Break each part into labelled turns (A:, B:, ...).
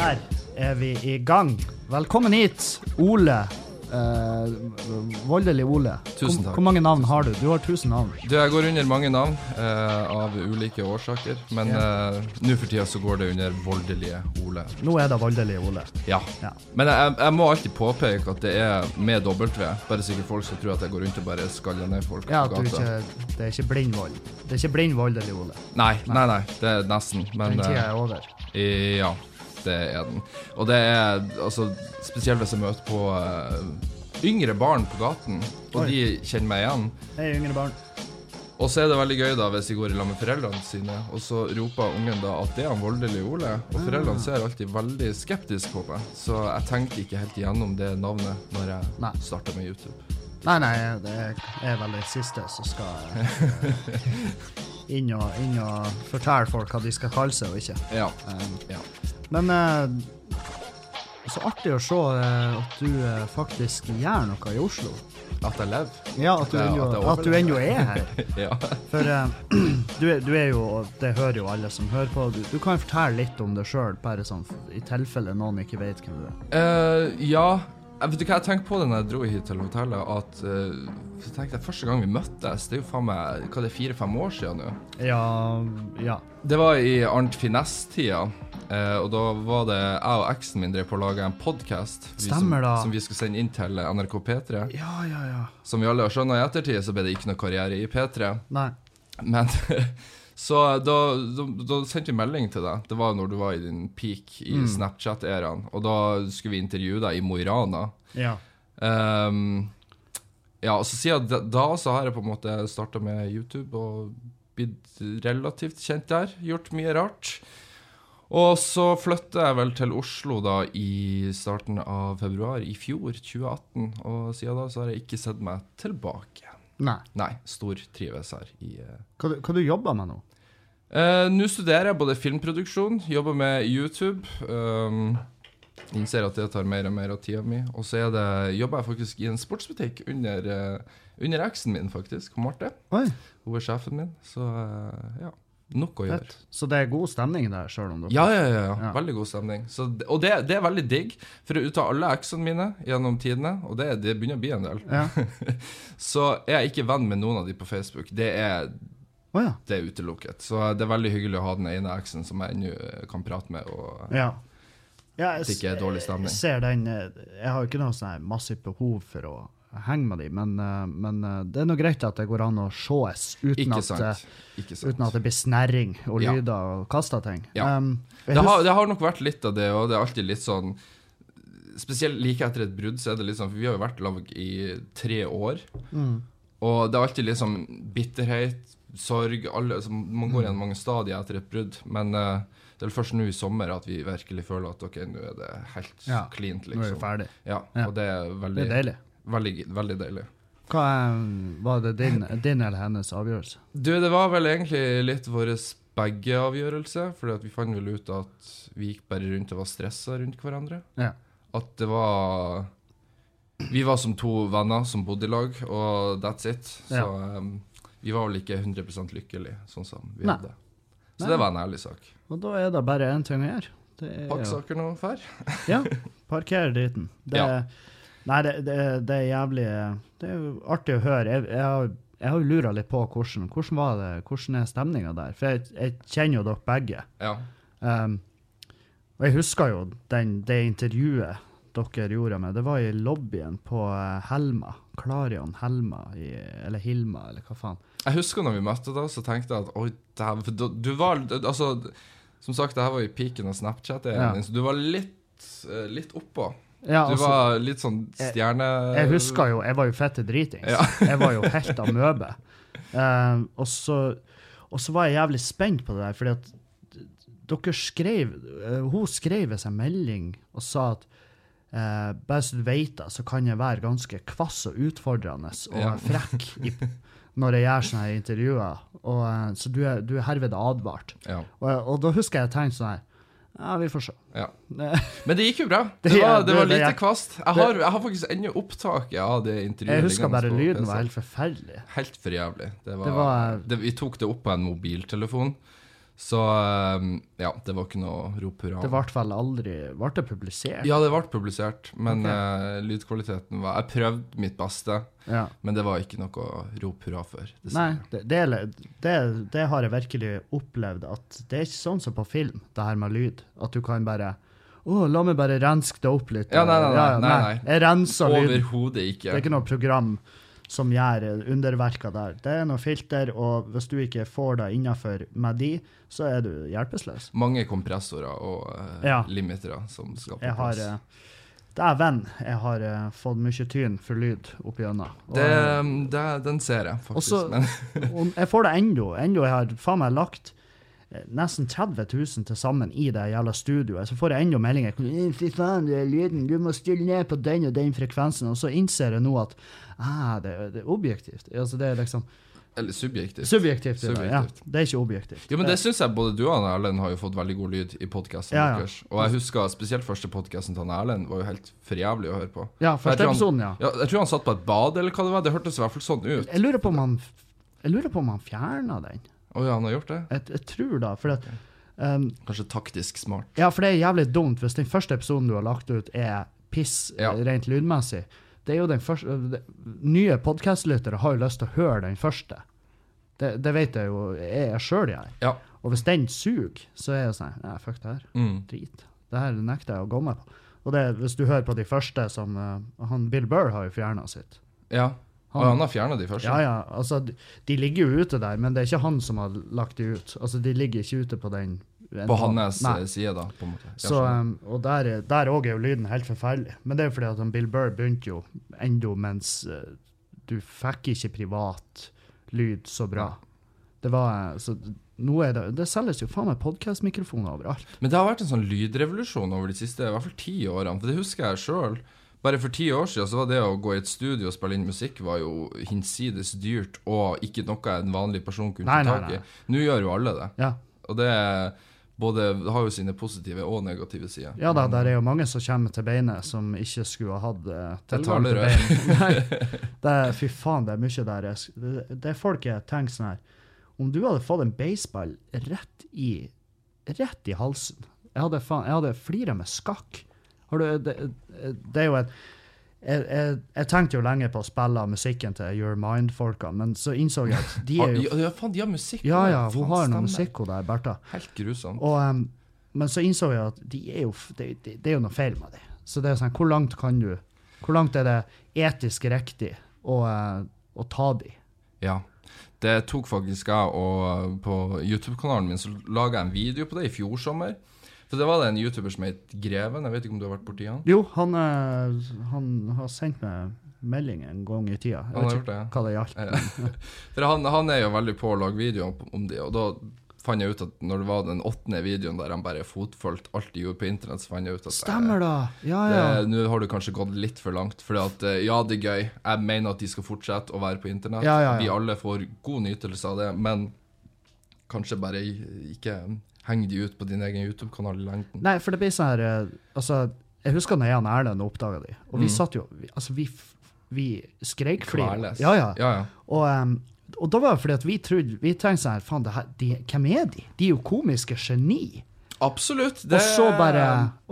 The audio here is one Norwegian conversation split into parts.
A: er vi i gang. Velkommen hit, Ole. Eh, voldelig Ole.
B: Tusen takk.
A: Hvor, hvor mange navn har du? Du har 1000 navn.
B: Du, jeg går under mange navn eh, av ulike årsaker, men eh, nå for tida så går det under voldelige Ole.
A: Nå er det voldelig Ole.
B: Ja.
A: Ja.
B: Men jeg, jeg må alltid påpeke at det er med W, bare så ikke folk skal tro at jeg går rundt og bare skaller ned folk
A: Ja, at
B: på
A: du
B: gata.
A: ikke, det er ikke blind vold. Det er ikke blind voldelig Ole.
B: Nei, nei, nei, det er nesten, men
A: Den tida
B: eh,
A: er over.
B: ja, det er den. Og det er altså spesielt hvis jeg møter på eh, yngre barn på gaten, og
A: Oi.
B: de kjenner meg igjen.
A: Hei, yngre barn.
B: Og så er det veldig gøy da hvis de går i lag med foreldrene sine, og så roper ungen da at det er han voldelige Ole. Og foreldrene ser alltid veldig skeptisk på meg, så jeg tenker ikke helt igjennom det navnet når
A: Nei.
B: jeg starter med YouTube.
A: Nei, nei, det er vel det siste som skal eh, inn, og, inn og fortelle folk hva de skal kalle seg og ikke.
B: Ja.
A: Eh,
B: ja.
A: Men eh, så artig å se eh, at du eh, faktisk gjør noe i Oslo.
B: At jeg lever.
A: Ja, at du
B: Ja,
A: ennå
B: at
A: at
B: jeg
A: du
B: overlever.
A: ennå er her.
B: Ja.
A: For eh, du, er, du er jo og Det hører jo alle som hører på. Du, du kan jo fortelle litt om deg sjøl, bare sånn f- i tilfelle noen ikke vet hvem du er.
B: Eh, ja. Jeg vet du hva jeg tenkte på da jeg dro hit til hotellet, at eh, så tenkte jeg første gang vi møttes, det er jo faen meg hva det er fire-fem år siden nå.
A: Ja, ja.
B: Det var i Arnt Finesse-tida, eh, og da var det jeg og eksen min drev på å lage en podkast som,
A: Stemmer da.
B: som vi skulle sende inn til NRK P3.
A: Ja, ja, ja.
B: Som vi alle har skjønna i ettertid, så ble det ikke noe karriere i P3.
A: Nei.
B: Men Så da, da, da sendte vi melding til deg. Det var når du var i din peak i
A: Mm.
B: Snapchat-æraen. Og da skulle vi intervjue deg i Mo i Rana.
A: Ja.
B: Ehm, ja, og så siden da, da så har jeg på en måte starta med YouTube og blitt relativt kjent der. Gjort mye rart. Og så flytta jeg vel til Oslo da i starten av februar i fjor, 2018. Og siden da så har jeg ikke sett meg tilbake.
A: Nei.
B: Nei, stortrives her i eh,
A: Hva, du- hva du jobber med nå?
B: Eh, Nå studerer jeg både filmproduksjon, jobber med YouTube. ehm, innser at det tar mer og mer av tida mi. Og så er det, jobber jeg faktisk i en sportsbutikk under, eh, under eksen min, faktisk. Hun Marte.
A: Oi,
B: Hun er sjefen min. Så eh, ja. Nok å gjøre.
A: fett. Så det er god stemning der, sjøl om du
B: Ja, ja, ja, ja.
A: Ja.
B: Veldig god stemning. Så, det- og det, det er veldig digg. For ut av alle eksene mine gjennom tidene, og det, det begynner å bli en del,
A: Ja.
B: så er jeg ikke venn med noen av de på Facebook. Det er
A: Å ja.
B: det er utelukket. Så det er veldig hyggelig å ha den ene eksen som jeg ennå eh, kan prate med. Og
A: ja. Ja, jeg
B: at det ikke er dårlig
A: Jeg
B: stemning.
A: ser den eh, Jeg har jo ikke noe sånn her massivt behov for å henge med dem, men, eh, men eh, det er nå greit at det går an å sees uten,
B: Ikke
A: at,
B: sant.
A: eh,
B: Ikke
A: uten at
B: sant.
A: det blir snerring og
B: Ja.
A: lyder og kasta ting.
B: Ja.
A: Um, jeg
B: Det har,
A: husker-
B: det har nok vært litt av det, og det er alltid litt sånn Spesielt like etter et brudd, så er det litt sånn For vi har jo vært lag i tre år.
A: Mm.
B: Og det er alltid litt sånn bitterhet, sorg alle, altså, Man går gjennom mange stadier etter et brudd. Men eh, det er vel først nå i sommer at vi virkelig føler at ok, nå er det helt
A: Ja,
B: cleant,
A: Nå er vi
B: liksom.
A: ferdig.
B: Ja,
A: Ja.
B: og det er
A: Det
B: veldig,
A: er deilig.
B: veldig, veldig deilig.
A: Hva eh, var det din, din eller hennes avgjørelse?
B: Du, det var vel egentlig litt vår begge avgjørelse, fordi at vi fant vel ut at vi gikk bare rundt og var stressa rundt hverandre.
A: Ja.
B: At det var Vi var som to venner som bodde i lag, og that's it. Så em, vi var vel ikke 100 lykkelige, sånn som vi
A: Nei.
B: hadde. Så
A: Nei.
B: det var en ærlig sak.
A: Og da er det bare én ting å gjøre. Det er
B: Pakk
A: å-
B: saker nå, fær.
A: Ja, parker driten. Det,
B: Ja.
A: Nei, det, det, det er jævlig Det er jo artig å høre. Jeg, jeg, har- jeg har jo lura litt på hvordan, hvordan var det, hvordan er stemninga der. For jeg, jeg kjenner jo dere begge.
B: Ja.
A: Um, og jeg husker jo den, det intervjuet dere gjorde med Det var i lobbyen på eh, Helma. Klarion Helma, i, eller Hilma, eller hva faen.
B: Jeg husker når vi møtte da, så tenkte jeg at oi, dæven for du- Du var Altså, som sagt, det her var i peaken av Snapchat,
A: Ja.
B: så du var litt, eh, litt oppå.
A: Ja,
B: Du
A: altså,
B: var litt sånn stjerne...
A: jeg husker jo Jeg var jo fette dritings.
B: Ja.
A: jeg var jo helt amøbe. Uh, og, så, og så var jeg jævlig spent på det der, fordi at dere skrev eh, Hun skrev en sånn melding og sa at eh, bare så du vet det, så kan jeg være ganske kvass og utfordrende og
B: Ja.
A: frekk i, når jeg gjør sånne her intervjuer. Og, eh, så du er, du er herved advart.
B: Ja,
A: Og, eh, og da husker jeg jeg tenkte sånn her Ja, vi får se.
B: ja.
A: Eh,
B: Men det gikk jo bra.
A: Det-
B: Det var,
A: det-
B: det var
A: det-
B: lite kvast. Jeg har, jeg har faktisk ennå opptaket av det intervjuet.
A: Jeg husker
B: liggende
A: bare
B: på
A: lyden
B: PC.
A: var helt forferdelig.
B: Helt for jævlig. Det var,
A: Det var-
B: det, vi tok det opp på en mobiltelefon. Så eh, ja, det var ikke noe rop hurra.
A: Det ble vel aldri Ble det publisert?
B: Ja, det ble publisert, men
A: Ok.
B: eh, lydkvaliteten var Jeg prøvde mitt beste,
A: Ja.
B: men det var ikke noe å rope hurra for.
A: Nei,
B: dessverre.
A: det, det, er- det, det har jeg virkelig opplevd. At det er ikke sånn som på film, det her med lyd. At du kan bare Å, la meg bare renske det opp litt.
B: Ja, nei, nei, nei,
A: Ja, ja,
B: nei,
A: Jeg renser lyden.
B: Overhodet ikke.
A: Det er ikke noe program som gjør eh, underverker der. Det er noe filter, og hvis du ikke får det innafor med de, så er du hjelpeløs.
B: Mange kompressorer og eh,
A: Ja.
B: limitere som skal på
A: Jeg har
B: plass.
A: eh, Dæven, jeg har eh, fått mye tyn for lyd opp igjennom. Og-
B: det, um, det, den ser jeg, faktisk.
A: Også-
B: men
A: Og jeg får det ennå. Ennå jeg har faen meg lagt eh, nesten 30 000 til sammen i det jævla studioet. Så får jeg ennå meldinger. «Eh, Fy faen, det er lyden. Du må stille ned på den og den frekvensen. Og så innser jeg nå at ah, det, det er objektivt. Altså, det er liksom
B: Eller subjektivt.
A: Subjektivt. det er det,
B: Subjektivt.
A: Ja. Det er ikke objektivt.
B: Jo, men det syns jeg både du og han Erlend har jo fått veldig god lyd i podkasten
A: Ja, ja.
B: deres. Og jeg husker spesielt første podkasten til han Erlend var jo helt for jævlig å høre på.
A: Ja,
B: Jeg tror
A: første
B: han-
A: episoden, ja.
B: Ja, jeg tror han satt på et bad, eller hva det var. Det hørtes i hvert fall sånn ut.
A: Jeg lurer på om han jeg lurer på om han fjerna den.
B: Å ja, han har gjort det?
A: Jeg, jeg tror da, for at, um,
B: Kanskje taktisk smart.
A: Ja, for det er jævlig dumt hvis den første episoden du har lagt ut, er piss
B: Ja.
A: eh, rent lydmessig. Det er jo den første de- Nye podkastlyttere har jo lyst til å høre den første. Det, det vet jeg jo jeg er sjøl jeg.
B: Ja.
A: Og hvis den suger, så er jeg sånn Nei, fuck det her.
B: Mm.
A: Drit. Det her nekter jeg å gå med på. Og det, hvis du hører på de første som eh, han Bill Burr har jo fjerna sitt.
B: Ja. Og han har fjerna de første.
A: Ja, ja. Altså, de, de ligger jo ute der, men det er ikke han som har lagt de ut. Altså, de ligger ikke ute på den
B: På hans
A: Nei.
B: eh, side, da, på en måte. Jeg
A: Så,
B: skjønner.
A: um, og der er- der òg er jo lyden helt forferdelig. Men det er jo fordi at han Bill Burr begynte jo ennå mens eh, du fikk ikke privat lyd så bra. Det var eh, Så d- nå er det Det selges jo faen meg podkastmikrofoner overalt.
B: Men det har vært en sånn lydrevolusjon over de siste i hvert fall ti årene, for det husker jeg sjøl. Bare for ti år siden så var det å gå i et studio og spille inn musikk var jo hinsides dyrt, og ikke noe en vanlig person kunne
A: Nei,
B: ta
A: nei,
B: tak
A: nei.
B: i. Nå gjør jo alle det.
A: Ja,
B: Og det er både det har jo sine positive og negative sider.
A: ja da, der er jo mange som kommer til beinet som ikke skulle ha hatt eh,
B: Det
A: tilgang til
B: taler
A: bein. Nei, det er, fy faen, det er mye der. jeg sk- Det, det er folk jeg tenker sånn her Om du hadde fått en baseball rett i, rett i halsen Jeg hadde, faen- jeg hadde flira med skakk. Har du, det, det er jo et jeg, jeg, jeg tenkte jo lenge på å spille av musikken til Your Mind-folka, men så innså jeg at de
B: Har-
A: er jo
B: ja, ja, faen, de har musikk.
A: Ja ja,
B: Faen,
A: hun har noe
B: stemmer.
A: musikk, hun der, Bertha.
B: Helt grusomt.
A: Og, em, men så innså jeg at de er jo, f- det, det, det er jo noe feil med det. Så det er sånn, hvor langt kan du Hvor langt er det etisk riktig å, eh, å ta de?
B: Ja. Det tok faktisk jeg, og eh, på YouTube-kanalen min så laga jeg en video på det i fjor sommer. For det var det en YouTuber som het Greven, jeg vet ikke om du har vært borti han?
A: Jo, han, eh, han har sendt meg melding en gang i tida.
B: Han
A: Jeg
B: har
A: vet
B: gjort det. Eh,
A: ikke hva det gjaldt.
B: For han, han er jo veldig på å lage videoer på- om det, og da fant jeg ut at når det var den åttende videoen der han bare fotfølte alt de gjorde på internett, så fant jeg ut at eh,
A: Stemmer da! Ja, ja.
B: det- Nå har du kanskje gått litt for langt, for at, eh, ja, det er gøy. Jeg mener at de skal fortsette å være på internett.
A: Ja, ja, ja.
B: Vi alle får god nytelse av det, men kanskje bare i- ikke heng de ut på din egen YouTube-kanal i lengden.
A: Nei, for det blir sånn her eh, Altså, jeg husker når jeg og Erlend oppdaga de, og vi
B: Mm.
A: satt jo vi, Altså, vi, f- vi skreikflira.
B: Kveles.
A: Ja, ja.
B: ja, ja.
A: Og, em, og da var det fordi at vi trodde, vi tenkte sånn her, faen, det her, de, hvem er de? De er jo komiske geni.
B: Absolutt. Det,
A: Og så bare,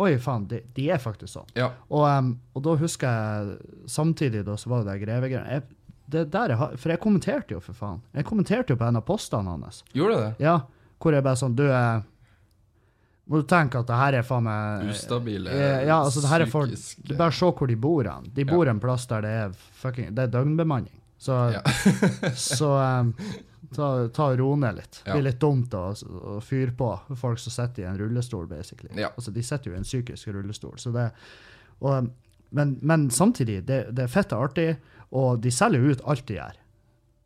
A: oi faen, de, de er faktisk sånn.
B: Ja.
A: Og, em, og da husker jeg, samtidig da, så var det der grevegreiene. Jeg, det der jeg, har- for jeg kommenterte jo, for faen. Jeg kommenterte jo på en av postene hans.
B: Gjorde det det?
A: Ja, hvor jeg bare sånn, du, eh, må du tenke at det her er faen meg...
B: Ustabile,
A: Eh, Ja, altså det her er folk,
B: psykisk
A: du bare se hvor de bor hen. De bor en plass der det er fucking, det er døgnbemanning. Så,
B: Ja.
A: så um, ta, ta og ro ned litt. Det
B: Ja.
A: blir litt dumt å, å fyre på folk som sitter i en rullestol, basically.
B: Ja.
A: Altså, de sitter jo i en psykisk rullestol, så det og, um, men, men samtidig, det, det er fett og artig, og de selger jo ut alt de gjør.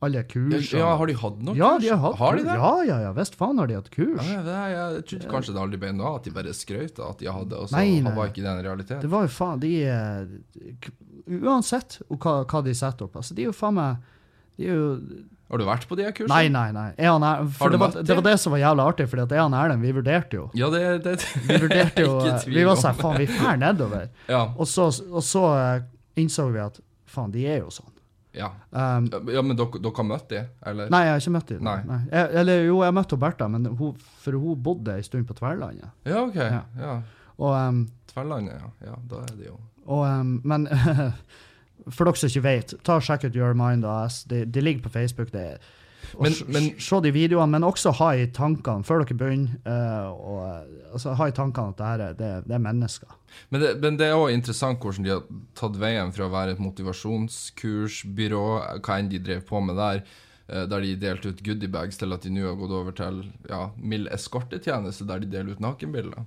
A: Alle kurs.
B: Ja,
A: og-
B: har de hatt noe?
A: ja, de har hatt
B: Har de
A: kurs.
B: det?
A: Ja, ja, ja, visst faen har de hatt kurs.
B: Ja, det, er- jeg trodde kanskje det aldri ble noe av, at de bare skrøt av at de hadde, og så
A: Nei, nei.
B: var ikke det en realitet.
A: Det var jo faen De eh, k- Uansett og hva, hva de setter opp, altså, de er jo faen meg de er jo,
B: Har du vært på de her kursene?
A: nei, nei, nei. Jeg og han er,
B: Har
A: for
B: du
A: det, var,
B: møtt dem?
A: det var det som var jævla artig, for jeg og han Erlend vi vurderte jo.
B: Ja, det, det,
A: Vi vurderte jo,
B: Ikke
A: eh,
B: tvil
A: vi var
B: om
A: sånn, faen, vi drar nedover.
B: ja.
A: Og så, og så eh, innså vi at faen, de er jo sånn.
B: Ja.
A: Um,
B: ja men dere, dere har møtt dem, eller?
A: nei, jeg har ikke møtt henne.
B: Nei.
A: Jeg, eller jo, jeg møtte Bertha, men hun, for hun bodde en stund på Tverlandet.
B: Ja, OK.
A: Ja.
B: Ja.
A: Og, um,
B: Tverlandet, ja. ja. Da er det jo
A: og, um, men for dere som ikke vet, ta og sjekk ut Your Mind AS. Det, det ligger på Facebook. Det er og
B: Men-
A: s-
B: men-
A: s- Se de videoene, men også ha i tankene før dere begynner. eh, og, eh, altså, ha i tankene at det, her er, det, det er mennesker.
B: Men det, men det er òg interessant hvordan de har tatt veien fra å være et motivasjonskursbyrå, hva enn de drev på med der, eh, der de delte ut goodiebags, til at de nå har gått over til ja, mild eskortetjeneste, der de deler ut nakenbilder.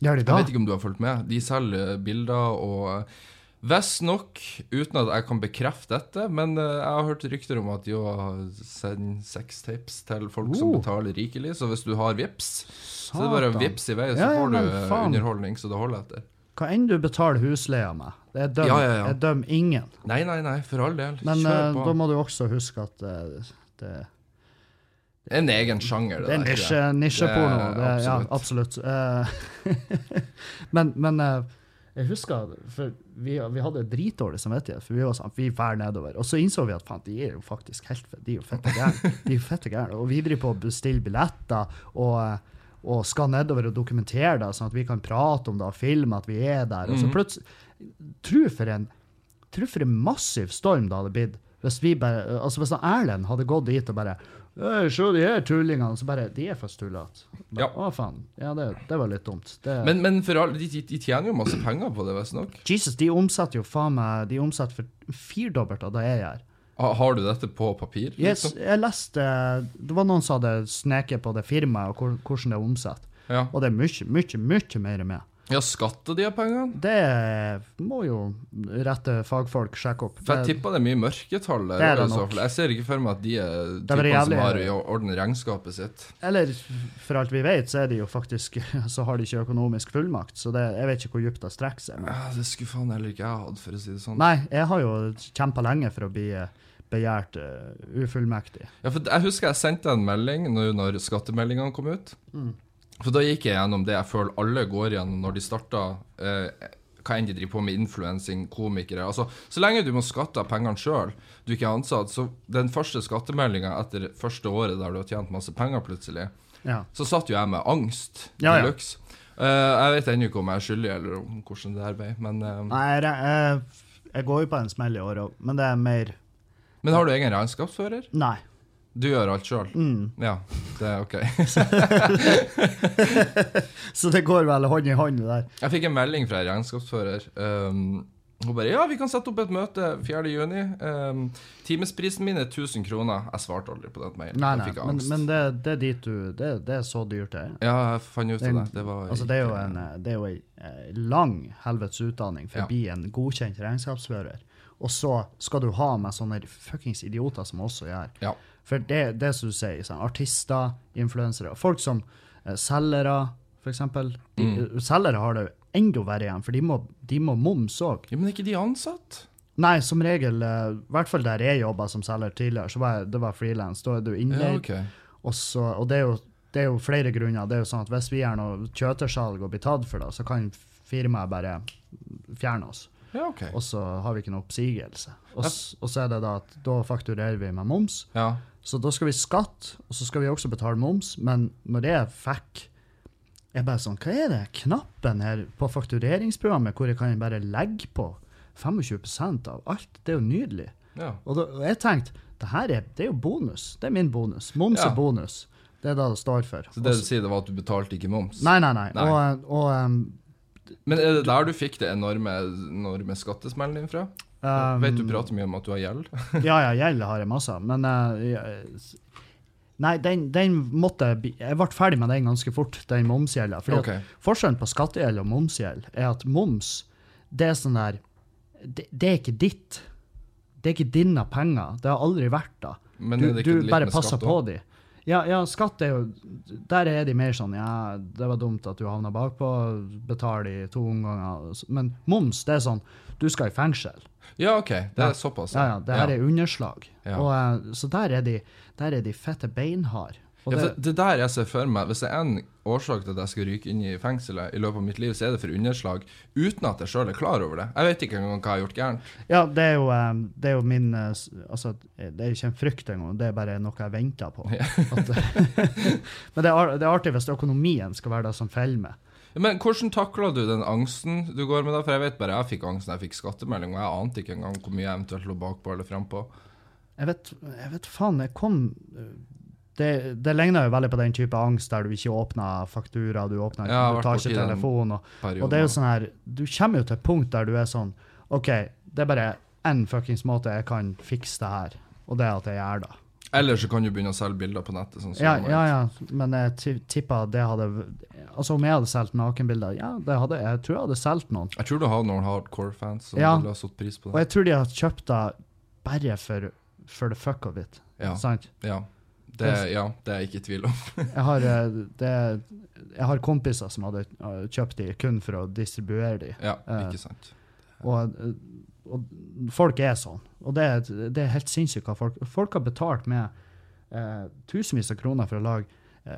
A: Gjør de
B: Jeg
A: da?
B: vet ikke om du har fulgt med. De selger bilder og Visstnok, uten at jeg kan bekrefte dette, men eh, jeg har hørt rykter om at de òg sender sextapes til folk som
A: Oh.
B: betaler rikelig, så hvis du har vips, så er det bare å
A: Satan.
B: vips i vei, så
A: Ja, ja,
B: får du
A: men
B: eh,
A: faen.
B: underholdning så det holder etter.
A: Hva enn du betaler husleia med, jeg dømmer,
B: Ja, ja, ja.
A: jeg dømmer ingen.
B: Nei, nei, nei, for all del.
A: Men eh,
B: Kjør på.
A: da må du også huske at eh, det,
B: En egen sjanger, det,
A: det er
B: der.
A: nisje,
B: tror jeg.
A: nisjeporno.
B: Det er
A: Det, ja, absolutt. Eh, men men eh, jeg husker for vi, vi hadde dritdårlig samvittighet, for vi var sånn, vi drar nedover. Og så innså vi at faen, de er jo faktisk helt fe- de er jo fette gærne. De er jo fette gærne. Og vi driver på å bestille billetter og, eh, og skal nedover og dokumentere det, sånn at vi kan prate om det og filme at vi er der. Og så
B: Mhm.
A: plutselig Tro for en tror for en massiv storm det hadde blitt hvis vi bare, altså hvis han Erlend hadde gått dit og bare «Øy, Se de her tullingene. Så bare De er faktisk tullete.
B: Ja.
A: Å, faen. Ja, det, det var litt dumt. Det,
B: Men, men for all, de, de, de tjener jo masse penger på det, visstnok.
A: Jesus, de omsetter jo faen meg De omsetter for firdobbelt av det jeg gjør.
B: Ha, har du dette på papir?
A: Yes,
B: liksom?
A: jeg leste Det var noen som hadde sneket på det firmaet og hvor, hvordan det er omsatt.
B: Ja.
A: Og det er mye, mye, mye mer med.
B: ja, skatter de av pengene?
A: Det må jo rette fagfolk sjekke opp.
B: For jeg
A: Det-
B: tipper det er mye mørketall der.
A: Det er det
B: i så
A: nok.
B: fall. Jeg ser ikke for meg at de er
A: er
B: typene
A: jævlig-
B: som har i orden regnskapet sitt.
A: Eller for alt vi vet, så er de jo faktisk Så har de ikke økonomisk fullmakt, så det, jeg vet ikke hvor dypt det strekker seg. Men.
B: Ja, det skulle faen heller ikke jeg hatt, for å si det sånn.
A: Nei, jeg har jo kjempa lenge for å bli eh, begjært eh, ufullmektig.
B: Ja, for jeg husker jeg sendte en melding når, når skattemeldingene kom ut.
A: Mm.
B: For da gikk jeg gjennom det jeg føler alle går gjennom når de starter eh, hva enn de driver på med, influensing, komikere. Altså, så lenge du må skatte av pengene sjøl, du ikke er ansatt, så den første skattemeldinga etter første året der du har tjent masse penger plutselig,
A: Ja.
B: så satt jo jeg med angst.
A: Ja, ja.
B: deluxe. Eh, jeg vet ennå ikke om jeg er skyldig, eller om hvordan det her ble, men, eh,
A: Nei, jeg, jeg, jeg går jo på en smell i år òg, men det er mer
B: men har du egen regnskapsfører?
A: Nei. Mm.
B: Du gjør alt sjøl? Ja, det er OK.
A: Så det går vel hånd i hånd, det der.
B: Jeg fikk en melding fra en regnskapsfører. Um, hun bare 'Ja, vi kan sette opp et møte 4. juni. Um, timesprisen min er 1000 kroner.' Jeg svarte aldri på den mailen.
A: Nei,
B: jeg
A: nei,
B: fikk
A: men,
B: angst.
A: men det, det er dit du Det, det er så dyrt, det er.
B: ja, jeg fant ut
A: Det er
B: av
A: en-
B: det. Det var
A: Altså, det er jo
B: ikke-
A: en, eh, det er jo en eh, lang helvetes utdanning for
B: Ja.
A: å bli en godkjent regnskapsfører. Og så skal du ha med sånne fuckings idioter som også gjør.
B: Ja.
A: For det, det som du sier, sånn, artister, influensere, folk som eh, selgere, for eksempel. De, eh, Selgere har det jo enda verre igjen, for de må, de må moms òg.
B: ja, Men er ikke de ansatt?
A: Nei, som regel, eh, i hvert fall der jeg jobba som selger tidligere, så var jeg, det var frilans. Da er du innleid.
B: Ja, ok.
A: Og, så, og det, er jo, det er jo flere grunner. Det er jo sånn at Hvis vi gjør noe kjøtersalg og blir tatt for det, så kan firmaet bare fjerne oss.
B: Ja, ok.
A: Og så har vi ikke noe oppsigelse. Og, s- og så er det da at da fakturerer vi med moms.
B: Ja.
A: Så da skal vi skatte, og så skal vi også betale moms. Men når jeg fikk jeg bare sånn, Hva er det knappen her på faktureringsprogrammet hvor jeg kan bare legge på 25 av alt? Det er jo nydelig.
B: ja.
A: Og, da, og jeg tenkte det her er, det er jo bonus. Det er min bonus. Moms
B: Ja.
A: er bonus. Det er det det står for.
B: Så det du
A: Også-
B: sier, det var at du betalte ikke moms?
A: nei, nei, nei.
B: Nei.
A: Og, og um,
B: Men er det der du fikk det enorme, enorme skattesmellen din fra?
A: um,
B: vet du prater mye om at du har gjeld?
A: Ja, ja, gjeld har jeg masse av, men uh, jeg- Nei, den, den måtte jeg bli- Jeg ble ferdig med den ganske fort, den momsgjelda. Fordi
B: Ok.
A: at Forskjellen på skattegjeld og momsgjeld er at moms, det er sånn der det, det er ikke ditt. Det er ikke dine penger. Det har aldri vært det.
B: Men er
A: du,
B: det ikke
A: du
B: litt
A: bare
B: med
A: passer
B: skatt
A: på
B: også?
A: de. Ja, ja, skatt er jo Der er de mer sånn Ja, det var dumt at du havna bakpå, betal i to omganger. Men moms, det er sånn Du skal i fengsel.
B: Ja, OK. Det
A: Ja.
B: er såpass.
A: Ja, ja, det her er underslag.
B: Ja.
A: Og, eh, så der er de, der er de fette beinhard. Og
B: Ja,
A: det,
B: for det der jeg ser for meg Hvis det er en årsak til at jeg skal ryke inn i fengselet i løpet av mitt liv, så er det for underslag uten at jeg sjøl er klar over det. Jeg vet ikke engang hva jeg har gjort gærent.
A: ja, det, er jo, eh, det er jo min eh, s- Altså, det er ikke en frykt engang, det er bare noe jeg venter på. At, men det er, ar- det er artig hvis økonomien skal være det som feller meg.
B: Men hvordan takla du den angsten du går med da? For jeg vet bare jeg fikk angsten, jeg fikk skattemelding, og jeg ante ikke engang hvor mye jeg eventuelt lå bakpå eller frampå.
A: Jeg vet, jeg vet faen, jeg kom det, det ligner jo veldig på den type angst der du ikke åpner faktura, du, åpner,
B: Ja,
A: du
B: jeg har
A: tar
B: vært borti
A: ikke
B: den
A: telefonen. Og, og det er jo sånn her, du kommer jo til et punkt der du er sånn OK, det er bare én fuckings måte jeg kan fikse det her, og det er at jeg gjør det.
B: Eller så kan du begynne å selge bilder på nettet. Sånn, som
A: sånn- Ja,
B: det var.
A: ja, ja, men jeg ti- tipper det hadde Altså, om jeg hadde solgt nakenbilder, ja, det hadde, jeg tror jeg hadde solgt noen.
B: Jeg tror du har noen hardcore-fans som
A: Ja.
B: ville ha satt pris på
A: Og
B: det.
A: jeg tror de har kjøpt det bare for, for the fuck of it.
B: Ja,
A: Sant?
B: ja. Det, ja, det er jeg ikke i tvil om.
A: Jeg har, eh, det, jeg har kompiser som hadde eh, kjøpt de kun for å distribuere de.
B: Ja,
A: Eh.
B: ikke sant.
A: Og, eh, og folk er sånn. Og det, er- det er helt sinnssykt hva folk Folk har betalt med eh, tusenvis av kroner for å lage eh,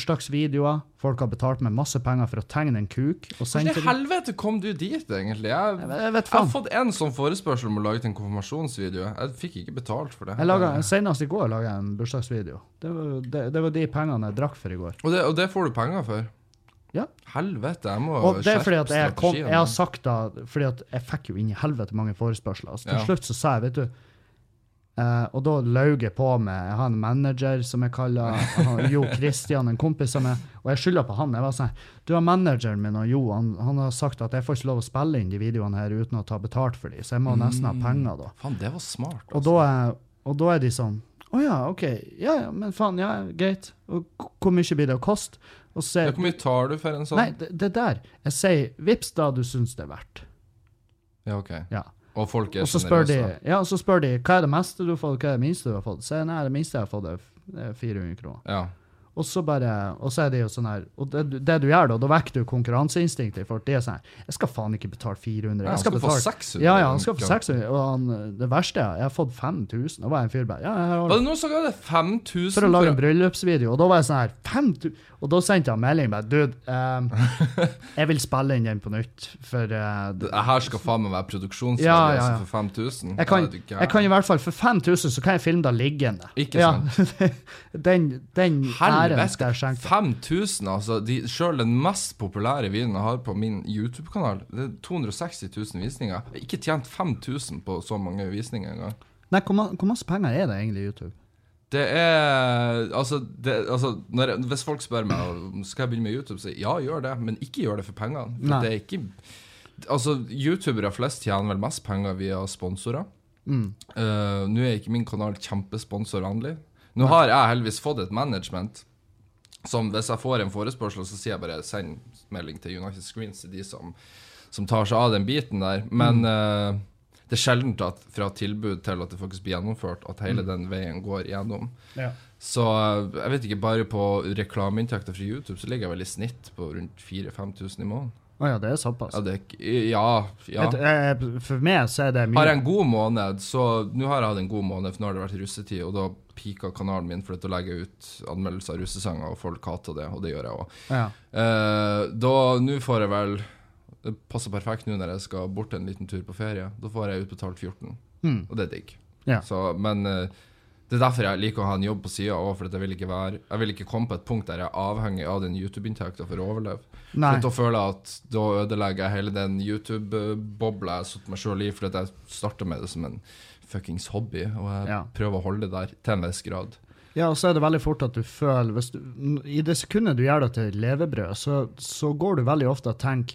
A: bursdagsvideoer. Folk har betalt med masse penger for å tegne en kuk. Og sende
B: Hvordan i
A: til dem.
B: helvete kom du dit, egentlig? Jeg,
A: Jeg vet- jeg vet
B: Jeg har
A: faen.
B: fått en sånn forespørsel om å lage en konfirmasjonsvideo. Jeg fikk ikke betalt for det.
A: Jeg laget, senest i går laga jeg en bursdagsvideo. Det var, det, det var de pengene jeg drakk for i går.
B: og, det, og det får du penger for?
A: Ja.
B: Helvete, jeg må
A: Og det er fordi at jeg, kom,
B: strategien.
A: jeg har sagt da Fordi at jeg fikk jo inn i helvete mange forespørsler. Så til
B: Ja.
A: slutt så sa jeg, vet du eh, Og da laug jeg på med Jeg har en manager som jeg kaller jeg har Jo Kristian, en kompis av meg, og jeg skylder på han. Jeg var sånn Du har manageren min og Jo, han, han har sagt at jeg får ikke lov å spille inn de videoene her uten å ta betalt for de, så jeg må nesten ha penger da.
B: Faen, det var smart.
A: Og
B: Altså.
A: da, er, og da er de sånn Å ja, OK. Ja, ja, men faen, ja, greit. Og k- hvor mye blir det å koste? Og så
B: Ja,
A: sier
B: Hvor mye tar du for en sånn?
A: Nei, det, det der. Jeg sier vips da du syns det er verdt.
B: Ja, ok.
A: Ja.
B: Og folk er
A: Og så spør, de,
B: generøse.
A: ja, og så spør de hva er det meste du har fått, hva er det minste du har fått. Så jeg, nei, det minste jeg har fått, er f- det er 400 kroner.
B: Ja.
A: Og så bare, og så er det jo sånn her Og det, du- det du gjør da, da vekker du konkurranseinstinktet i folk. De er sånn her Jeg skal faen ikke betale 400.
B: Nei,
A: Jeg
B: han
A: skal
B: skal få
A: betale
B: 600.
A: ja, ja, han skal få 600. Og han, det verste er, jeg har fått 5000. Da var jeg en fyr bare Ja, jeg har
B: Var det noen som ga deg 5000
A: for å lage en bryllupsvideo. Og da var jeg sånn her «Fem tu-» Og da sendte jeg en melding bare Dude, ehm, jeg vil spille inn den på nytt, for eh, d-
B: Det her skal faen meg være produksjonsvideo
A: Ja, ja, ja.
B: altså, for 5000.
A: jeg kan,
B: Er du gæren?
A: jeg kan i hvert fall For 5000 så kan jeg filme det liggende.
B: Ikke
A: den den æren skal jeg skjenke.
B: 5000, altså. De, selv den mest populære videoen jeg har på min YouTube-kanal, det er 260 000 visninger. Jeg har ikke tjent 5000 på så mange visninger engang.
A: Nei, hvor, ma- hvor masse penger er det egentlig i YouTube?
B: Det er Altså, det, altså når, jeg- hvis folk spør meg om skal jeg begynne med YouTube, så ja, gjør det, men ikke gjør det for pengene. For
A: Nei.
B: det er ikke Altså, youtubere flest tjener vel mest penger via sponsorer. Eh, Nå er ikke min kanal kjempesponsorvennlig. Nå har jeg heldigvis fått et management som hvis jeg får en forespørsel, så sier jeg bare send melding til United Screens til de som, som tar seg av den biten der. Men eh, det er sjelden at fra tilbud til at det faktisk blir gjennomført, at hele den veien går gjennom.
A: Ja.
B: Så eh, jeg vet ikke, bare på reklameinntekter fra YouTube så ligger jeg vel i snitt på rundt 4000-5000 i måneden.
A: Å ja, det er såpass.
B: Ja, det er ikke Ja. ja.
A: Et- eh, for meg så er det
B: Har
A: mye.
B: jeg en god måned, så Nå har jeg hatt en god måned, for nå har det vært russetid, og da pika kanalen min for å legge ut anmeldelser av russesanger, og folk hater det, og det gjør jeg òg.
A: Ja.
B: Eh, da, nå får jeg vel Det passer perfekt nå når jeg skal bort en liten tur på ferie. Da får jeg utbetalt 14,
A: Mm.
B: og det er digg.
A: Ja.
B: Så, men eh, det er derfor jeg liker å ha en jobb på sida òg, for at jeg vil, ikke være, jeg vil ikke komme på et punkt der jeg er avhengig av den YouTube-inntekta for å overleve.
A: Nei.
B: For Da føler jeg at da ødelegger jeg hele den YouTube-bobla jeg har satt meg sjøl i, fordi at jeg starter med det som en fuckings hobby, og jeg
A: Ja.
B: prøver å holde det der til en viss grad.
A: Ja, og så er det veldig fort at du føler hvis du, n- I det sekundet du gjør det til et levebrød, så, så går du veldig ofte og tenker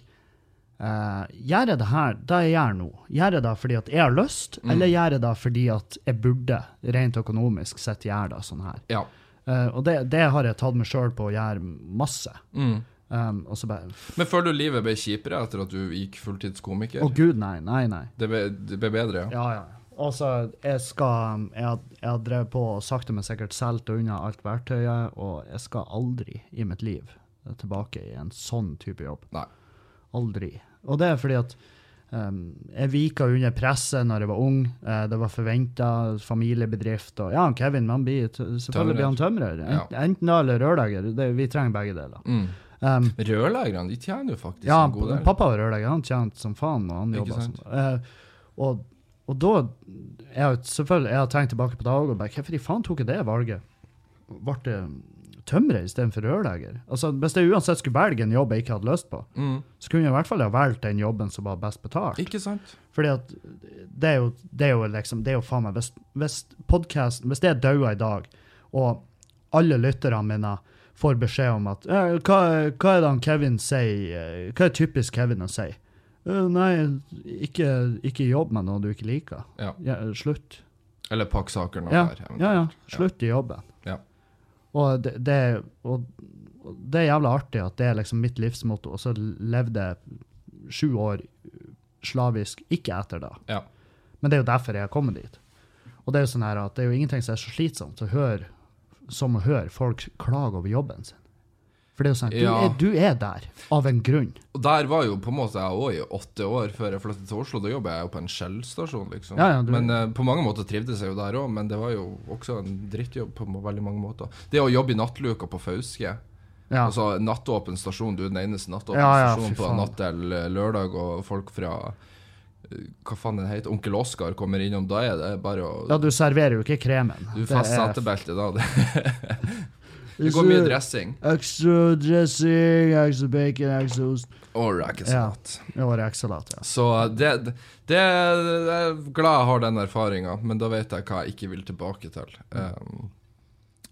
A: eh, Gjør jeg det her, det jeg gjør nå? Gjør jeg det fordi at jeg har lyst,
B: Mm.
A: eller gjør jeg det fordi at jeg burde, rent økonomisk sett, gjøre det sånn her?
B: Ja.
A: Eh, og det, det har jeg tatt meg sjøl på å gjøre masse.
B: Mm.
A: Um, og så bare Å,
B: Men føler du livet ble kjipere etter at du gikk fulltidskomiker?
A: gud, nei, nei, nei.
B: Det ble, det ble bedre, ja.
A: Ja, ja. Altså, jeg skal Jeg har- jeg har drevet på og sakte, men sikkert solgt unna alt verktøyet, og jeg skal aldri i mitt liv tilbake i en sånn type jobb.
B: Nei.
A: Aldri. Og det er fordi at Um, jeg vika under presset når jeg var ung. Eh, det var forventa familiebedrift. Og ja, han Kevin men han blir t- selvfølgelig blir han tømrer.
B: Ja.
A: Ent- Enten det eller rørlegger. Det- Vi trenger begge deler.
B: Mm.
A: Um,
B: Rørleggerne de tjener jo faktisk
A: ja,
B: en god del.
A: pappa var rørlegger. Han tjente som faen, og han
B: Ikke
A: jobba som
B: sant?
A: eh, og, og da jeg, har Selvfølgelig, jeg har tenkt tilbake på dag og bare Hvorfor i faen tok jeg det valget? Ble det tømrer istedenfor rørlegger? Altså, hvis jeg uansett skulle velge en jobb jeg ikke hadde lyst på,
B: Mm.
A: så kunne jeg i hvert fall ha valgt den jobben som var best betalt.
B: Ikke sant?
A: Fordi at det er jo, det er jo liksom Det er jo faen meg Hvis, hvis podkasten Hvis det dauer i dag, og alle lytterne mine får beskjed om at eh, hva, hva er det han Kevin sier eh, Hva er typisk Kevin å si? «Eh, nei, ikke, ikke jobb med noe du ikke liker.
B: Ja.
A: slutt.
B: Eller pakk saker nå
A: Ja,
B: her. eventuelt.
A: Ja, ja. Slutt i jobben.
B: Ja.
A: Og det, det, er- og og det er jævla artig at det er liksom mitt livsmotto, og så levde jeg sju år slavisk ikke etter det.
B: Ja.
A: Men det er jo derfor jeg har kommet dit. Og det er jo sånn her at det er jo ingenting som er så slitsomt å høre, som å høre folk klage over jobben sin. For det er jo sånn, du,
B: Ja.
A: er, du er der av en grunn.
B: Og der var jo på en måte jeg òg i åtte år før jeg flyttet til Oslo. Da jobba jeg jo på en Shell-stasjon, liksom.
A: Ja, ja, du-
B: Men eh, på mange måter trivdes jeg jo der òg, men det var jo også en drittjobb på må- veldig mange måter. Det å jobbe i nattluka på Fauske,
A: Ja,
B: altså nattåpen stasjon, du er den eneste nattåpen
A: Ja, ja, fy
B: stasjonen på
A: faen.
B: natt til eh, lørdag, og folk fra eh, hva faen den heter, Onkel Oskar kommer innom, da er det bare å
A: ja du serverer jo ikke kremen.
B: Du får setebelte da. Det, det går mye dressing.
A: Extra dressing, extra bacon, extra ost.
B: Og rakesalat.
A: Ja, og rekesalat, ja.
B: Så det, det, det Jeg er glad jeg har den erfaringa, men da vet jeg hva jeg ikke vil tilbake til. Um,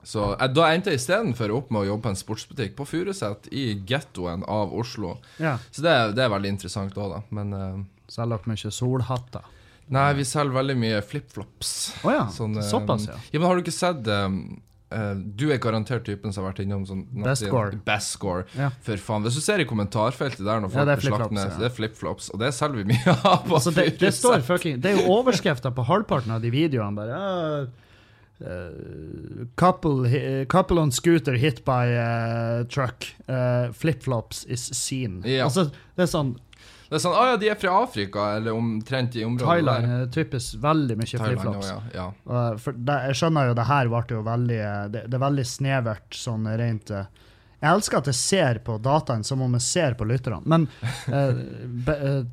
B: så jeg, da endte jeg istedenfor opp med å jobbe på en sportsbutikk på Furuset, i gettoen av Oslo.
A: ja.
B: Så det, er- det er veldig interessant òg, da. Men eh,
A: Selger dere mye solhatter?
B: nei, vi selger veldig mye flipflops.
A: Å ja,
B: Sånn, eh,
A: Ah, såpass, ja.
B: Ja, men har du ikke sett um, eh, Du er garantert typen som har vært innom sånn
A: Best score.
B: Best sscore.
A: Ja.
B: For faen. Hvis du ser i kommentarfeltet der når
A: Ja,
B: folk
A: det er
B: blir slakt
A: flip-flops,
B: ned,
A: ja.
B: det er flipflops, og det selger vi mye av. på
A: Altså, det, det
B: Furuset.
A: står fucking Det er jo overskrifter på halvparten av de videoene. Bare «Ah, eh, couple, hi- eh, couple on scooter hit by eh, truck. Eh, Flipflops is seen.
B: Ja.
A: Altså, det er sånn
B: Det er sånn Å ja, de er fra Afrika, eller omtrent i området
A: Thailand
B: der.
A: er typisk veldig mye
B: Thailand,
A: flipflops.
B: ja, ja.
A: Eh, for det, jeg skjønner jo det her ble jo veldig eh, Det, det er veldig snevert sånn rent eh, Jeg elsker at jeg ser på dataen som om jeg ser på lytterne, men eh, be, eh,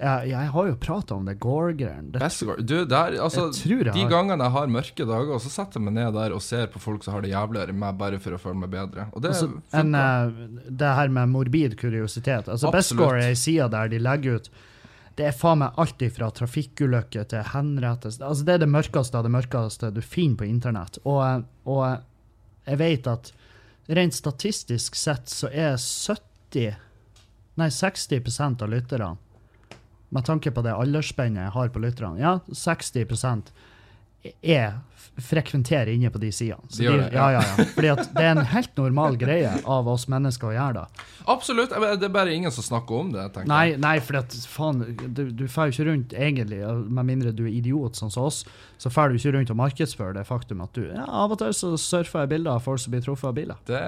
A: jeg, jeg har jo prata om det Gore-greien. Det-
B: Best score. Du, der, altså
A: Jeg tror jeg
B: De
A: har
B: gangene jeg har mørke dager, så setter jeg meg ned der og ser på folk som har det jævligere enn meg, bare for å føle meg bedre. Og det
A: Altså,
B: funker.
A: en, eh, det her med morbid kuriositet. Altså,
B: Absolutt.
A: Bestcore er ei side der de legger ut Det er faen meg alt ifra trafikkulykker til henrettelse altså, Det er det mørkeste av det mørkeste du finner på internett. Og, eh, og eh, jeg vet at rent statistisk sett så er 70 Nei, 60 av lytterne med tanke på det aldersspennet jeg har på lytterne, ja, 60 er f- frekventerer inne på de sidene. Så
B: De gjør det,
A: ja, ja, ja. Fordi at det er en helt normal greie av oss mennesker å gjøre det.
B: Absolutt. jeg mener, Det er bare ingen som snakker om det, tenker
A: Nei,
B: jeg.
A: nei, fordi at faen, du, du får jo ikke rundt egentlig, med mindre du er idiot sånn som oss, så får du ikke rundt og markedsfører det faktum at du ja, Av og til så surfer jeg bilder av folk som blir truffet av biler.
B: Det,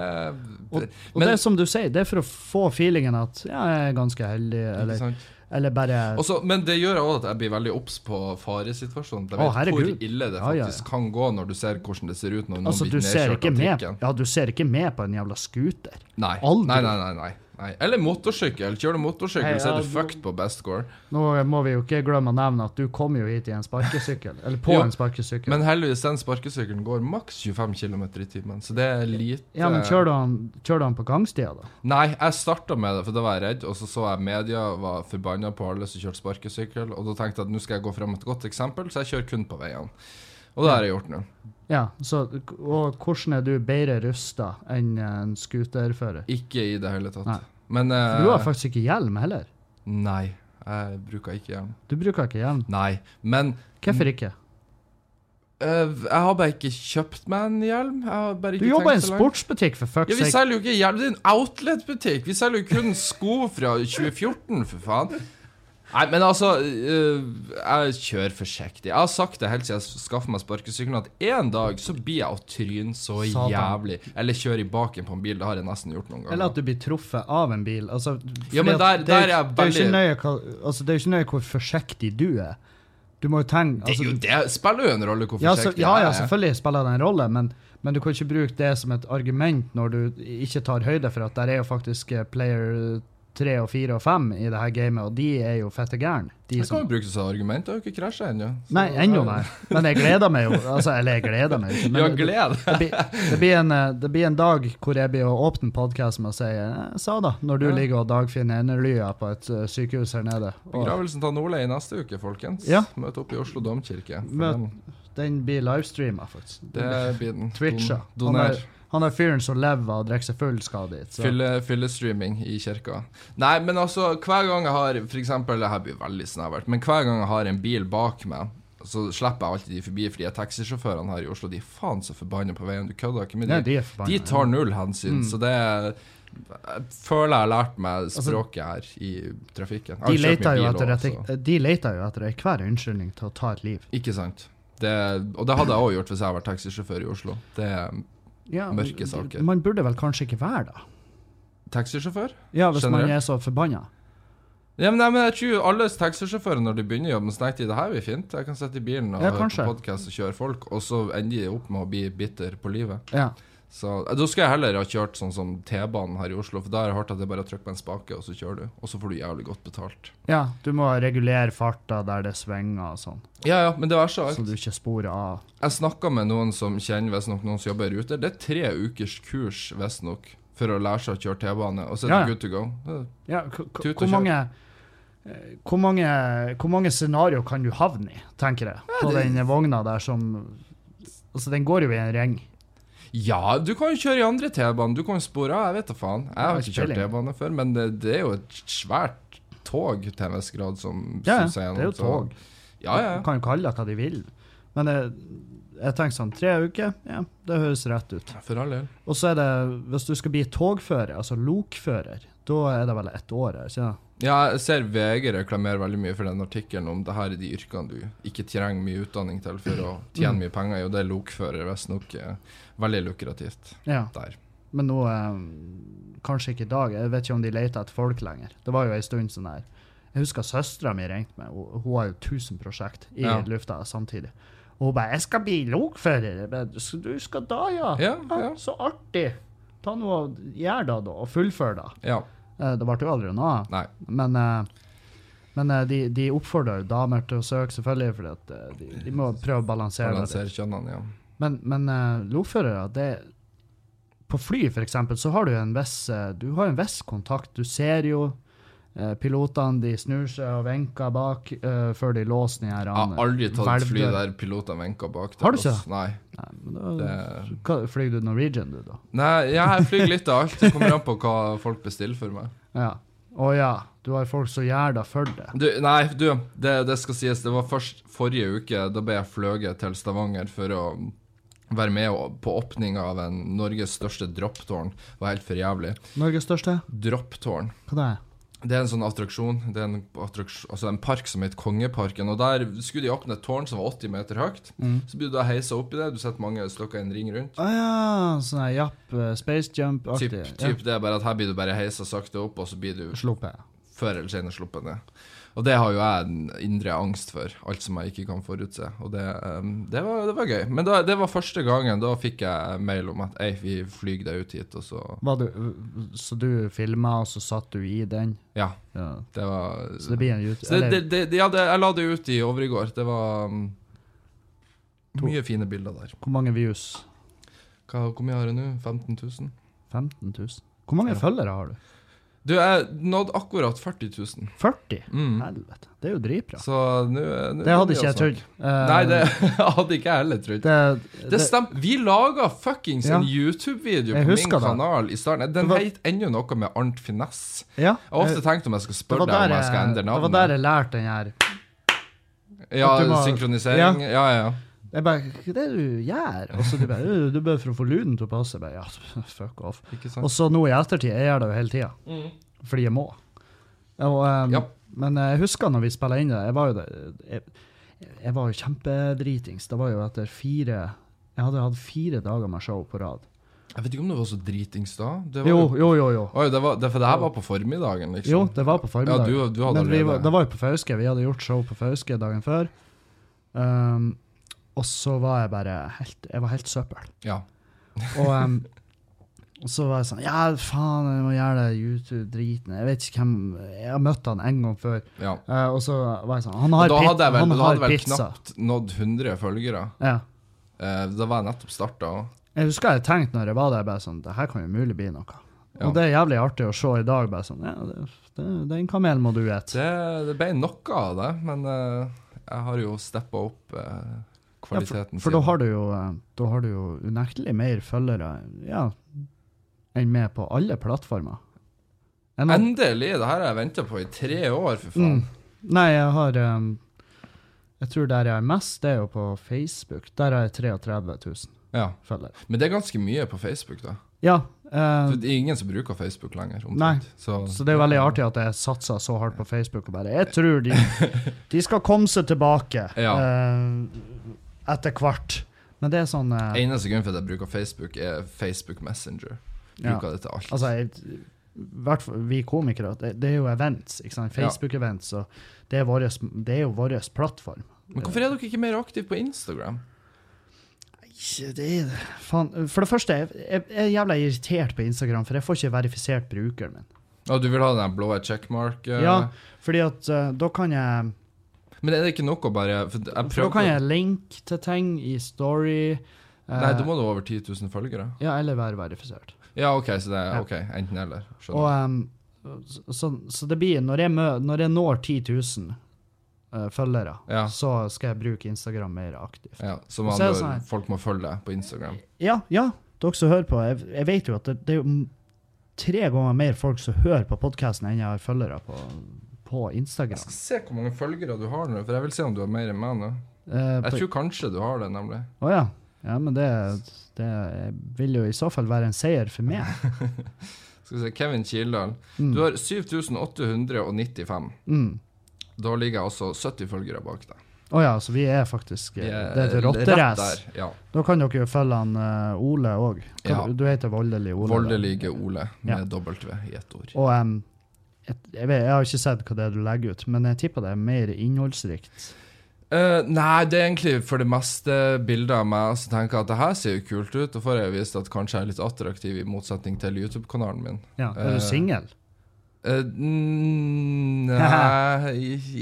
A: Og, og
B: Men-
A: det er som du sier, det er for å få feelingen at ja, jeg er ganske heldig,
B: ikke
A: eller,
B: sant?
A: eller bare
B: Også, men det gjør også at jeg blir veldig obs på faresituasjonen. Jeg
A: Å,
B: vet hvor
A: herregud.
B: ille det
A: Ja, ja, ja.
B: faktisk kan gå når du ser hvordan det ser ut når noen
A: Altså, du
B: blir
A: ser,
B: nedkjørt
A: ikke
B: av
A: med,
B: trikken.
A: ja, du ser ikke med på en jævla scooter.
B: Nei.
A: Aldri.
B: Nei, nei, nei, nei, nei. Eller motorsykkel. Kjører du motorsykkel,
A: Nei,
B: så
A: ja,
B: er du
A: du-
B: fucked på best score.
A: Nå må vi jo ikke glemme å nevne at du kom jo hit i en sparkesykkel. Eller på
B: Jo,
A: en sparkesykkel.
B: Men heldigvis den sparkesykkelen går maks 25 km i timen, så det er lite
A: ja, men kjører du han, kjører du han på gangstia, da?
B: Nei, jeg starta med det, for da var jeg redd, og så så jeg media var forbanna på alle som kjørte sparkesykkel, og da tenkte jeg at nå skal jeg gå fram med et godt eksempel, så jeg kjører kun på veiene. Og det har jeg gjort nå.
A: Ja, så, Og hvordan er du bedre rusta enn en scooterfører?
B: Ikke i det hele tatt.
A: Nei.
B: Men eh,
A: For du har faktisk ikke hjelm heller.
B: Nei, jeg bruker ikke hjelm.
A: Du bruker ikke hjelm.
B: Nei, men
A: Hvorfor ikke?
B: Mm. eh, jeg har bare ikke kjøpt meg en hjelm. Jeg har bare
A: Du
B: ikke
A: jobber i en
B: tenkt så langt.
A: sportsbutikk, for
B: Ja,
A: fuck's
B: Vi
A: sake.
B: selger jo ikke hjelm, det er en outlet-butikk. Vi selger jo kun sko fra 2014, for faen. Nei, men altså, øh, jeg kjører forsiktig. Jeg har sagt det helt siden jeg skaffa meg sparkesykkelen, at en dag så blir jeg å tryne så
A: Satan.
B: jævlig. Eller kjører i baken på en bil. Det har jeg nesten gjort noen ganger.
A: Eller at du blir truffet av en bil. Altså, fordi
B: men
A: at
B: der-
A: det
B: der er
A: jo- det
B: jeg
A: jo ikke
B: veldig-
A: nøye hva- altså, Det er jo ikke nøye hvor forsiktig du er. Du må jo tenke
B: det,
A: altså,
B: er jo, det spiller jo en rolle hvor
A: ja, så,
B: forsiktig
A: ja, ja,
B: jeg er.
A: selvfølgelig spiller det en rolle, men, men du kan ikke bruke det som et argument når du ikke tar høyde for at der er jo faktisk eh, player 3 og 4 og 5 i det her gamet, og de er jo fette gærne. De
B: Det kan
A: som
B: jo brukes som argument. Jeg har jo ikke krasja ennå. Så-
A: liksom. Nei, ennå, nei. Men jeg gleder meg jo. Altså, eller jeg gleder meg ikke. men
B: Ja,
A: det-
B: gled
A: det, blir, det, blir en, eh, det blir en dag hvor jeg blir å åpne podkasten med å si eh, sa da, når du
B: Ja.
A: ligger og dagfinner enelya på et eh, sykehus her nede. Og
B: Begravelsen til Ole i neste uke, folkens.
A: Ja.
B: Møt opp i Oslo domkirke. For
A: Møt-
B: den-
A: den blir livestreama, faktisk.
B: Det blir den.
A: Twitcha.
B: Don-
A: Han
B: Doner.
A: er, han er fyren som lever av å drikke seg full, skal dit. Så.
B: Fylle, fyllestreaming i kirka. Nei, men altså, hver gang jeg har For eksempel, det her blir veldig snevert, men hver gang jeg har en bil bak meg, så slipper jeg alltid de forbi, fordi at taxisjåførene her i Oslo de er faen så forbanna på veien. Du kødder ikke med
A: Nei,
B: dem.
A: de er Mm.
B: De
A: forbanna.
B: tar null hensyn, så det er jeg føler jeg har lært meg
A: Altså,
B: språket her i trafikken. Jeg har
A: De
B: kjørt mye
A: leter, jo
B: bil
A: etter
B: også, altså.
A: et, de leter jo etter enhver unnskyldning til å ta et liv.
B: så- Ikke sant. Det, og det hadde jeg òg gjort hvis jeg hadde vært taxisjåfør i Oslo. Det er
A: Ja, men
B: Mørke saker.
A: Man burde vel kanskje ikke være da?
B: Taxisjåfør?
A: Ja, hvis man
B: Generelt.
A: er så forbanna.
B: Ja, men, nei, men jeg tror jo alle taxisjåfører når de begynner jobben, så tenker de det her blir fint. Jeg kan sitte i bilen og
A: Ja,
B: høre på
A: kanskje.
B: podkast og kjøre folk, og så ender de opp med å bli bitter på livet.
A: Ja.
B: Så eh, Da skal jeg heller ha kjørt sånn som T-banen her i Oslo, for da har jeg hørt at det er bare å trykke på en spake, og så kjører du. Og så får du jævlig godt betalt.
A: ja, du må regulere farta der det svinger og sånn,
B: Ja, ja, men det verste av
A: så
B: alt
A: du ikke sporer av.
B: Jeg snakka med noen som kjenner visstnok noen som jobber i Ruter. Det er tre ukers kurs, visstnok, for å lære seg å kjøre T-bane, og så er
A: Ja, ja.
B: det good to go. Eh,
A: Ja, k- k-
B: Tut og
A: hvor mange eh, hvor mange, hvor mange scenario kan du havne i, tenker jeg, på den vogna der som Altså, den går jo i en ring.
B: Ja, du kan jo kjøre i andre T-banen. Du kan jo spore av, jeg vet da faen. Jeg har
A: Ja,
B: ikke kjørt
A: spilling.
B: T-bane før, men det, det er jo et svært tog til en viss grad som
A: Ja, ja,
B: suser
A: det
B: gjennom,
A: er jo
B: så-
A: tog.
B: Ja, ja.
A: Du kan jo kalle det hva de vil. Men jeg, jeg tenker sånn, tre uker, ja, det høres rett ut.
B: For all del.
A: Og så er det, hvis du skal bli togfører, altså lokfører, da er det vel ett år her, ikke sant?
B: Ja, jeg ser VG reklamerer veldig mye for den artikkelen om det her er de yrkene du ikke trenger mye utdanning til for å tjene
A: Mm.
B: mye penger i, og det er lokfører visstnok eh, veldig lukrativt
A: Ja.
B: der.
A: Men nå eh, Kanskje ikke i dag. Jeg vet ikke om de leter etter folk lenger. Det var jo ei stund sånn her. Jeg husker søstera mi ringte meg. Hun, hun har jo 1000 prosjekt i
B: Ja.
A: lufta samtidig. Og hun bare 'Jeg skal bli lokfører'. Jeg bare, «Så Du skal da, ja?
B: Ja, ja.
A: Så artig! Ta noe og gjør da, da. Og fullfør, da.
B: Ja.
A: Eh, Det ble jo aldri noe av.
B: Nei.
A: Men, eh, men eh, de, de oppfordrer jo damer til å søke, selvfølgelig, fordi at eh, de, de må prøve å balansere det. litt.
B: Balansere kjønnene, ja.
A: Men, men eh, lokførere, det På fly, for eksempel, så har du en viss eh, Du har en viss kontakt. Du ser jo eh, pilotene, de snur seg og vinker bak eh, før de låser den her
B: Jeg har aldri tatt et fly
A: hvelvdøra.
B: der pilotene vinka bak.
A: Har du
B: til oss.
A: ikke? Mm.
B: Nei.
A: Nei, men da
B: Det
A: hva- Flyr du Norwegian, du, da?
B: Nei, ja, jeg flyr litt av alt. Det kommer an på hva folk bestiller for meg.
A: Ja. Å ja, du har folk som gjør det for deg.
B: Du, nei, du, det, det skal sies. Det var først forrige uke. Da ble jeg fløyet til Stavanger for å være med å- på åpninga av en Norges største dropptårn. Det var helt for jævlig.
A: Norges største?
B: Dropptårn.
A: Hva det er
B: Det er en sånn attraksjon. Det er en, attraks- altså en park som heter Kongeparken. Og der skulle de åpne et tårn som var 80 meter høyt.
A: Mm.
B: Så blir du da heisa opp i det. Du setter mange stykker i en ring rundt.
A: Å ja, sånn her japp, eh, space jump-aktig.
B: Typ, typ det, bare at her blir du bare heisa sakte opp, og så blir du
A: Ja. Sluppet.
B: før eller senere sluppet ned. Og det har jo jeg en indre angst for, alt som jeg ikke kan forutse. Og det, ehm, det, var, det var gøy. Men da, det var første gangen da fikk jeg mail om at ei, vi flyr deg ut hit, og så
A: Var du, så du filma, og så satt du i den?
B: Ja.
A: Ja.
B: Det var
A: Så det blir en YouTube...
B: Så det, det, det, ja, det, jeg la det ut i over i går. Det var ehm,
A: To.
B: mye fine bilder der.
A: Hvor mange views?
B: Hva, hvor mye har jeg nå? 15 000?
A: 15 000? Hvor mange
B: Ja.
A: følgere har du?
B: Du, jeg nådde akkurat 40 000.
A: 40?
B: Mm.
A: Helvete, det er jo dritbra.
B: Så nå er- nå
A: Det
B: er
A: hadde ikke
B: å
A: jeg
B: snakke.
A: trodd. Eh,
B: Nei, det hadde ikke jeg heller trodd.
A: det,
B: Det
A: det,
B: stemmer. Vi laga fuckings
A: Ja.
B: en YouTube-video
A: Jeg
B: på min
A: husker det.
B: kanal i starten. Den
A: Det var-
B: het ennå noe med Arnt Finesse.
A: ja,
B: Jeg har
A: eh,
B: ofte tenkt om jeg skal
A: det
B: spørre
A: var
B: deg om
A: der eh,
B: jeg skal endre
A: Det var der
B: navnet.
A: jeg lærte den her.
B: Ja,
A: at du må-
B: synkronisering. Ja, ja.
A: Jeg bare, hva er det du gjør? Og så du bare, «Øh, du bør for å få lyden til å passe. Jeg bare, ja, fuck off.
B: Ikke
A: Og
B: sant?
A: så nå i ettertid, jeg gjør det jo hele tida. Fordi jeg må. Og, ehm,
B: Ja.
A: Men jeg husker når vi spilla inn det, jeg var jo der jeg, jeg var jo kjempedritings. Det var jo etter fire Jeg hadde hatt fire dager med show på rad.
B: Jeg vet ikke om det var så dritings da. Det var
A: Jo, jo, jo. jo.
B: Oi, det var, det, for det her var på formiddagen, liksom?
A: Jo, det var på formiddagen.
B: Ja, du, du hadde
A: Men vi, var-
B: allerede
A: det var jo på Fauske. Vi hadde gjort show på Fauske dagen før. Um, og så var jeg bare helt, Jeg var helt søppel.
B: Ja.
A: Og um, og så var jeg sånn Ja, faen, jeg må gjøre det YouTube-driten. Jeg vet ikke hvem Jeg har møtt han en gang før.
B: ja.
A: Eh, og så var jeg sånn Han
B: Og
A: har,
B: da
A: pit,
B: hadde jeg vel,
A: han
B: da
A: har
B: hadde jeg vel
A: pizza.
B: knapt nådd 100 følgere.
A: Ja.
B: Eh, da var jeg nettopp starta.
A: Jeg husker jeg tenkte når jeg var der, bare sånn Det her kan jo mulig bli noe.
B: Ja.
A: Og det er jævlig artig å se i dag, bare sånn Ja, det, det, den kamelen må du ete.
B: Det, det ble noe av det, men eh, jeg har jo steppa opp eh, kvaliteten.
A: Ja, for for da har du jo eh, Da har du jo unektelig mer følgere ja, enn med på alle plattformer. Jeg nå-
B: Endelig! Det her har jeg venta på i tre år, for faen.
A: Mm. Nei, jeg har eh, Jeg tror der jeg er mest, det er jo på Facebook. Der har jeg 33 000
B: Ja.
A: følgere.
B: Men det er ganske mye på Facebook, da.
A: Ja. eh,
B: For det er ingen som bruker Facebook lenger.
A: Nei.
B: Omtrent. Så,
A: så det er veldig artig at jeg satser så hardt på Facebook og bare Jeg tror de, de skal komme seg tilbake
B: Ja.
A: eh, etter hvert. Men det er sånn eh,
B: Eneste grunn for at jeg bruker Facebook, er Facebook Messenger.
A: Ja.
B: Bruker det til alt.
A: Altså, jeg, hvert fall vi komikere, det, det er jo events, ikke sant?
B: Ja.
A: Facebook-events, og det er, våres, det er jo vår plattform.
B: Men hvorfor er dere ikke mer aktive på Instagram?
A: Ikke det Faen. For det første, jeg, jeg, jeg er jævla irritert på Instagram, for jeg får ikke verifisert brukeren min.
B: Å, du vil ha den blå checkmark? eh,
A: Ja, fordi at eh, da kan jeg
B: Men er det ikke nok å bare For jeg
A: For da
B: prøvde
A: kan jeg linke til ting i story. eh,
B: Nei, da må du over 10 000 følgere.
A: Ja, eller være verifisert.
B: Ja, OK, så det
A: Ja.
B: er OK. Enten eller.
A: Og,
B: Skjønner.
A: em, så, så- så det blir Når jeg, mø, når jeg når 10 000 eh, følgere,
B: Ja.
A: så skal jeg bruke Instagram mer aktivt.
B: Ja, som
A: og eh, så er det
B: andre
A: sånn her-
B: folk må følge deg på Instagram.
A: Ja, ja. Dere som hører på, jeg, jeg vet jo at det, det er jo m- tre ganger mer folk som hører på podkasten enn jeg har følgere på, på
B: Jeg
A: Instagram.
B: skal se hvor mange følgere du har nå, for jeg vil se om du har mer enn meg nå.
A: Eh,
B: Jeg
A: på-
B: tror kanskje du har det, nemlig.
A: Å ja. Ja, men det, det vil jo i så fall være en seier for meg.
B: Skal vi se, Kevin Kildahl.
A: Mm.
B: Du har 7895.
A: Mm.
B: Da ligger jeg altså 70 følgere bak deg.
A: Å ja, så vi er faktisk eh,
B: Vi er
A: Det er et
B: rett
A: rotterace.
B: der, Ja.
A: Da kan dere jo følge han eh, Ole òg.
B: Ja.
A: Du heter Voldelig Ole. da.
B: Voldelige Ole
A: Ja.
B: med dobbelt W i ett ord.
A: Og em, jeg, jeg, vet, jeg har ikke sett hva det er du legger ut, men jeg tipper det er mer innholdsrikt.
B: Eh, nei, det er egentlig for det meste bilder av meg som tenker jeg at det her ser jo kult ut. Da får jeg vist at kanskje jeg er litt attraktiv, i motsetning til YouTube-kanalen min.
A: Ja. Er
B: Eh,
A: du singel?
B: Eh, mm, nei,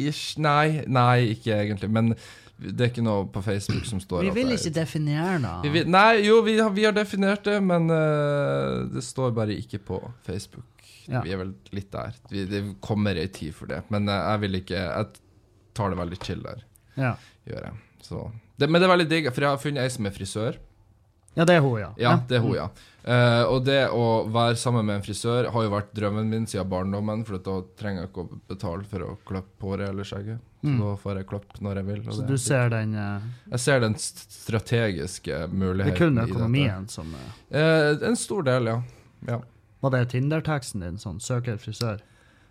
B: ish, nei, nei, ikke egentlig. Men det er ikke noe på Facebook som står at jeg-
A: definere
B: Vi vil- Nei, jo, vi har, vi har definert det, men eh, det står bare ikke på Facebook.
A: Ja.
B: Vi er vel litt der. Vi, det kommer ei tid for det. Men eh, jeg vil ikke Jeg tar det veldig chill der,
A: Ja.
B: gjør jeg. Så. Det, men det er veldig digg, for jeg har funnet ei som er frisør.
A: ja, det er hun, ja.
B: Ja, det er hun, ja. Eh, og det å være sammen med en frisør har jo vært drømmen min siden barndommen, for da trenger jeg ikke å betale for å klippe håret eller skjegget. Så
A: Mm.
B: da får jeg klippe når jeg vil. og
A: Så
B: det-
A: du ser den eh,
B: Jeg ser den st- strategiske
A: Det er
B: muligheten
A: kun
B: i dette.
A: økonomien som eh,
B: Eh, en stor del, ja. ja.
A: Var det Tinder-teksten din, sånn 'søker frisør'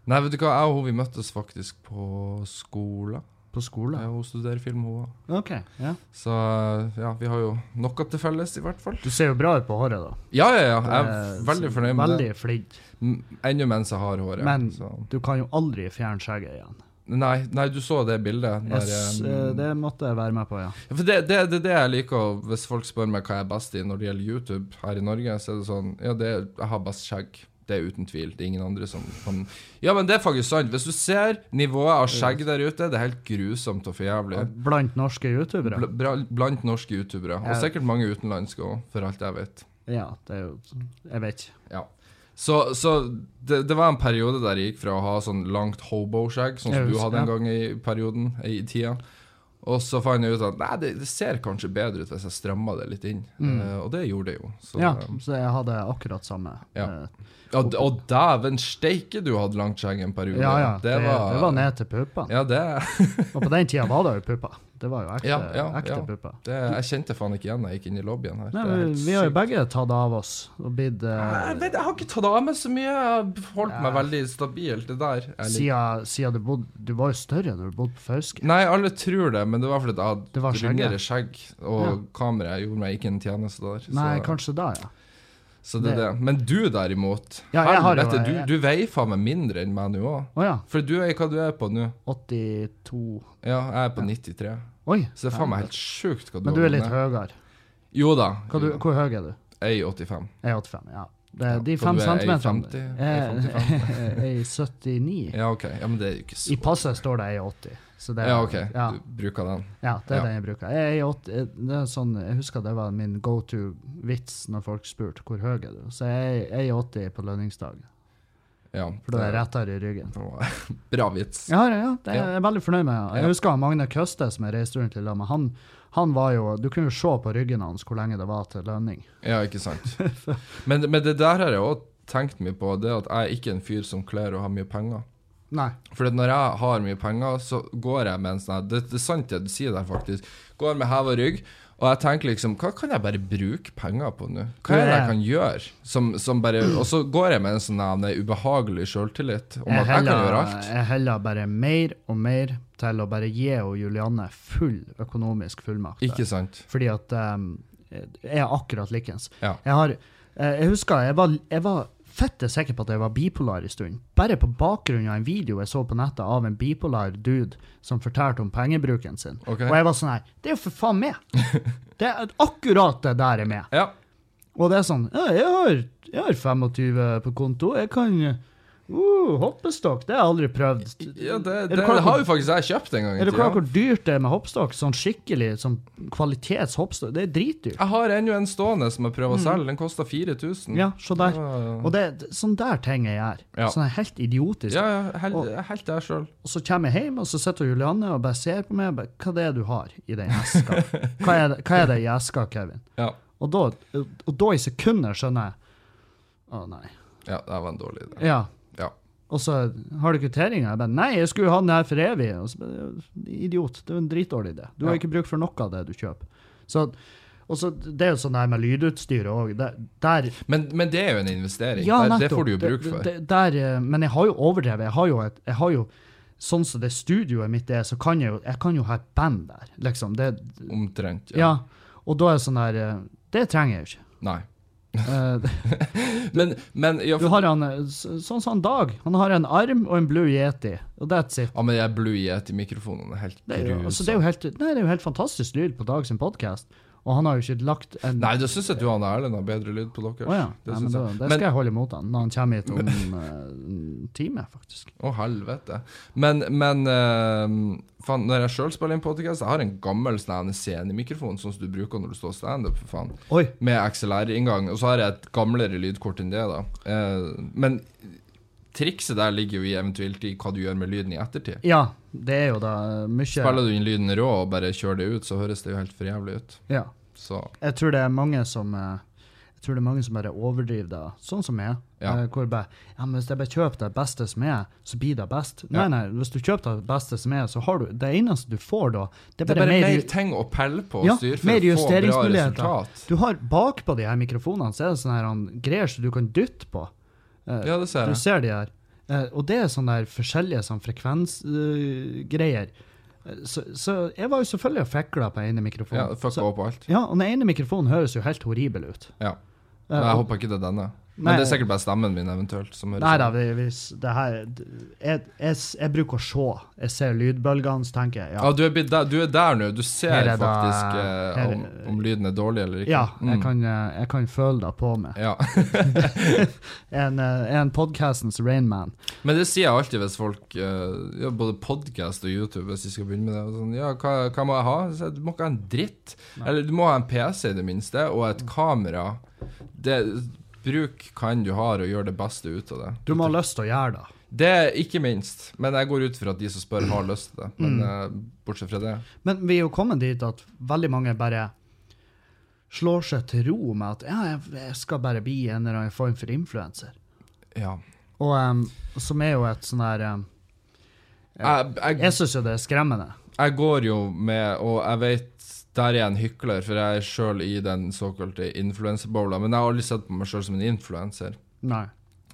B: Nei, vet du hva, jeg og hun vi møttes faktisk på skolen.
A: på skole?
B: Ja, hun studerer film, hun òg.
A: OK. ja.
B: Så ja, vi har jo noe til felles, i hvert fall.
A: Du ser jo bra ut på håret, da.
B: Ja, ja, ja. Jeg er
A: Det er
B: veldig
A: så-
B: fornøyd med det.
A: Eh, Veldig flink.
B: M- Ennå mens jeg har håret.
A: Men-
B: Så.
A: Du kan jo aldri fjerne skjegget igjen.
B: Nei, nei, du så det bildet. Der,
A: Jeg s- eh,
B: eh,
A: det måtte jeg være med på, ja.
B: For det, det, det er det jeg liker å- hvis folk spør meg hva jeg er best i når det gjelder YouTube her i Norge. Så er det sånn Ja, det, er- jeg har best skjegg. Det er uten tvil. Det er ingen andre som kan Ja, men det er faktisk sant. Hvis du ser nivået av skjegg der ute, det er helt grusomt og for jævlig.
A: Blant norske youtubere.
B: Bl- bra- Blant norske youtubere. Og
A: Ja.
B: sikkert mange utenlandske òg, for alt jeg vet.
A: Ja, det er jo Jeg vet ikke.
B: Ja. Så, så det, det var en periode der jeg gikk fra å ha sånn langt hobo-skjegg, sånn
A: Jeg
B: som du
A: husker,
B: hadde en
A: ja.
B: gang i perioden, i tida, og så fant jeg ut at nei, det, det ser kanskje bedre ut hvis jeg strammer det litt inn.
A: Mm.
B: Eh, og det gjorde det jo. Så,
A: Ja,
B: eh,
A: så jeg hadde akkurat samme.
B: Ja.
A: eh,
B: ja, d- og dæven steike, du hadde langt skjegg en periode.
A: ja, ja det, det var ned til puppene.
B: Ja, det
A: Og på den tida var det jo pupper. Det var jo ekte,
B: Ja, ja,
A: ekte
B: ja.
A: pupper.
B: Det, jeg kjente faen ikke igjen da jeg gikk inn i lobbyen her.
A: Nei,
B: Det er
A: men
B: helt
A: vi har jo
B: sykt.
A: begge tatt av oss og blitt eh,
B: Jeg, vet, jeg har ikke tatt av meg så mye. Jeg har holdt meg
A: Ja.
B: veldig stabilt. Det der. Jeg liker-
A: Siden, siden du bodde Du var jo større når du bodde på Fauske.
B: Nei, alle tror det, men det var fordi jeg
A: Det var
B: hadde
A: skjegget.
B: rundere skjegg, og
A: Ja.
B: kameraet gjorde meg ikke en tjeneste der. Så,
A: Nei, kanskje da, ja.
B: så det er det. Men du derimot,
A: Ja, jeg har jo-
B: helvete,
A: jeg-
B: du, du veier faen meg mindre enn meg nå òg.
A: Å ja.
B: For du er hva du er på nå.
A: 82
B: Ja, jeg er på 93.
A: Oi!
B: Så det er faen meg helt sjukt hva du
A: Men du
B: har
A: er litt
B: vunnet.
A: høyere.
B: Jo da.
A: Hva du,
B: jo da.
A: hvor høy er du?
B: Jeg er 85.
A: Jeg er 85, ja. Det,
B: Ja,
A: de
B: for
A: fem
B: du er
A: centimeterne Eh,
B: 1,50,
A: Jeg er 79.
B: Ja, OK. Ja, Men det er jo ikke
A: I
B: så
A: passet står det 1,80. Så det, er-
B: Ja, OK.
A: ja,
B: Du bruker den.
A: ja, det er
B: Ja.
A: den jeg bruker. Jeg, er 80, det er sånn, jeg husker det var min go to-vits når folk spurte hvor høy er du Så jeg jeg er 80 på lønningsdag,
B: Ja.
A: for da er jeg rettere i ryggen.
B: Bra vits.
A: Ja, ja, ja, det er
B: Ja.
A: jeg veldig fornøyd med.
B: Ja.
A: Jeg husker han Magne Køste, som jeg reiste rundt i lag med. Han, han var jo, du kunne jo se på ryggen hans hvor lenge det var til lønning.
B: Ja, ikke sant. Men, men det der har jeg òg tenkt mye på, det at jeg er ikke en fyr som kler å ha mye penger.
A: Nei.
B: For at når jeg har mye penger, så går jeg med en sånn her det, det er sant det du sier der, faktisk. Går med heva rygg, og jeg tenker liksom Hva kan jeg bare bruke penger på nå? Hva er det jeg kan gjøre? Som, som bare, og så går jeg med en sånn her ubehagelig sjøltillit om
A: Jeg
B: at jeg kan
A: heller,
B: gjøre alt.
A: jeg heller bare mer og mer til å bare gi og Julianne full økonomisk fullmakt.
B: Ikke sant?
A: Fordi at ehm, jeg er akkurat likens.
B: Ja.
A: Jeg, har, eh, jeg husker jeg var, jeg var fette sikker på at jeg var bipolar en stund. Bare på bakgrunn av en video jeg så på nettet av en bipolar dude som fortalte om pengebruken sin.
B: Ok.
A: Og jeg var sånn her Det er jo for faen meg! Det er akkurat det der er med.
B: Ja.
A: Og det er sånn ja, jeg, har, jeg har 25 på konto. Jeg kan uh, Hoppestokk, det har jeg aldri prøvd.
B: ja det,
A: Er du
B: det,
A: klar over-
B: har jo faktisk jeg kjøpt en gang i
A: er du klar over
B: tida.
A: hvor dyrt det er med hoppstokk? Sånn skikkelig sånn kvalitetshoppstokk? Det er dritdyrt.
B: Jeg har ennå en stående som jeg prøver å selge. Den koster 4000.
A: Mm. Ja, se der.
B: Ja,
A: Og det er sånn der ting jeg gjør.
B: Ah. Ja.
A: Sånn helt idiotisk.
B: ja, hel- jeg er helt der sjøl.
A: Og så kommer jeg hjem, og så sitter Julianne og bare ser på meg. og Bare, hva det er du har i den eska? Hva er det, hva er det i eska, Kevin?
B: Ja.
A: Og da, og da i sekunder skjønner jeg Å, nei.
B: ja, det var en dårlig idé.
A: Ja.
B: Ja.
A: Og så har du kvitteringa. Jeg bare Nei, jeg skulle jo ha den her for evig. Og så bare, Idiot. Det er jo en dritdårlig idé. Du har
B: Ja.
A: ikke bruk for noe av det du kjøper. Så, og så, det er jo sånn der med lydutstyret òg. Der
B: Men, men det er jo en investering.
A: Ja,
B: det, det
A: nettopp.
B: får du jo bruk
A: Det-
B: for.
A: det- der, eh, men jeg har jo overdrevet. Jeg har jo, et, jeg har jo Sånn som det studioet mitt er, så kan jeg jo, jeg kan jo ha et band der. Liksom. Det,
B: Omtrent.
A: ja. Og da er det sånn der eh, Det trenger jeg jo ikke.
B: Nei.
A: Eh,
B: Men, men ja,
A: Du
B: for,
A: har han, eh, s- sånn som han Dag. Han har en arm og en Blue Yeti, og that's it.
B: ja, men jeg blue yet i mikrofonen. Det er helt
A: Det er, jo, altså,
B: grusomt.
A: det, er jo helt, nei, det er jo helt fantastisk lyd på Dag sin podkast, og han har jo ikke lagt en
B: Nei, da syns jeg du og Erlend har bedre lyd på dere.
A: Å ja.
B: Det
A: Nei, men
B: synes
A: da,
B: jeg.
A: det skal
B: Men-
A: jeg holde imot han når han kommer hit om eh, en time, faktisk.
B: Å, helvete. Men, men eh, faen, når jeg sjøl spiller inn podkast, jeg har en gammel sånn her scenemikrofon, sånn som du bruker når du står standup, for faen.
A: Oi!
B: med XLR-inngang, og så har jeg et gamlere lydkort enn det, da. Eh, men trikset der ligger jo i eventuelt i hva du gjør med lyden i ettertid.
A: Ja, det er jo da eh, mye
B: Spiller du inn lyden rå og bare kjører det ut, så høres det jo helt for jævlig ut.
A: Ja.
B: Så
A: Jeg tror det er mange som eh, jeg tror det er mange som bare overdriver det, sånn som jeg.
B: Ja.
A: Eh, Hvor bare, ja, men Hvis jeg bare kjøper det beste som er, så blir det best. Nei,
B: Ja.
A: nei, hvis du kjøper det beste som er, så har du Det eneste du får da, det er
B: det er
A: bare,
B: bare mer
A: mer
B: ting å pelle på og
A: Ja,
B: styre
A: mer
B: for å få bra
A: justeringsmuligheter.
B: resultat.
A: Du har bakpå de her mikrofonene så er det sånne her han, greier som du kan dytte på. Eh,
B: Ja, det ser
A: Du
B: jeg.
A: ser de her. Eh, og det er sånne der forskjellige sånn frekvensgreier. Eh, så, så jeg var jo selvfølgelig og fikla på ene
B: Ja,
A: mikrofonen.
B: fucka
A: så,
B: opp alt.
A: ja, og den ene mikrofonen høres jo helt horribel ut. Eh,
B: Ja. Men jeg
A: og-
B: håper ikke det er denne.
A: Nei.
B: Men det er sikkert bare stemmen min eventuelt som høres sånn.
A: Nei da,
B: ut.
A: vi- hvis det her jeg, jeg, jeg bruker å se. Jeg ser lydbølgene, så tenker jeg
B: Ja,
A: ja.
B: du er, blitt der, du er der nå.
A: Her
B: Du ser
A: er det-
B: faktisk eh,
A: her-
B: om, om lyden er dårlig eller ikke.
A: Ja, jeg
B: Mm.
A: kan, eh, jeg kan føle det på meg.
B: ja.
A: En, eh, en podcastens Rainman.
B: Men det sier jeg alltid hvis folk eh, ja, Både podcast og YouTube Hvis de skal begynne med det og sånn, Ja, hva, hva må jeg ha? Så jeg, du må ikke ha en dritt
A: Nei. Mm.
B: Eller du må ha en PC i det minste Og et kamera det, Bruk kan du har og gjør det beste ut av det
A: Du må ha lyst til å gjøre det.
B: Det er ikke minst Men jeg går ut for at de som spør har lyst til det Men eh, bortsett fra det
A: Men vi er jo kommet dit at veldig mange bare slår seg til ro med at ja, jeg, jeg skal bare bli en eller annen form for influenser.
B: Ja
A: Og em, som er jo et sånn her em,
B: Jeg, jeg,
A: Jeg syns jo det er skremmende.
B: jeg går jo med, og jeg vet der er jeg en hykler, for jeg er sjøl i den såkalte influenserbowla. Men jeg har aldri sett på meg sjøl som en influenser.
A: Nei.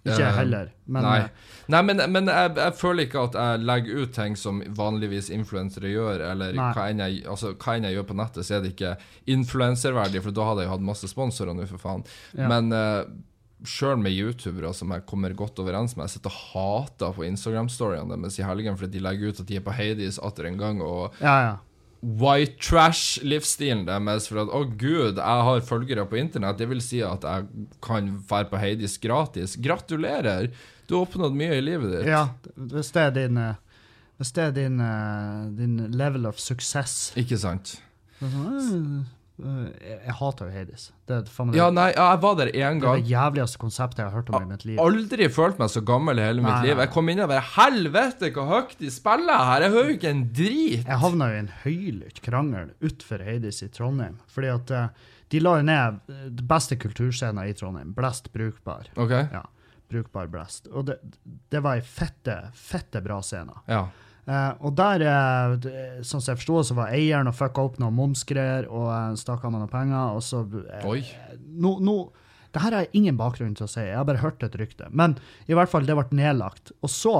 A: Ikke jeg
B: Eh,
A: heller. Men
B: Nei.
A: eh,
B: Nei, men, men jeg, jeg føler ikke at jeg legger ut ting som vanligvis influensere gjør, eller
A: Nei.
B: hva enn, jeg, altså, hva enn jeg gjør på nettet, så er det ikke influenserverdig, for da hadde jeg jo hatt masse sponsorer nå, for faen.
A: Ja.
B: Men uh, sjøl med youtubere som jeg kommer godt overens med, jeg sitter og hater på Instagram-storyene deres i helgen fordi de legger ut at de er på Hades atter en gang, og
A: ja, ja.
B: white trash-livsstilen deres. For at å gud, jeg har følgere på internett. Det vil si at jeg kan være på Heidis gratis. Gratulerer! Du har oppnådd mye i livet ditt.
A: ja. Hvis det er din eh, Hvis det er din, eh, din level of success
B: Ikke sant?
A: Det er sånn, eh, eh, jeg, jeg hater jo Hades. Det er faen meg
B: Ja,
A: det,
B: nei, ja, jeg var der én
A: det er
B: gang.
A: det jævligste konseptet jeg har hørt om i mitt liv.
B: Aldri følt meg så gammel i hele mitt
A: Nei,
B: liv.
A: nei.
B: Jeg kom inn og bare Helvete, hvor høyt de spiller her! Jeg hører jo ikke en drit!
A: Jeg havna jo i en høylytt krangel utfor Heidis i Trondheim. Fordi at eh, de la jo ned eh, det beste kulturscenen i Trondheim. Blest brukbar.
B: OK?
A: Ja, brukbar blest. Og det, det var ei fette, fette bra scene.
B: Ja.
A: Eh, og der, eh, det- sånn som jeg forsto, så var eieren og fucka opp noen momsgreier og eh, stakk av meg noen penger, og så eh,
B: Oi.
A: nå, nå, Det her har jeg ingen bakgrunn til å si, jeg har bare hørt et rykte. Men i hvert fall, det ble nedlagt. Og så,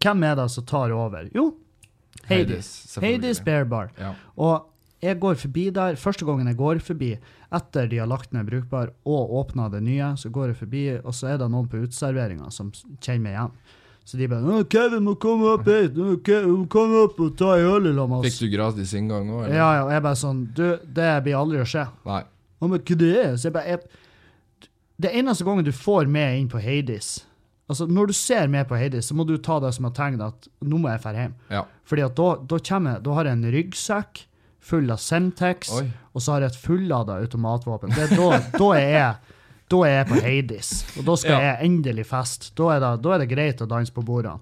A: hvem er det som tar over? Jo, Hades. Hades
B: selvfølgelig.
A: Bear Bar.
B: Ja.
A: Og jeg går forbi der, første gangen jeg går forbi, etter de har lagt ned brukbar og åpna det nye, så går jeg forbi, og så er det noen på uteserveringa som s- kjenner meg igjen. Så de bare «Å, 'Kevin, må komme opp hit! Nå, Kevin, Kom opp og ta en øl sammen med
B: Fikk
A: oss!'
B: du gratis inngang òg, eller?
A: Ja, ja, og jeg bare sånn 'Du, det blir aldri å skje.'
B: Nei.
A: Han bare 'Hva det er?' Så jeg bare jeg, Det eneste gangen du får med inn på Hades Altså, når du ser med på Hades, så må du ta det som et tegn at 'nå må jeg dra hjem'.
B: Ja.
A: Fordi at da, da, kommer, jeg- da har jeg en ryggsekk full av Semtex,
B: Oi.
A: og så har jeg et fullada automatvåpen. Det, er da, da, er jeg, da er jeg på Hades, og da skal
B: Ja.
A: jeg endelig feste. Da, er det- da er det greit å danse på bordene.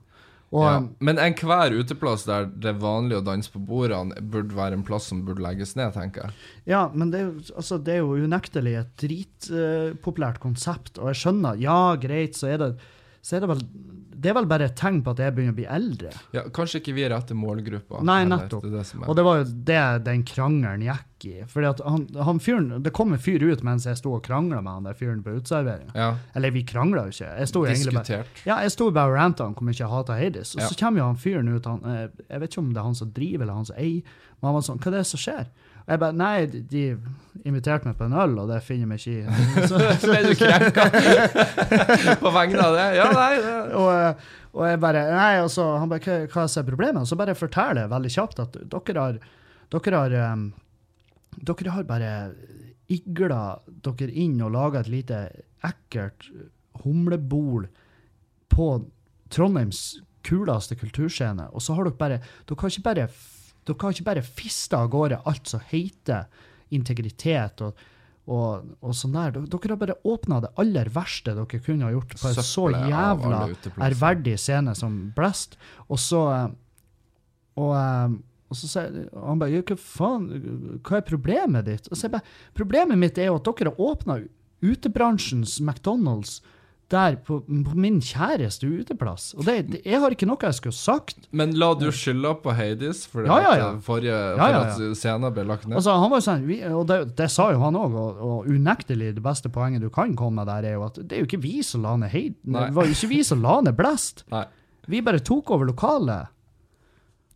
A: Og um,
B: Ja. Men enhver uteplass der det er vanlig å danse på bordene, burde være en plass som burde legges ned, tenker jeg.
A: Ja, men det, er jo- altså, det er jo unektelig et dritpopulært konsept, og jeg skjønner, ja, greit, så er det, så er det vel Det er vel bare et tegn på at jeg begynner å bli eldre.
B: Ja, kanskje ikke vi er rette målgruppa.
A: Nei,
B: heller,
A: nettopp.
B: Det er det som
A: Og
B: er.
A: det var jo det den krangelen gikk i. Fordi at han, han fyren, Det kom en fyr ut mens jeg sto og krangla med han der fyren på uteserveringa.
B: Ja,
A: Eller, vi krangla jo ikke. Jeg sto jo egentlig bare
B: diskutert.
A: ja, jeg sto bare og ranta om hvor mye jeg hata Hades. Og
B: Ja.
A: så kommer jo han fyren ut, han, eh, jeg vet ikke om det er han som driver eller han som eier, men han var sånn Hva er det som skjer? Og jeg bare Nei, de- de inviterte meg på en øl, og det finner jeg meg ikke i. Så,
B: Ble du krenka på vegne av det? Ja, nei, det.
A: og, eh, og jeg bare Nei, og så han bare Hva, hva er problemet? Og så bare forteller jeg veldig kjapt at dere har Dere har, em, dere har bare igla dere inn og laga et lite ekkelt humlebol på Trondheims kuleste kulturscene, og så har dere bare Dere har ikke bare f- dere har ikke bare fista av gårde alt som heter integritet og, og, og sånn der. Dere- Dere har bare åpna det aller verste dere kunne ha gjort på en så
B: Søppelet av
A: jævla
B: alle uteplasser.
A: ærverdig scene som Blast. Og så eh, Og, eh, og så sier og han bare «Ja, Hva faen, hva er problemet ditt? Og så jeg bare, Problemet mitt er jo at dere har åpna utebransjens McDonald's der på, på min kjæreste uteplass. Og det, det, jeg har ikke noe jeg skulle sagt.
B: Men la du skylda på Heidis for
A: Ja, ja,
B: at,
A: ja.
B: eh, forrige
A: Ja, ja,
B: For at scenen ble lagt ned?
A: Altså, han var jo sånn, vi, og det, det sa jo han òg, og, og unektelig det beste poenget du kan komme med der, er jo at det er jo ikke vi som la ned Heid.
B: Nei.
A: Det var jo ikke vi som la ned Blast.
B: Nei.
A: Vi bare tok over lokalet.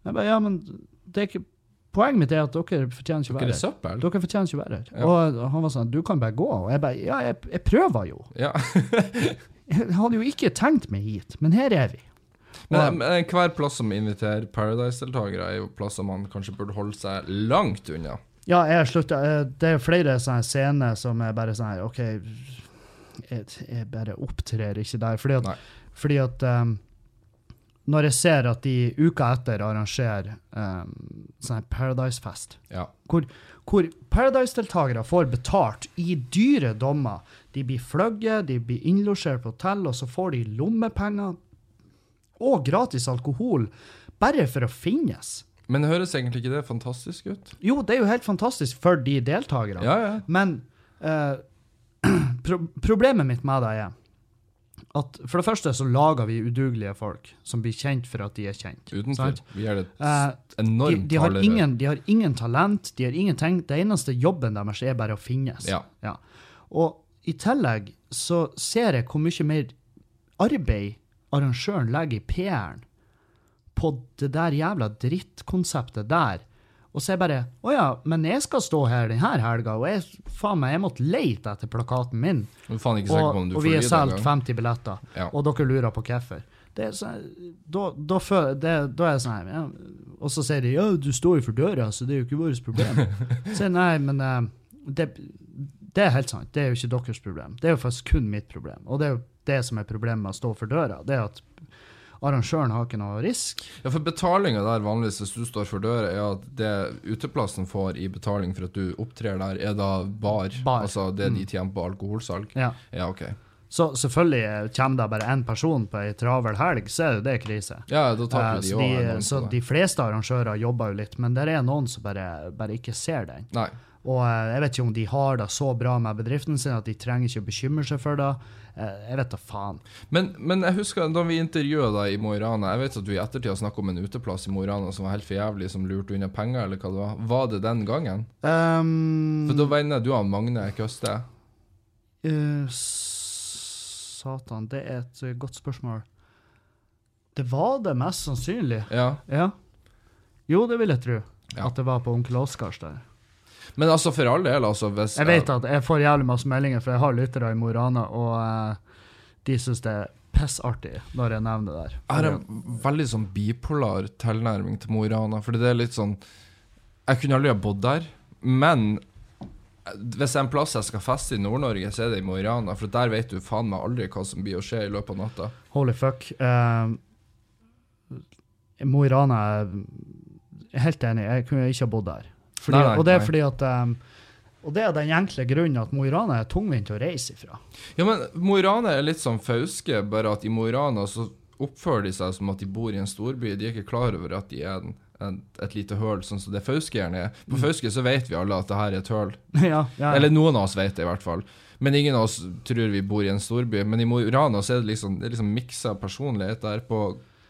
A: Jeg bare, ja, men det er ikke Poenget mitt er at dere fortjener ikke å
B: Dere
A: være
B: er
A: her.
B: søppel?
A: Dere fortjener ikke å være her.
B: Ja.
A: Og han var sånn, du kan bare gå. Og jeg bare, ja, jeg, jeg prøver jo.
B: Ja.
A: Jeg hadde jo ikke tenkt meg hit, men her er vi.
B: Men, men enhver plass som inviterer Paradise-deltakere, er jo plass som man kanskje burde holde seg langt unna.
A: Ja, jeg slutta. eh, Det er flere sånne scener som er bare sånn her OK, jeg, jeg bare opptrer ikke der. Fordi
B: Nei.
A: at, fordi at um, når jeg ser at de uka etter arrangerer um, sånn her Paradise-fest,
B: Ja.
A: hvor, hvor Paradise-deltakere får betalt i dyre dommer De blir fløyet, de blir innlosjert på hotell, og så får de lommepenger og gratis alkohol bare for å finnes.
B: Men høres egentlig ikke det fantastisk ut?
A: Jo, det er jo helt fantastisk for de deltakerne.
B: Ja, ja.
A: Men eh, pro problemet mitt med det er at For det første så lager vi udugelige folk som blir kjent for at de er kjent.
B: Uten tvil.
A: Sant?
B: Vi er det
A: Eh, de,
B: enormt
A: de, har
B: farligere.
A: ingen, de har ingen talent, de har ingenting. Det eneste jobben deres er bare å finnes.
B: Ja.
A: Ja. Og i tillegg så ser jeg hvor mye mer arbeid arrangøren legger i PR-en på det der jævla drittkonseptet der. Og så er jeg bare Å ja, men jeg skal stå her denne helga, og jeg, faen meg, jeg måtte leite etter plakaten min.
B: Du er faen ikke sikker
A: Og,
B: på om du
A: og
B: får
A: vi
B: lyd
A: har solgt
B: engang.
A: 50 billetter,
B: Ja.
A: og dere lurer på hvorfor. Det er sånn- Da, da, føler- det, da er jeg sånn her, ja. Og så sier de ja, du står jo for døra, så det er jo ikke vårt problem. Så sier jeg, nei, men eh, det, det er helt sant. Det er jo ikke deres problem. Det er jo faktisk kun mitt problem. Og det er jo det som er problemet med å stå for døra. Det er at arrangøren har ikke noe risk.
B: Ja, for betalinga der vanligvis, hvis du står for døra, er at det uteplassen får i betaling for at du opptrer der, er da bar.
A: Bar. Mm.
B: Altså det de tjener på alkoholsalg.
A: Ja.
B: Ja, OK.
A: Så selvfølgelig kommer det bare én person på ei travel helg, så er jo det krise.
B: Ja, da
A: Eh,
B: taper de
A: så
B: òg.
A: de, så de fleste arrangører jobber jo litt, men det er noen som bare, bare ikke ser den.
B: Nei.
A: Og eh, jeg vet ikke om de har det så bra med bedriften sin at de trenger ikke å bekymre seg for det. Eh, Jeg vet da faen.
B: Men, men jeg husker da vi intervjua deg i Mo i Rana Jeg vet at du i ettertid har snakka om en uteplass i Mo i Rana som var helt for jævlig, som lurte unna penger, eller hva det var. Var det den gangen?
A: Um,
B: For da vender du av Magne Køste.
A: eh, satan, det er et eh, godt spørsmål. Det var det mest sannsynlig.
B: Ja.
A: Ja. Jo, det vil jeg tro.
B: Ja.
A: At det var på onkel Oscars der.
B: Men altså, for all del, altså hvis
A: Jeg vet at jeg får jævlig masse meldinger, for jeg har lyttere i Mo i Rana, og eh, de syns det er pissartig når jeg nevner det der.
B: Jeg har en veldig sånn bipolar tilnærming til Mo i Rana. Fordi det er litt sånn Jeg kunne aldri ha bodd der, men hvis det er en plass jeg skal feste i Nord-Norge, så er det i Mo i Rana. For der vet du faen meg aldri hva som blir å skje i løpet av natta.
A: Holy fuck. Eh, Mo i Rana er jeg er helt enig, jeg kunne ikke ha bodd der. Fordi,
B: Nei, nei,
A: og det er
B: nei.
A: fordi at eh, Og det er den enkle grunnen at Mo i Rana er tungvint å reise ifra.
B: Ja, men Mo i Rana er litt som Fauske, bare at i Mo i Rana så oppfører de seg som at de bor i en storby. De er ikke klar over at de er en, en, et lite høl, sånn som det Fauske gjerne er.
A: Mm.
B: På Fauske så vet vi alle at det her er et høl.
A: ja, ja.
B: Eller noen av oss vet det, i hvert fall. Men ingen av oss tror vi bor i en storby. Men i Mo i Rana så er det liksom, det er liksom miksa personlighet der på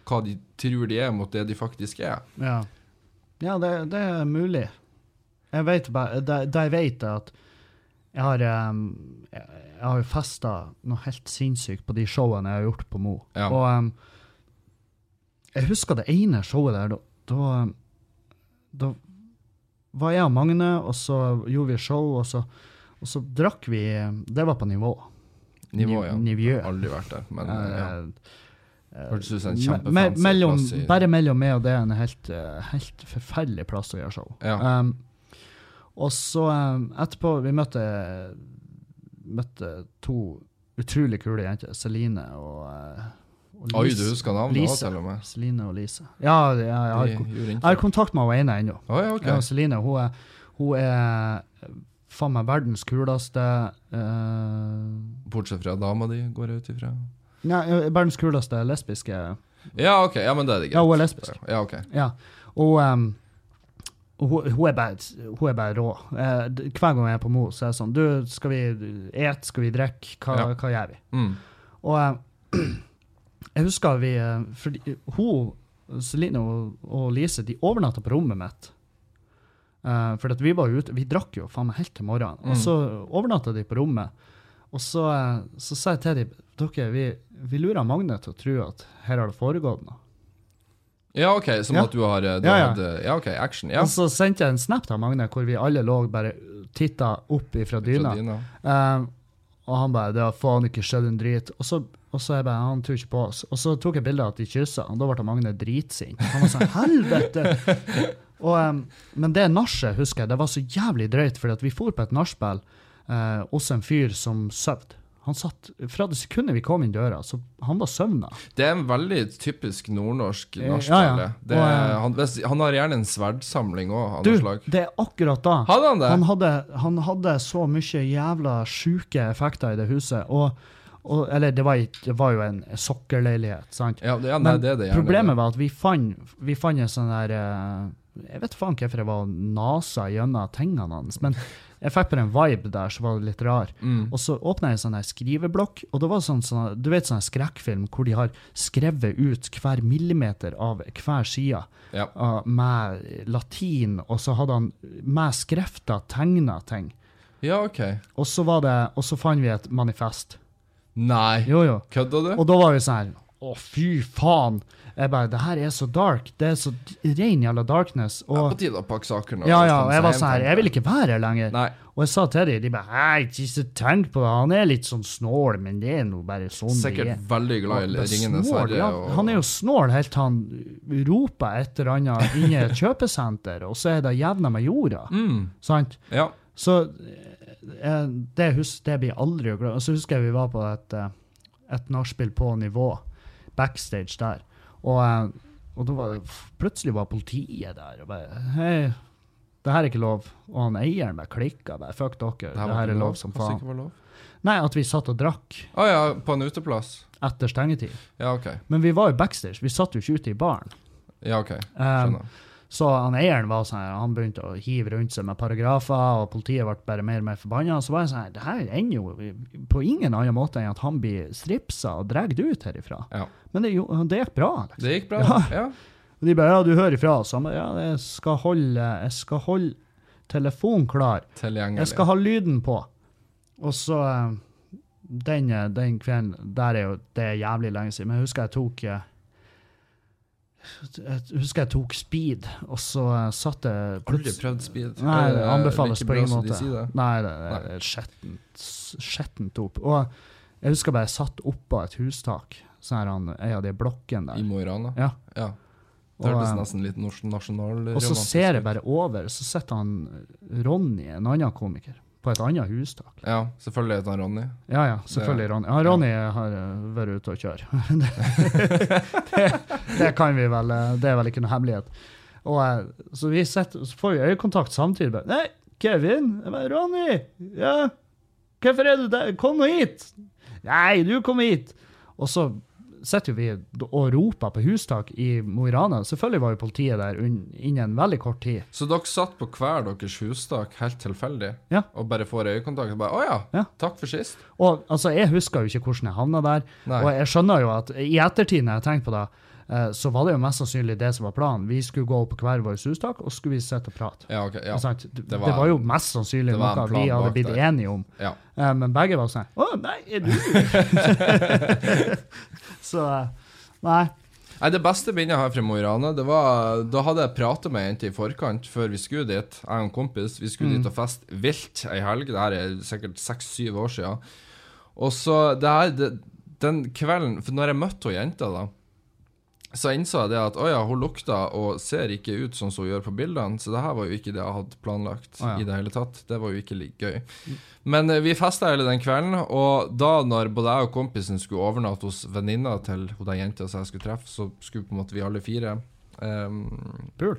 B: hva de tror de er, mot det de faktisk er.
A: ja. ja det, det er mulig. Jeg vet bare Da da jeg vet er at jeg har, eh, jeg jeg har jo festa noe helt sinnssykt på de showene jeg har gjort på Mo.
B: Ja.
A: Og um, jeg husker det ene showet der, da, da, um, da var jeg og Magne, og så gjorde vi show, og så, og så drakk vi um, Det var på nivå.
B: Nivå, ja.
A: Nivå.
B: Aldri vært der, men ja.
A: Eh,
B: Hørtes ut som en
A: Me- me-
B: kjempefancy
A: mellom,
B: plass i
A: Bare mellom meg og det er en helt, eh, helt forferdelig plass å gjøre show.
B: Ja.
A: Um, og så um, etterpå Vi møtte, møtte to utrolig kule jenter, Celine og, eh, og
B: Oi,
A: Lise.
B: du husker navnet òg,
A: Lise.
B: til og med.
A: Celine og Lise. Ja, ja jeg, har,
B: De
A: jeg
B: gjorde
A: har
B: inntrykk.
A: kontakt med henne ene ennå.
B: Å ja,
A: Ja,
B: ok.
A: Celine hun er, hun er eh, faen meg verdens kuleste eh,
B: Bortsett fra dama di, går jeg ut ifra.
A: Nei, eh, verdens kuleste lesbiske Ja,
B: Ja, ok. Ja, men det er det
A: hun
B: greit.
A: er lesbisk.
B: Ja, ok.
A: Ja. Og ehm, og hun, hun, er bare, hun er bare rå. Eh, d- hver gang jeg er på Mo, så er det sånn Du, skal vi et, skal vi drikke? Hva,
B: Ja.
A: hva gjør vi?
B: Mm.
A: Og eh, jeg husker vi eh, Fordi hun, Celine og, og Lise, de overnatta på rommet mitt. Eh, fordi at vi var ute, vi drakk jo faen meg helt til morgenen. Og så overnatta de på rommet. Og så, eh, så sa jeg til dem dere, vi, vi lurer Magne til å tro at her har det foregått noe.
B: Ja, ok, som
A: Ja.
B: at du har eh, du
A: Ja, ja.
B: hadde, ja, ok, action. Ja.
A: Og så sendte jeg en snap til Magne hvor vi alle lå bare titta opp ifra dyna.
B: Fra dyna.
A: Eh, og han bare 'Det har faen ikke skjedd en drit'. Og så, og så jeg bare 'Han tror ikke på oss'. Og så tok jeg bilde av at de kyssa, og da ble Magne dritsint. Han var sånn 'Helvete!' og, em, men det nachet, husker jeg, det var så jævlig drøyt, fordi at vi for på et nachspiel eh, hos en fyr som sov. Han satt, Fra det sekundet vi kom inn døra, så han var søvna.
B: Det er en veldig typisk nordnorsk
A: Eh, ja,
B: nachspiel.
A: ja.
B: Det er-
A: Og, eh,
B: han, hvis- han har gjerne en sverdsamling òg, av
A: Du,
B: noe slag.
A: det er akkurat da.
B: Hadde han det?
A: Han hadde, han hadde så mye jævla sjuke effekter i det huset. Og, og, eller, det var, i- det var jo en sokkelleilighet, sant?
B: ja, det, ja, nei, det er det gjerne.
A: problemet var at vi fant, vi fant en sånn der eh, Jeg vet faen hvorfor jeg var nasa gjennom tingene hans, men Jeg fikk bare en vibe der som var litt rar.
B: Mm.
A: Og så åpna jeg en sånn her skriveblokk, og det var sånn, sånn du vet sånn her skrekkfilm hvor de har skrevet ut hver millimeter av hver side
B: Ja.
A: uh, med latin, og så hadde han med skrifter tegna ting.
B: ja, OK.
A: Og så var det, og så fant vi et manifest.
B: Nei,
A: Jo, jo.
B: kødda du?
A: Og da var vi sånn her Å, fy faen! Jeg bare Det her er så dark. Det er så rein jævla darkness.
B: Det er på
A: Og
B: tide å pakke sakene.
A: ja, ja, og jeg var sånn her Jeg vil ikke være her lenger.
B: Nei.
A: Og jeg sa til dem, de bare Hei, ikke tenk på det, han er litt sånn snål, men det er nå bare sånn det
B: Sikkert
A: er.
B: veldig glad
A: Og
B: i
A: det er
B: Ringenes
A: snål,
B: herre.
A: ja.
B: og-
A: Han er jo snål helt til han roper et eller annet inne i et kjøpesenter, og så er det jevna med jorda.
B: mm,
A: Sant?
B: Ja.
A: Så eh, det, hus, det blir jeg aldri å glemme. Og så husker jeg vi var på et, eh, et nachspiel på nivå, backstage der. Og, eh, og da var det, plutselig var politiet der og bare Hei, det her er ikke lov. Og han eieren bare klikka. Bare, Fuck dere, det her,
B: var ikke
A: er lov som
B: Kanskje
A: faen.
B: ikke var lov.
A: Nei, at vi satt og drakk
B: Å ja, på en uteplass?
A: etter stengetid.
B: Ja, OK.
A: Men vi var jo backstage, vi satt jo ikke ute i baren.
B: Ja, ok.
A: Eh,
B: Skjønner.
A: Så han eieren var sånn, her, han begynte å hive rundt seg med paragrafer, og politiet ble bare mer og mer forbanna. Så var jeg sånn her, det her ender jo på ingen annen måte enn at han blir stripsa og dratt ut herifra.
B: Ja.
A: Men det, jo- det gikk bra. Liksom.
B: Det gikk bra. Ja. ja.
A: Og de bare ja, du hører ifra. Så han bare ja, jeg skal holde, jeg skal holde telefonen klar.
B: Tilgjengelig.
A: Jeg skal ha lyden på. Og så eh, den, eh, den kvelden Der er jo det er jævlig lenge siden, men jeg husker jeg tok eh, jeg husker jeg tok speed, og så eh, satt jeg
B: Aldri
A: plutselig-
B: prøvd speed. Eh,
A: Nei,
B: Er
A: det anbefales
B: like
A: på
B: bra
A: ingen
B: som de
A: måte.
B: sier det?
A: Nei, det det er skjettent, skjettent opp. Og jeg husker bare jeg satt oppå et hustak, sånn her han, ei av de blokkene
B: I
A: der.
B: Mo i Rana?
A: Ja.
B: ja.
A: Og,
B: Det hørtes
A: eh,
B: nesten litt nors-
A: Og
B: nasjonalromantisk
A: så ser jeg bare over, så sitter han Ronny, en annen komiker, på et annet hustak.
B: Ja, selvfølgelig heter han Ronny.
A: Ja, ja, selvfølgelig Ronny. Ja, Ronny har eh, vært ute og kjørt. det, det kan vi vel, eh, det er vel ikke noe hemmelighet. Og eh, så vi setter, så får vi øyekontakt samtidig. Bare, Nei, Kevin! Jeg bare, Ronny! Ja, hvorfor er du der? Kom nå hit! Nei, du kom hit! Og så sitter jo vi og roper på hustak i Mo i Rana. Selvfølgelig var jo politiet der unn- innen veldig kort tid.
B: Så dere satt på hver deres hustak helt tilfeldig
A: Ja.
B: og bare får øyekontakt og bare 'Å ja,
A: Ja.
B: takk for sist'.
A: Og altså, jeg husker jo ikke hvordan jeg havna der.
B: Nei.
A: Og jeg skjønner jo at i ettertid, når jeg tenker på det, eh, så var det jo mest sannsynlig det som var planen. Vi skulle gå opp på hver vår hustak, og skulle vi sitte og prate.
B: Ja, ok. Ja.
A: Ikke sant? Det,
B: Det
A: det,
B: var-
A: var, jo mest sannsynlig
B: det var en
A: noe
B: plan
A: vi hadde
B: bak
A: blitt
B: der.
A: enige om.
B: ja.
A: Eh, Men begge var sånn Å, nei, er du Så eh, Nei.
B: Nei, Det beste minnet jeg har fra Mo i Rana, det var Da hadde jeg pratet med ei jente i forkant, før vi skulle dit. Jeg og en kompis. Vi
A: Mm.
B: skulle dit og feste vilt ei helg. Det her er sikkert seks-syv år siden. Og så det her, det, Den kvelden For når jeg møtte hun jenta, da, så innså jeg det at å ja, hun lukta og ser ikke ut sånn som hun gjør på bildene, så det her var jo ikke det jeg hadde planlagt
A: Å ja.
B: i det hele tatt. Det var jo ikke like gøy. Men eh, vi festa hele den kvelden, og da når både jeg og kompisen skulle overnatte hos venninna til hun der jenta som jeg skulle treffe, så skulle på en måte vi alle fire ehm,
A: Pul.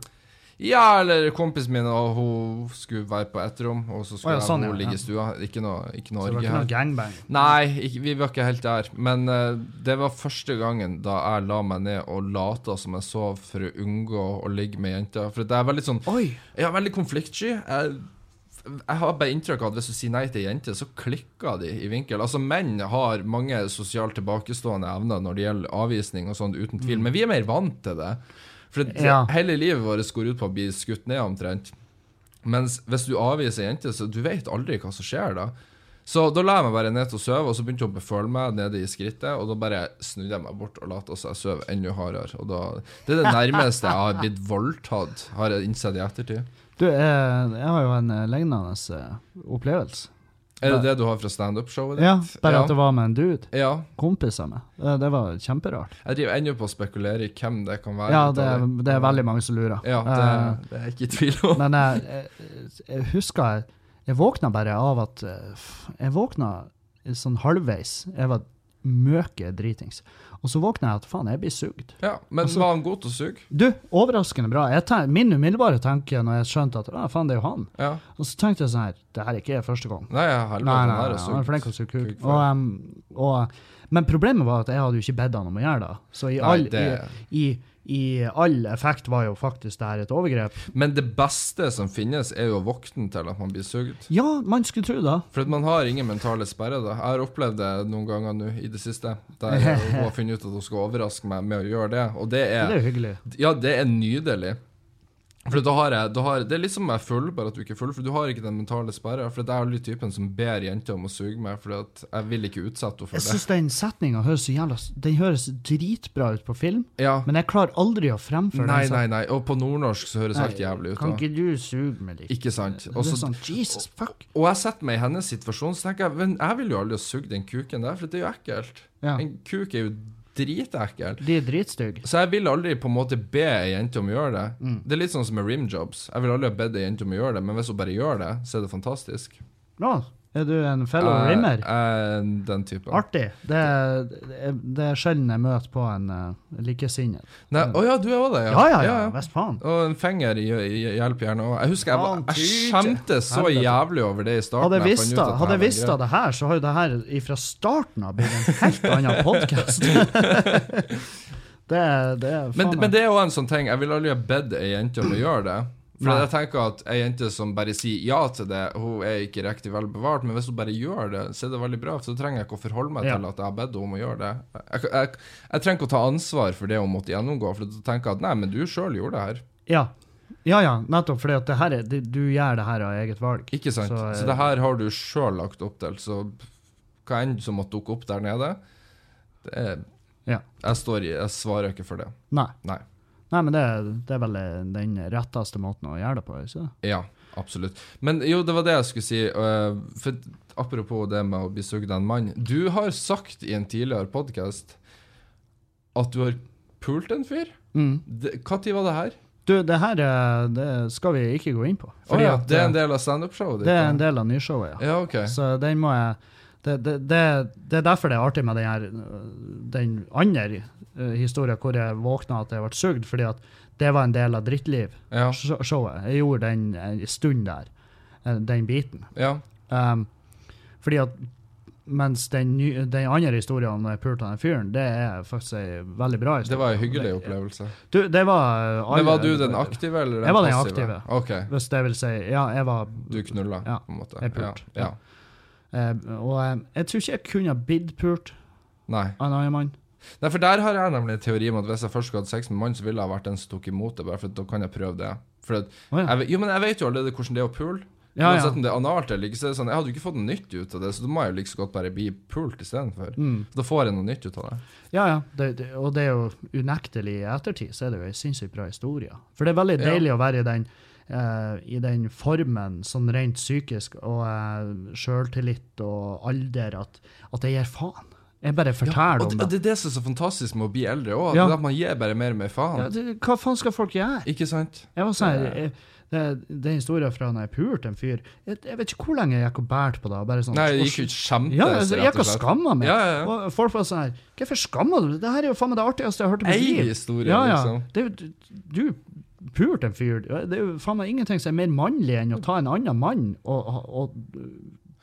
B: ja, eller kompisen min og hun skulle være på ett rom, og så
A: Å
B: skulle
A: ja, sånn,
B: jeg
A: ja,
B: og hun ligge
A: ja.
B: i stua. Ikke noe, ikke
A: Så
B: noe
A: det var
B: orgie
A: ikke noe
B: her.
A: gangbang.
B: Nei, ikke, vi var ikke helt der. Men eh, det var første gangen da jeg la meg ned og lata som jeg sov for å unngå å ligge med jenter. For det er veldig sånn
A: Oi!
B: Jeg er veldig konfliktsky. Jeg, jeg har bare inntrykk av at hvis du sier nei til jenter, så klikker de i vinkel. Altså, menn har mange sosialt tilbakestående evner når det gjelder avvisning og sånn, uten tvil. Men vi er mer vant til det. For det,
A: Ja.
B: hele livet vårt går ut på å bli skutt ned omtrent. Mens hvis du avviser jenter, så du vet aldri hva som skjer da. Så da la jeg meg bare ned til å sove, og så begynte hun å beføle meg nede i skrittet, og da bare snudde jeg meg bort og lot oss jeg sove enda hardere. Og da, det er det nærmeste jeg har blitt voldtatt, har jeg innsett i ettertid.
A: Du, eh, jeg har jo en eh, lignende eh, opplevelse.
B: Er det det du har fra standup-showet ditt?
A: Ja, bare
B: Ja.
A: at det var med en dude.
B: Ja.
A: Kompis av meg. Eh, Det var kjemperart.
B: Jeg driver ennå på å spekulere i hvem det kan være.
A: Ja,
B: ut av
A: det er, det er veldig mange som lurer.
B: Ja, det, det er jeg ikke i tvil
A: Eh,
B: om.
A: men jeg, jeg, jeg husker jeg, jeg våkna bare av at eh, f- Jeg våkna sånn halvveis. Jeg var møke dritings. Og så våkna jeg at faen, jeg blir sugd.
B: Ja, men
A: Altså-
B: var han god til å suge?
A: Du, overraskende bra. Jeg ten, min umiddelbare tanke når jeg skjønte at ah, faen, det er jo han,
B: Ja.
A: og så tenkte jeg sånn her, det her er ikke første gang.
B: Nei, jeg har
A: Nei, nei, nei,
B: her og
A: han er flink til å
B: sugd.
A: suge kuk.
B: Kuk
A: Og, um,
B: før.
A: em, og, men problemet var at jeg hadde jo ikke bedt han om å gjøre det. Så i,
B: Nei,
A: all,
B: det-
A: i, i i all effekt var jo faktisk det her et overgrep.
B: Men det beste som finnes, er jo å våkne til at man blir sugd.
A: Ja, man skulle tro det.
B: For at man har ingen mentale sperre. da. Jeg har opplevd det noen ganger nå i det siste. Der hun har funnet ut at hun skal overraske meg med å gjøre det. Og det
A: Det
B: er,
A: er jo hyggelig.
B: ja, det er nydelig. For da har jeg, da har, Det er litt som om jeg er full, bare at du ikke er full. For du har ikke den mentale sperra. For jeg er litt typen som ber jenter om å suge meg, for jeg vil ikke utsette henne
A: Jeg
B: for det.
A: syns den setninga høres så jævla Den høres dritbra ut på film,
B: Ja.
A: men jeg klarer aldri å fremføre
B: Nei,
A: den.
B: nei, nei. Og på nordnorsk så høres alt jævlig ut.
A: Kan
B: da.
A: ikke du suge meg litt?
B: Ikke sant?
A: Det
B: Og
A: er
B: så
A: sånn, Jesus fuck.
B: Og jeg setter meg i hennes situasjon, så tenker jeg men jeg vil jo aldri ha sugd den kuken der, for det er jo ekkelt.
A: Ja.
B: En kuk er jo dritekkel.
A: De er dritstygge.
B: Så jeg vil aldri på en måte be ei jente om å gjøre det.
A: Mm.
B: Det er litt sånn som med rimjobs. Jeg vil aldri ha bedt ei jente om å gjøre det, men hvis hun bare gjør det, så er det fantastisk.
A: Nå, er du en fellow
B: Jeg-
A: rimmer?
B: jeg er Eh, den typen.
A: Artig. Det er, det er sjelden jeg møter på en uh, likesinnet.
B: Nei, å ja, du er òg det,
A: Ja, ja, ja. Visst faen.
B: Og en finger i, i, hjelper gjerne. Og jeg husker jeg, var- jeg
A: Faen,
B: skjemte så
A: Helvete.
B: jævlig over det i starten.
A: Hadde jeg
B: fant
A: visst
B: ut
A: det,
B: at her
A: hadde jeg
B: var
A: visst
B: greit.
A: det her, så har jo det her fra starten av blitt en helt annen podkast. det, er- det er faen
B: Men, men det er jo en sånn ting Jeg vil aldri ha bedt ei jente om å gjøre det. For
A: Nei.
B: jeg tenker at ei jente som bare sier ja til det, hun er ikke riktig vel bevart. Men hvis hun bare gjør det, så er det veldig bra. For så trenger jeg ikke å forholde meg
A: Ja.
B: til at jeg har bedt henne om å gjøre det. Jeg, jeg, jeg trenger ikke å ta ansvar for det hun måtte gjennomgå. For da tenker jeg at nei, men du sjøl gjorde det her.
A: Ja. ja, ja, nettopp. For det her er, det, du gjør det her av eget valg.
B: Ikke sant?
A: Så,
B: Så,
A: eh,
B: det her har du sjøl lagt opp til. Så hva enn som måtte dukke opp der nede, det er,
A: Ja.
B: jeg, står i, jeg svarer ikke for det.
A: Nei.
B: Nei.
A: Nei, men det, det er vel eh, den retteste måten å gjøre det på. Ikke? det?
B: Ja, absolutt. Men jo, det var det jeg skulle si. øh, for apropos det med å bli sugd av en mann. Du har sagt i en tidligere podkast at du har pult en fyr.
A: Mm.
B: Det- Hva tid var det her?
A: Du, det her eh, det skal vi ikke gå inn på.
B: Å ja,
A: at,
B: det er
A: eh,
B: en del av standup-showet ditt?
A: det er
B: ja.
A: en del av nyshowet, ja.
B: Ja, OK.
A: Så den må jeg det, det, det, det er derfor det er artig med den, her, øh, den andre øh, historien hvor jeg våkna at jeg ble sugd, fordi at det var en del av drittliv-showet.
B: Ja.
A: Jeg gjorde den en stund der, eh, den biten.
B: ja.
A: Um, fordi at mens den, ny, den andre historien om når jeg pulte den fyren, det er faktisk ei veldig bra
B: Det
A: historie.
B: var en hyggelig opplevelse.
A: Du, det var, øh, alle-
B: Men var du den aktive eller den
A: Jeg var den aktive.
B: passive? OK.
A: Hvis det vil si Ja, jeg var
B: Du knulla,
A: Ja,
B: på en måte.
A: jeg pulte.
B: Ja. ja.
A: eh, Og eh, jeg tror ikke jeg kunne ha blitt pult
B: Nei.
A: av en annen mann.
B: Nei, for der har jeg nemlig en teori om at hvis jeg først skulle hatt sex med en mann, så ville jeg vært den som tok imot det, bare for at da kan jeg prøve det. For at
A: Å, ja.
B: jeg, ve- jo, men jeg vet jo allerede hvordan det er å pule.
A: Ja, ja.
B: Uansett om det er analt eller ikke, så er det sånn Jeg hadde jo ikke fått noe nytt ut av det, så da må jeg jo like så godt bare bli pult istedenfor.
A: Mm.
B: Da får jeg noe nytt ut av det.
A: Ja, ja. Det, det, og det er jo unektelig i ettertid, så er det jo en sinnssykt bra historie. For det er veldig
B: Ja.
A: deilig å være i den, eh, i den formen, sånn rent psykisk, og eh, sjøltillit og alder, at, at jeg gir faen. Jeg bare forteller
B: Og det,
A: om det.
B: det er det som er så fantastisk med å bli eldre òg,
A: Ja.
B: at man gir bare mer og mer
A: Ja,
B: faen.
A: det. Hva faen skal folk gjøre?
B: Ikke sant?
A: Jeg var sånn, her, jeg, det, det er historien fra når jeg pulte en fyr. Jeg, jeg vet ikke hvor lenge jeg gikk og bærte på det. og Bare sånn,
B: Nei, det gikk jo kjempes,
A: Ja, altså, jeg gikk og skamma meg.
B: Ja, ja, ja.
A: Og folk var sånn her Hvorfor skammer du deg? Det her er jo faen meg det artigste jeg har hørt i mitt
B: Ei
A: liv.
B: historie,
A: Ja, ja.
B: liksom.
A: Det er jo- du du pulte en fyr. Det er jo faen meg ingenting som er mer mannlig enn å ta en annen mann og, og, og øh,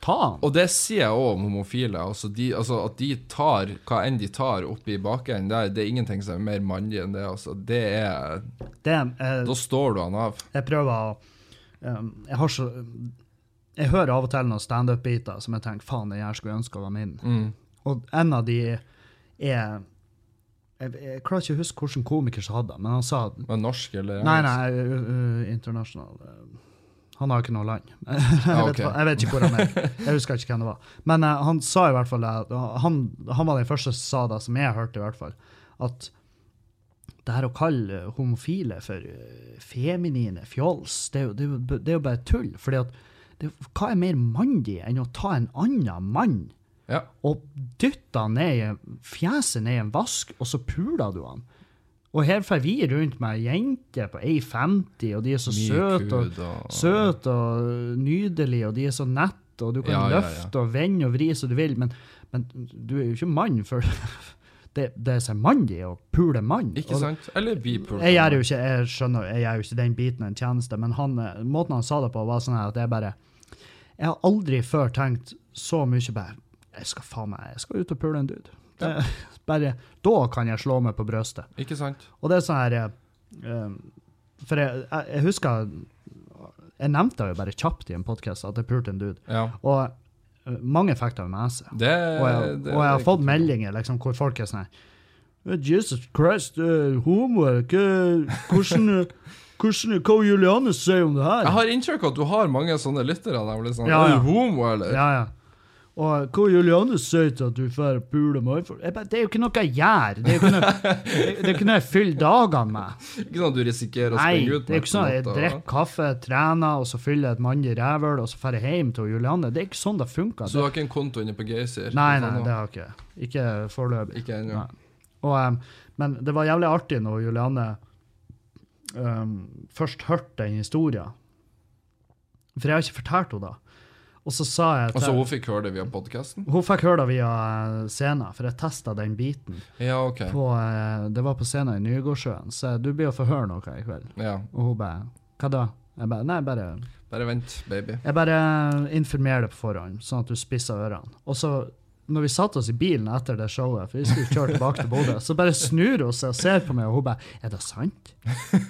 A: ta han.
B: Og det sier jeg òg om homofile. Altså de, altså at de tar hva enn de tar oppi bakenden der, det er ingenting som er mer mannlig enn det. Altså. Det er
A: Det, eh,
B: Da står du han av.
A: jeg prøver å eh, Jeg har så Jeg hører av og til noen standup-biter som jeg tenker faen, den her skulle jeg ønske var min.
B: Mm.
A: Og en av de er jeg, jeg klarer ikke å huske hvilken komiker som hadde det, men han sa at
B: Men norsk eller
A: Nei,
B: engelsk?
A: nei, ø- ø- internasjonal. Han har jo ikke noe land. jeg,
B: Ja,
A: vet,
B: ok.
A: hva- jeg vet ikke hvor han er. Jeg husker ikke hvem det var. Men eh, han sa i hvert fall at- han, han var den første som sa det, som jeg hørte i hvert fall, at det her å kalle homofile for eh, feminine fjols, det er jo, det er jo, b- det er jo bare tull. Fordi at det, hva er mer mandig enn å ta en annen mann
B: Ja.
A: og dytte han ned i fjeset ned i en vask, og så puler du han? Og her får vi rundt med jenter på 1,50, og de er så
B: Mye
A: søte og,
B: kud og-
A: søt og nydelige, og de er så nette, og du kan
B: Ja, ja, ja.
A: løfte og vende og vri som du vil, men, men du er jo ikke mann, for det, det er så mandig å pule mann.
B: Ikke sant? Eller bipult.
A: Jeg gjør jo ikke, jeg skjønner, jeg gjør jo ikke den biten en tjeneste, men han, eh, måten han sa det på, var sånn her at jeg bare Jeg har aldri før tenkt så mye bare Jeg skal faen meg, jeg skal ut og pule en dude. Det, bare, da kan jeg slå meg på brøstet.
B: Ikke sant?
A: Og det er sånn her eh, For jeg, jeg, jeg husker Jeg nevnte det jo bare kjapt i en podkast at jeg pulte en dude.
B: Ja.
A: Og eh, mange fikk det med seg.
B: Det,
A: Og jeg,
B: Eh, det,
A: og jeg har fått meldinger liksom, hvor folk er sånn her Jesus Christ, eh, homo er ikke Hvordan hvordan- Hva Julianus sier om det her?
B: Jeg har inntrykk av at du har mange sånne lyttere. Der, hvor det er sånn,
A: Ja,
B: Er
A: ja.
B: du homo, eller?
A: Ja, ja. Og hva Julianus sier til at du får pule meg for? Jeg bare, Det er jo ikke noe jeg gjør! Det er jo ikke noe, det er jo ikke noe jeg fyller dagene med.
B: Ikke sånn at du risikerer å
A: Nei,
B: springe ut?
A: det er jo
B: på
A: ikke sånn at jeg
B: natta,
A: drikker kaffe, trener, og så fyller jeg et mandig rævhøl, og så drar jeg hjem til Julianne. Det er ikke sånn det
B: da.
A: funker.
B: Så du har ikke en konto inne på Geysir?
A: Nei,
B: Sånn,
A: nei,
B: da.
A: det har jeg ikke. Ikke foreløpig.
B: Ikke ennå.
A: Nei. Og, em, men det var jævlig artig når Julianne em, først hørte den historien. For jeg har ikke fortalt henne det. Og så sa jeg
B: Altså, hun fikk høre det via podkasten?
A: Hun fikk høre det via eh, scenen, for jeg testa den biten.
B: Ja, OK.
A: På, eh, det var på scenen i Nygårdsjøen, så du blir å få høre noe i kveld.
B: Ja.
A: Og hun bare Hva da? Jeg bare Nei, bare
B: Bare vent, baby.
A: Jeg bare informerer deg på forhånd, sånn at du spisser ørene. Og så, når vi satte oss i bilen etter det showet, for vi skulle kjøre tilbake til Bodø, så bare snur hun seg og ser på meg, og hun bare Er det sant?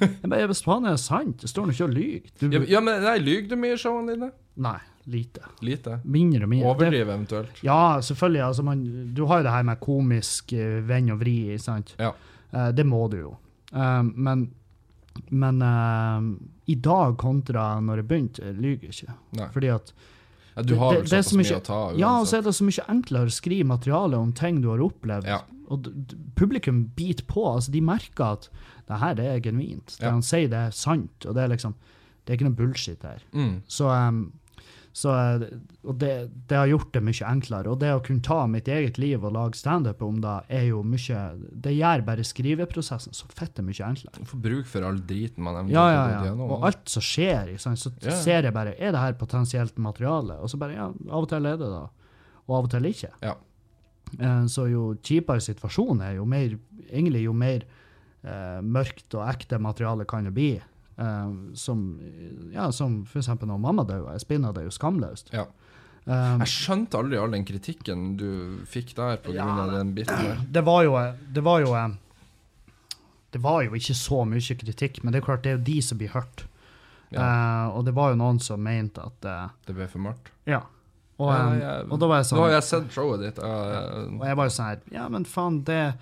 A: Jeg bare Hvis faen er det sant? Det står nå ikke og lyver.
B: Ja,
A: Du-
B: ja men nei, lyver du mye i showene dine?
A: Nei. Lite.
B: Lite?
A: Mindre og mindre. Det-
B: Overdriv eventuelt.
A: Ja, selvfølgelig. Altså, man, du har jo det her med komisk eh, vend og vri, ikke sant?
B: Ja.
A: Eh, det må du jo. Eh, men men eh, i dag kontra når jeg begynte, jeg lyver ikke.
B: Nei.
A: Fordi at
B: Ja, du har
A: Det-
B: vel
A: det er
B: såpass
A: så
B: mye
A: mye-
B: å ta
A: Ja, og så er det så mye enklere å skrive materiale om ting du har opplevd.
B: Ja.
A: Og d- d- publikum biter på. altså De merker at det her det er genuint. Det
B: Ja.
A: han sier, det er sant. Og det er liksom Det er ikke noe bullshit her.
B: Mm.
A: Så, um, så uh, Og det, det har gjort det mye enklere. Og det å kunne ta mitt eget liv og lage standup om det, er jo mye Det gjør bare skriveprosessen så fette mye enklere.
B: Du får bruk for all driten man eventuelt
A: Ja, ja,
B: har gått
A: ja.
B: gjennom. altså.
A: Og alt som skjer, ikke sant, så
B: Ja.
A: ser jeg bare Er det her potensielt materiale? Og så bare Ja, av og til er det det. Og av og til ikke.
B: Ja.
A: Eh, Så jo kjipere situasjonen er, jo mer Egentlig jo mer eh, mørkt og ekte materiale kan det bli. Eh, som ja, som for eksempel når mamma døde. Jeg spinna det jo skamløst.
B: Ja.
A: Eh,
B: Jeg skjønte aldri all den kritikken du fikk der på grunn av den biten der.
A: det var jo Det var jo eh, Det var jo ikke så mye kritikk, men det er klart det er jo de som blir hørt. Eh, og det var jo noen som mente at eh,
B: Det ble for mørkt.
A: Ja. Og,
B: Ja,
A: eh,
B: jeg-
A: og da var jeg
B: Nå
A: sånn
B: har jeg sett showet ditt. eh, jeg-
A: Og jeg var jo sånn her Ja, men faen, det,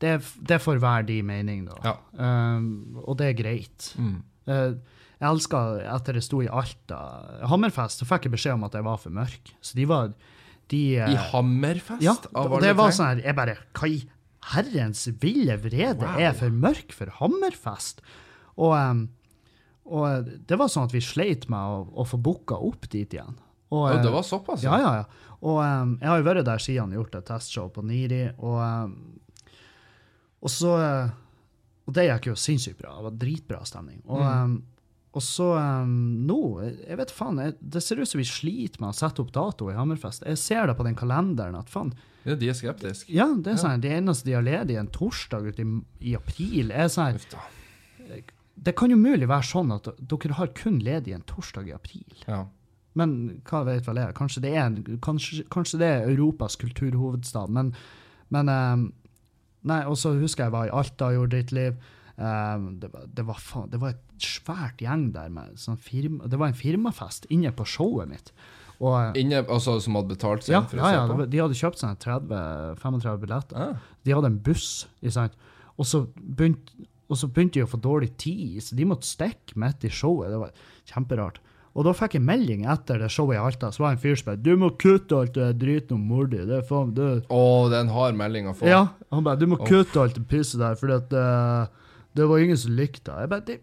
A: det, det får være de mening, da.
B: Ja.
A: Um, og det er greit.
B: mm.
A: Eh, jeg elska etter jeg sto i Alta Hammerfest, så fikk jeg beskjed om at jeg var for mørk. Så de var de, eh,
B: I Hammerfest?
A: ja, og
B: av alle
A: det var
B: ting?
A: sånn her Jeg bare Hva i herrens ville vrede
B: Wow.
A: er for mørk for Hammerfest? Og, em, og det var sånn at vi sleit med å, å få booka opp dit igjen. Og,
B: Ja,
A: eh,
B: det var såpass?
A: ja, ja, ja. Og em, jeg har jo vært der siden jeg gjort et testshow på Niri, og, em, og så eh, Og det gikk jo sinnssykt bra. Det var dritbra stemning. Og, em, og så em, nå jeg- Jeg vet faen, jeg, det ser ut som vi sliter med å sette opp dato i Hammerfest. Jeg ser det på den kalenderen at faen,
B: Ja, de er skeptiske.
A: ja, det er sånn, de eneste de har ledig en torsdag ute i, i april, er sånn
B: Uff da.
A: Det kan jo mulig være sånn at dere har kun ledig en torsdag i april.
B: Ja.
A: Men hva vet vel jeg? Kanskje det er, en- kanskje, kanskje det er Europas kulturhovedstad. Men, men eh, Nei, og så husker jeg jeg var i Alta og gjorde ditt liv. Eh, det, var, det, var faen, det var et svært gjeng der. Med sånn firma, det var en firmafest inne på showet mitt. Og, eh,
B: Inne, altså, som hadde betalt seg
A: ja,
B: inn for
A: ja, ja,
B: å se
A: det
B: på?
A: var- de hadde kjøpt seg 30-35 billetter.
B: Ah,
A: De hadde en buss, ikke sant? Og så begynte, og så begynte de å få dårlig tid, så de måtte stikke midt i showet. Det var kjemperart. Og da fikk jeg melding etter det showet i Alta, så var det en fyr som bare 'Du må kutte alt det driten om mor di', det er faen det.
B: Å, det er en hard melding å få.
A: Ja, han bare 'Du må kutte alt det pisset der, fordi at eh, det var ingen som likte det'. Jeg bare det,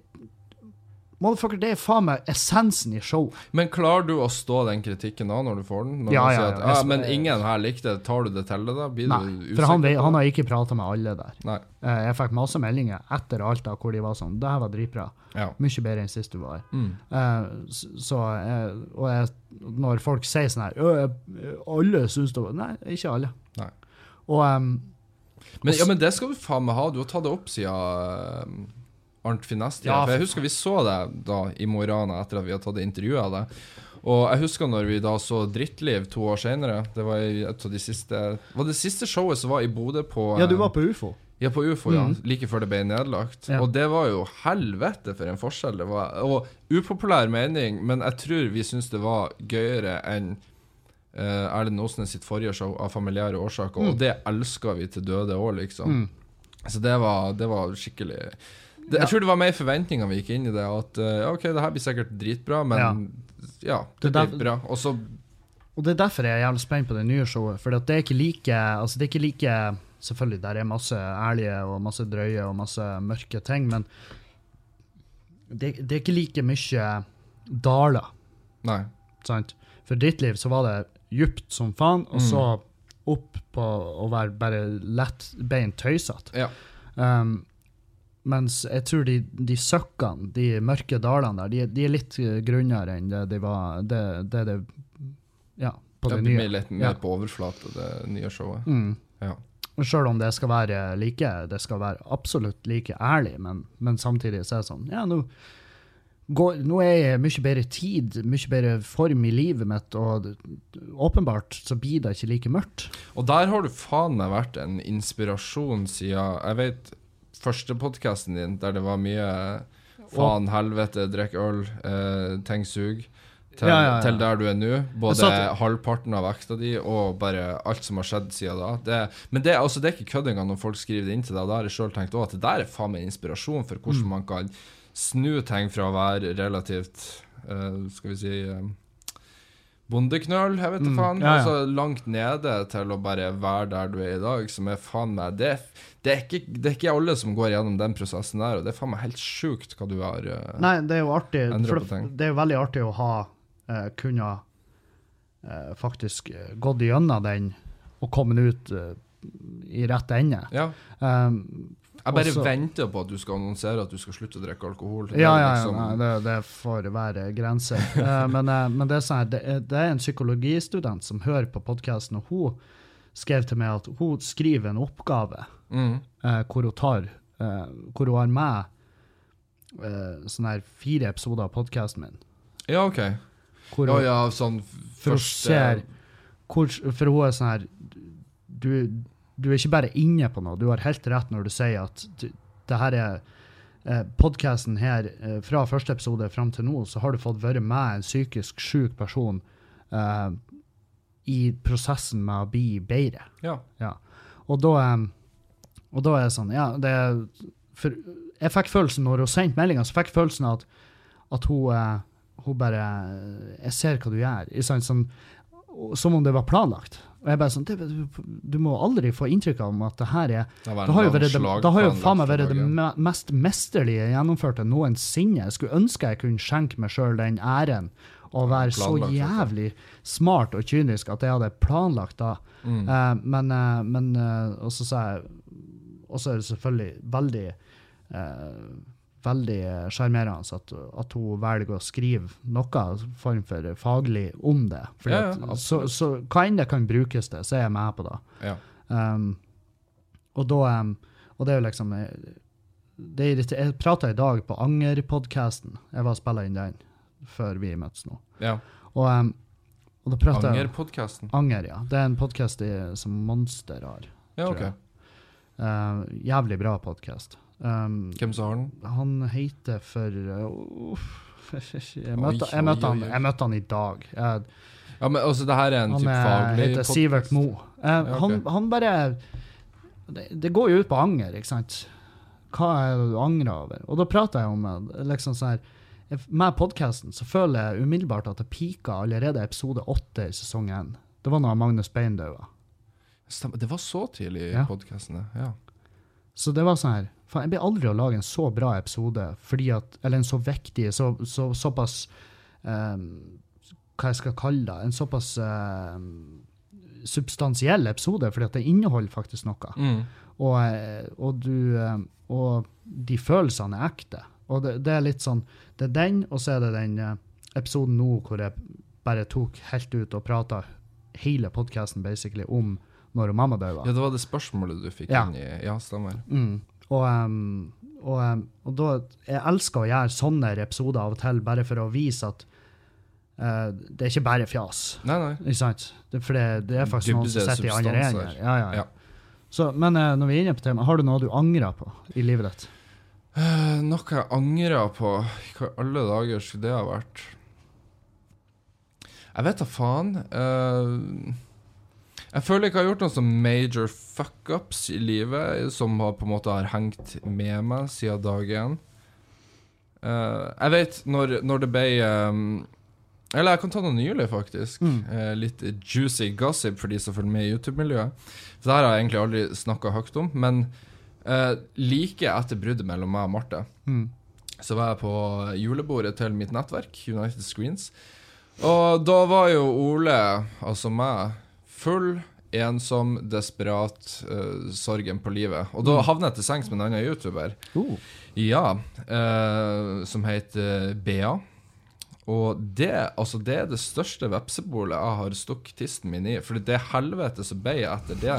A: Motherfucker, det er faen meg essensen i showet.
B: Men klarer du å stå den kritikken da, når du får den? Når
A: Ja, ja,
B: man sier at,
A: ja, jeg-
B: «Ah, men ingen her likte det. Tar du det til deg, da? Blir
A: Nei,
B: du
A: for han,
B: usikker
A: vet-
B: på
A: han
B: det?
A: har ikke prata med alle der.
B: Nei.
A: Eh, Jeg fikk masse meldinger etter Alta hvor de var sånn 'Det her var dritbra'.
B: Ja.
A: Mye bedre enn sist du var her.
B: Mm.
A: Eh, s- så, eh, og jeg, når folk sier sånn her «Ø, jeg- Alle syns det var Nei, ikke alle.
B: Nei.
A: Og ehm, em,
B: Men, ja, men det skal du faen meg ha. Du har tatt det opp siden eh, Arnt Finesse.
A: Ja,
B: for jeg husker vi så deg da i Mo i Rana etter at vi hadde tatt det intervjuet av deg. Og jeg husker når vi da så Drittliv to år senere. Det var i et av de siste Var det siste showet som var i Bodø på
A: Ja, du
B: eh,
A: var på ufo.
B: Ja, på ufo, ja. Like før det ble nedlagt.
A: Mm. Ja.
B: Og det var jo helvete for en forskjell det var. Og upopulær mening, men jeg tror vi syns det var gøyere enn eh, Erlend Osnes sitt forrige show av familiære årsaker,
A: Mm.
B: og det elska vi til døde òg, liksom. Så det var, det var skikkelig det,
A: Ja.
B: Jeg tror det var mer forventninger vi gikk inn i det. At eh, ja, OK, det her blir sikkert dritbra, men ja,
A: Det
B: det,
A: der-
B: blir bra. Og så
A: Og det er derfor jeg er jævlig spent på det nye showet. For det er ikke like altså det er ikke like, Selvfølgelig, der er masse ærlige og masse drøye og masse mørke ting, men det, det er ikke like mye daler,
B: Nei.
A: sant? For ditt liv så var det djupt som faen, og
B: Mm.
A: så opp på å være bare lettbeint tøysete.
B: Ja.
A: Um, mens jeg tror de, de søkkene, de mørke dalene der, de, de er litt eh, grunnere enn det de var Det det, det Ja, på
B: Det
A: det
B: blir
A: nye.
B: mer- litt mer
A: Ja.
B: på overflate, det nye showet.
A: Mm.
B: Ja.
A: Og Selv om det skal være like, det skal være absolutt like ærlig, men, men samtidig så er det sånn Ja, nå, går, nå er jeg mye bedre tid, mye bedre form i livet mitt, og det- åpenbart så blir det ikke like mørkt.
B: Og der har du faen meg vært en inspirasjon siden Jeg vet første podkasten din, der det var mye faen, helvete, drikk øl, eh, ting sug, til,
A: Ja, ja, ja.
B: til der du er nå. Både
A: Jeg satt-
B: halvparten av vekta di og bare alt som har skjedd siden da. Det, men det, er- altså, det er ikke kødd engang når folk skriver det inn til deg. Da har jeg sjøl tenkt òg at det der er faen meg inspirasjon for
A: Mm.
B: hvordan man kan snu ting fra å være relativt eh, Skal vi si eh, Bondeknøl, jeg vet da
A: Mm,
B: faen.
A: ja, ja.
B: Altså langt nede til å bare være der du er i dag, som er faen meg Det, det, er, ikke, det er ikke alle som går gjennom den prosessen der, og det er faen meg helt sjukt hva du har eh,
A: Nei, det er jo artig.
B: Endre
A: For
B: på ting.
A: det, det er jo veldig artig å ha uh, kunnet eh, faktisk eh, gått gjennom den og kommet ut eh, i rett ende.
B: Ja.
A: Um,
B: Jeg bare
A: Også-
B: venter på at du skal annonsere at du skal slutte å drikke alkohol. Det er
A: Ja, ja, ja
B: liksom-
A: nei, det, det får være grenser. Eh, men, eh, men det er sånn her, det er, det er en psykologistudent som hører på podkasten, og hun skrev til meg at hun skriver en oppgave
B: Mm.
A: eh, hvor hun tar eh, hvor hun har med eh, sånne her fire episoder av podkasten min.
B: ja, OK.
A: Hvor
B: Ja,
A: hun,
B: ja, sånn f-
A: for, hun
B: første
A: ser, hvor, for hun er sånn her du, du er ikke bare inne på noe, du har helt rett når du sier at du, det her er eh, podcasten her eh, fra første episode fram til nå, så har du fått være med en psykisk syk person eh, i prosessen med å bli bedre.
B: Ja.
A: Ja. Og da eh, og da er det sånn, ja, det er- for jeg fikk følelsen når hun sendte meldingen, så fikk jeg følelsen av at, at hun, eh, hun bare, eh, jeg ser hva du gjør, i sånn, sånn, som om det var planlagt. Og jeg bare sånn, det, du, du må aldri få inntrykk av at det her er,
B: Det
A: det har jo,
B: en lang
A: vært det,
B: slagplan
A: det har jo
B: der
A: faen meg
B: for
A: vært det
B: dagen.
A: me- mest mesterlige jeg gjennomførte noensinne. Jeg skulle ønske jeg kunne skjenke meg sjøl den æren å være så
B: planlagt, altså.
A: jævlig smart og kynisk at jeg hadde planlagt da.
B: Mm.
A: Eh, men eh, men eh, Og så sa jeg Og så er det selvfølgelig veldig eh, Veldig eh, sjarmerende at, at hun velger å skrive noe form for faglig om det. Fordi
B: Ja, ja,
A: at, så, så hva enn det kan brukes til, så er jeg med på det.
B: Ja.
A: Um, og da um, Og det er jo liksom eh, det er irriter- Jeg prata i dag på Anger-podkasten. Jeg var og spilla inn den før vi møttes nå.
B: ja.
A: Og, um, og da prata jeg
B: Angerpodkasten.
A: Anger, ja. Det er en podkast som Monster har.
B: Ja,
A: tror
B: OK.
A: jeg. Uh, jævlig bra podkast. Um,
B: Hvem som har den?
A: han heter for uh, uff, jeg, møtte,
B: Oi, oi,
A: jeg, møtte han,
B: oi, oi.
A: jeg møtte han i dag. Jeg,
B: Ja, men altså, det her er en
A: Han
B: type
A: er,
B: faglig
A: heter
B: pod-
A: Sivert Mo. Eh,
B: ok.
A: han, han bare det, det går jo ut på anger, ikke sant? Hva er det du angrer over? Og da prater jeg om eh, liksom sånn her jeg- Med podkasten så føler jeg umiddelbart at det pika allerede i episode åtte i sesong én. Det var når Magnus Bein daua.
B: Stemmer. Det var så tidlig i
A: Ja.
B: podkasten, ja.
A: Så det var sånn her Faen, jeg blir aldri å lage en så bra episode, fordi at, eller en så viktig, så, så, såpass eh, Hva jeg skal kalle det? En såpass eh, substansiell episode, fordi at det inneholder faktisk noe.
B: Mm.
A: Og, eh, og du eh, Og de følelsene er ekte. Og det, det er litt sånn Det er den, og så er det den eh, episoden nå hvor jeg bare tok helt ut og prata hele podkasten basically om når mamma døde.
B: Ja, det var det spørsmålet du fikk
A: Ja.
B: inn i Ja, stemmer.
A: Mm. Og, um, og, um, og da Jeg elsker å gjøre sånne episoder av og til, bare for å vise at eh, det er ikke bare fjas.
B: Nei, nei.
A: Ikke sant? Det, for det, det er faktisk noen som
B: Dybde,
A: sitter i andre enden.
B: substanser.
A: her. Ja, ja,
B: Ja.
A: ja. Så, men eh, når vi er inne på temaet, har du noe du angrer på i livet ditt?
B: Eh, Noe jeg angrer på Hva i alle dager skulle det ha vært? Jeg vet da faen. Eh, jeg føler ikke jeg har gjort noen sånn major fuckups i livet som har på en måte har hengt med meg siden dag én. Eh, jeg vet når, når det ble eh, Eller jeg kan ta noe nylig, faktisk.
A: Mm.
B: Eh, litt juicy gossip for de som følger med i YouTube-miljøet. For det her har jeg egentlig aldri snakka høyt om. Men eh, like etter bruddet mellom meg og Marte,
A: Mm.
B: så var jeg på julebordet til mitt nettverk, United Screens. Og da var jo Ole, altså meg, full, ensom, desperat, eh, sorgen på livet. Og da havnet jeg til sengs med en annen YouTuber.
A: Oh.
B: Ja, eh, som heter Bea. Og det, altså det er det største vepsebolet jeg har stukket tisten min i. For det helvete som ble etter det,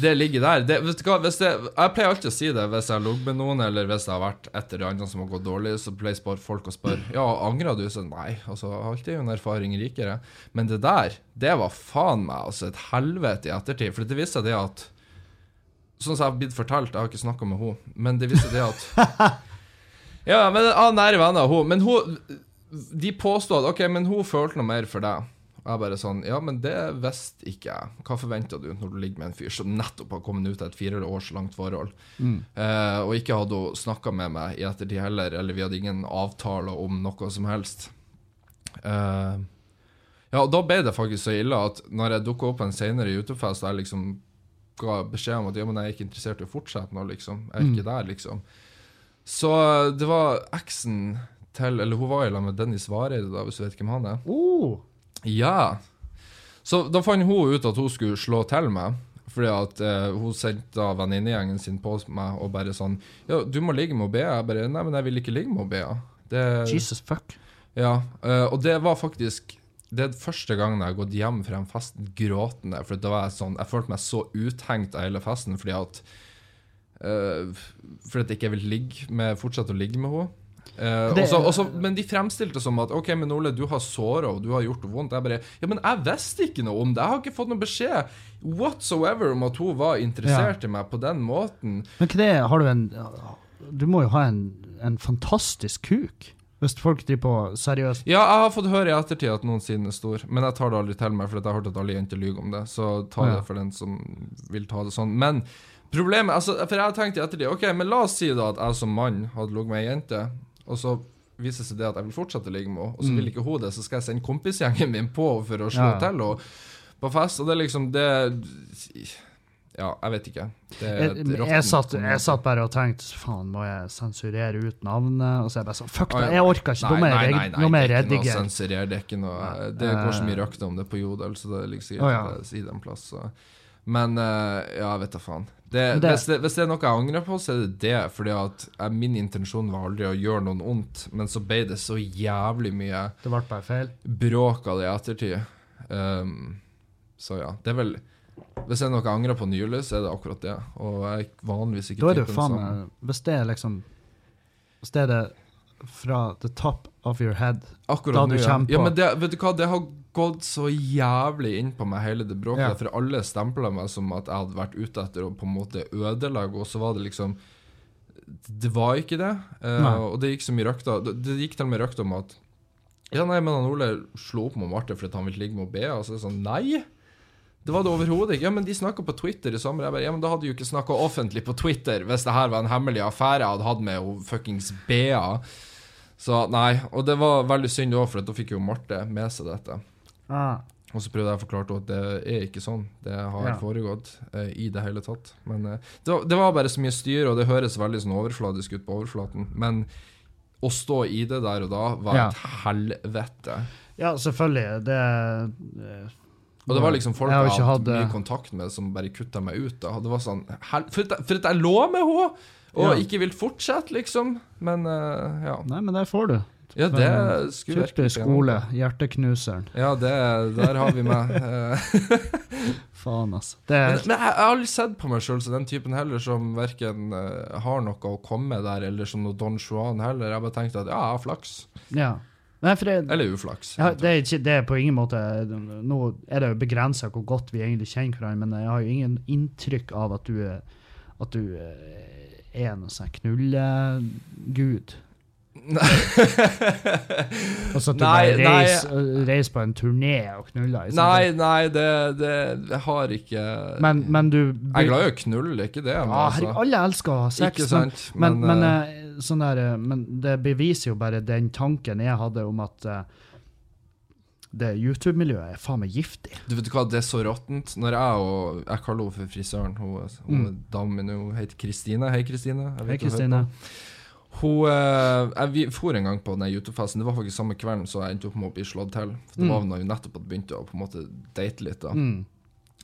B: det ligger der. Det, vet du hva, hvis det, jeg pleier alltid å si det hvis jeg har ligget med noen, eller hvis det har vært et eller annet som har gått dårlig, så pleier spør- folk å spørre Ja, angrer du? Så nei. Altså, alt er jo en erfaring rikere. Men det der, det var faen meg altså et helvete i ettertid. For det viste seg det at Sånn som jeg har blitt fortalt, jeg har ikke snakka med henne, men det viste det at Ja, men jeg er nære venner av henne. Men hun De påstod at OK, men hun følte noe mer for deg. Og jeg bare sånn Ja, men det visste ikke jeg. Hva forventa du når du ligger med en fyr som nettopp har kommet ut av et fire års langt forhold?
A: Mm.
B: Eh, og ikke hadde hun snakka med meg i ettertid heller, eller vi hadde ingen avtale om noe som helst. Eh, ja, og da ble det faktisk så ille at når jeg dukka opp på en senere YouTube-fest, og jeg liksom ga beskjed om at ja, men jeg er ikke interessert i å fortsette nå, liksom. Jeg er ikke der, liksom. Så eh, det var eksen til Eller hun var i lag med Dennis Vareide, da, hvis du vet hvem han er.
A: Oh.
B: Ja. Så da fant hun ut at hun skulle slå til meg. Fordi at eh, hun sendte da venninnegjengen sin på meg og bare sånn Ja, du må ligge med Bea. Jeg bare Nei, men jeg vil ikke ligge med Bea. Det,
A: Jesus fuck.
B: ja, eh, og det var faktisk Det er første gangen jeg har gått hjem fra en fest gråtende. For da var jeg sånn Jeg følte meg så uthengt av hele festen fordi at eh, Fordi at jeg ikke vil ligge med, fortsette å ligge med henne. Eh,
A: Det-
B: også, også, men de fremstilte det som at OK, men Ole, du har såra og du har gjort det vondt. Jeg bare Ja, men jeg visste ikke noe om det. Jeg har ikke fått noen beskjed whatsoever om at hun var interessert i meg på den måten.
A: Men hva det er, har du en Du må jo ha en, en fantastisk kuk. Hvis folk driver på seriøst
B: Ja, jeg har fått høre i ettertid at noensinne er stor, men jeg tar det aldri til meg, for jeg har hørt at alle jenter lyver om det. Så ta det
A: Ja.
B: for den som vil ta det sånn. Men problemet altså, For jeg har tenkt i ettertid OK, men la oss si da at jeg som mann hadde ligget med ei jente, og så viser det seg det at jeg vil fortsette å ligge med henne, og så vil ikke hun det, så skal jeg sende kompisgjengen min på for å slå
A: Mm. Ja.
B: til henne på fest, og det er liksom det Ja, jeg vet ikke. Det, er
A: jeg,
B: et
A: jeg,
B: råttent
A: satt,
B: kommentar.
A: jeg satt bare og tenkte faen, må jeg sensurere ut navnet? Og så er jeg bare sånn fuck
B: Ah,
A: det,
B: ja.
A: jeg orker ikke. Nå må jeg reg- nå må jeg
B: det er ikke noe
A: redigere.
B: sensurert. Det, er ikke noe, det går så mye røkter om det på Jodel, så det er liksom
A: Eh. Å,
B: sikkert
A: ja.
B: at jeg sier det en plass. Så. Men eh, ja, jeg vet da faen. Det,
A: Men det-
B: hvis, det, hvis det er noe jeg angrer på, så er det det. Fordi at eh, min intensjon var aldri å gjøre noen ondt, men så ble det så jævlig mye
A: Det ble bare feil.
B: bråk av det i ettertid. Ehm, så ja, det er vel Hvis det er noe jeg angrer på nylig, så er det akkurat det. Og jeg er vanligvis ikke
A: Da er det jo
B: typen
A: faen
B: som-
A: meg Hvis det er liksom Hvis det er det fra the top of your head
B: Akkurat
A: Da
B: nå,
A: du
B: ja.
A: kommer på.
B: ja men det, vet du hva, det har gått så jævlig inn på meg, hele det bråket.
A: Ja.
B: For alle stempla meg som at jeg hadde vært ute etter å på en måte ødelegge, og så var det liksom Det var ikke det. Eh,
A: Nei.
B: og det gikk så mye røkter. Det, det gikk til og med røkter om at Ja, nei, men han Ole slo opp med Marte fordi han ville ligge med Bea, og så er det sånn Nei! Det var det overhodet ikke. Ja, men de snakka på Twitter i sommer. Jeg bare, ja, men da hadde de jo ikke snakka offentlig på Twitter hvis det her var en hemmelig affære jeg hadde hatt med hun fuckings Bea. Så nei, og det var veldig synd òg, for at da fikk jo Marte med seg dette.
A: ah,
B: Og så prøvde jeg å forklare til henne at det er ikke sånn det har
A: Ja.
B: foregått eh, i det hele tatt. Men eh, det, var, det var bare så mye styr, og det høres veldig sånn overfladisk ut på overflaten. Men å stå i det der og da var
A: Ja.
B: et helvete.
A: Ja, selvfølgelig. Det eh,
B: Og det var liksom folk
A: Jeg
B: jeg
A: har jo
B: hadde
A: ikke hatt,
B: mye
A: eh,
B: kontakt med, som bare kutta meg ut. da. Det var sånn, hel for, at jeg, for at jeg lå med henne!
A: Ja.
B: Og ikke vil fortsette, liksom. Men eh, ja.
A: Nei, men der får du.
B: ja, det skulle
A: Typisk skole. Hjerteknuseren.
B: Ja, det, der har vi meg. Eh,
A: Faen, altså. Det
B: Men,
A: er
B: men jeg, jeg har aldri sett på meg sjøl som den typen heller som verken eh, har noe å komme med der, eller som noe Don Juan heller. Jeg har bare tenkt at ja, jeg har flaks.
A: Ja. Nei, for det,
B: Eller uflaks.
A: Ja, det, er ikke, det er på ingen måte Nå er det jo begrensa hvor godt vi egentlig kjenner hverandre, men jeg har jo ingen inntrykk av at du er, at du eh, er noe sånn knullegud. Altså at du
B: Nei,
A: bare
B: nei.
A: reiser reiser på en turné og knuller. ikke sant?
B: Nei, nei, det, det Jeg har ikke
A: Men, men du
B: Jeg er glad i å knulle, ikke det, men
A: Ja, herregud,
B: altså
A: alle elsker å ha sex.
B: Ikke
A: men-
B: sant?
A: Men, men, eh, sånn der, eh, men det beviser jo bare den tanken jeg hadde om at eh, det YouTube-miljøet er faen meg giftig.
B: Du vet hva, det er så råttent. Når jeg og Jeg kaller henne for frisøren. Hun, er- hun er damen min, hun heter Kristine. Hei, Kristine.
A: Mm.
B: Jeg vet
A: Hei,
B: du hører
A: Kristine.
B: på. Hun eh, jeg, Vi for en gang på den YouTube-festen. Det var faktisk samme kvelden så jeg endte opp med å bli slått til. For det var da vi nettopp hadde begynt å på en måte date litt. da
A: Mm.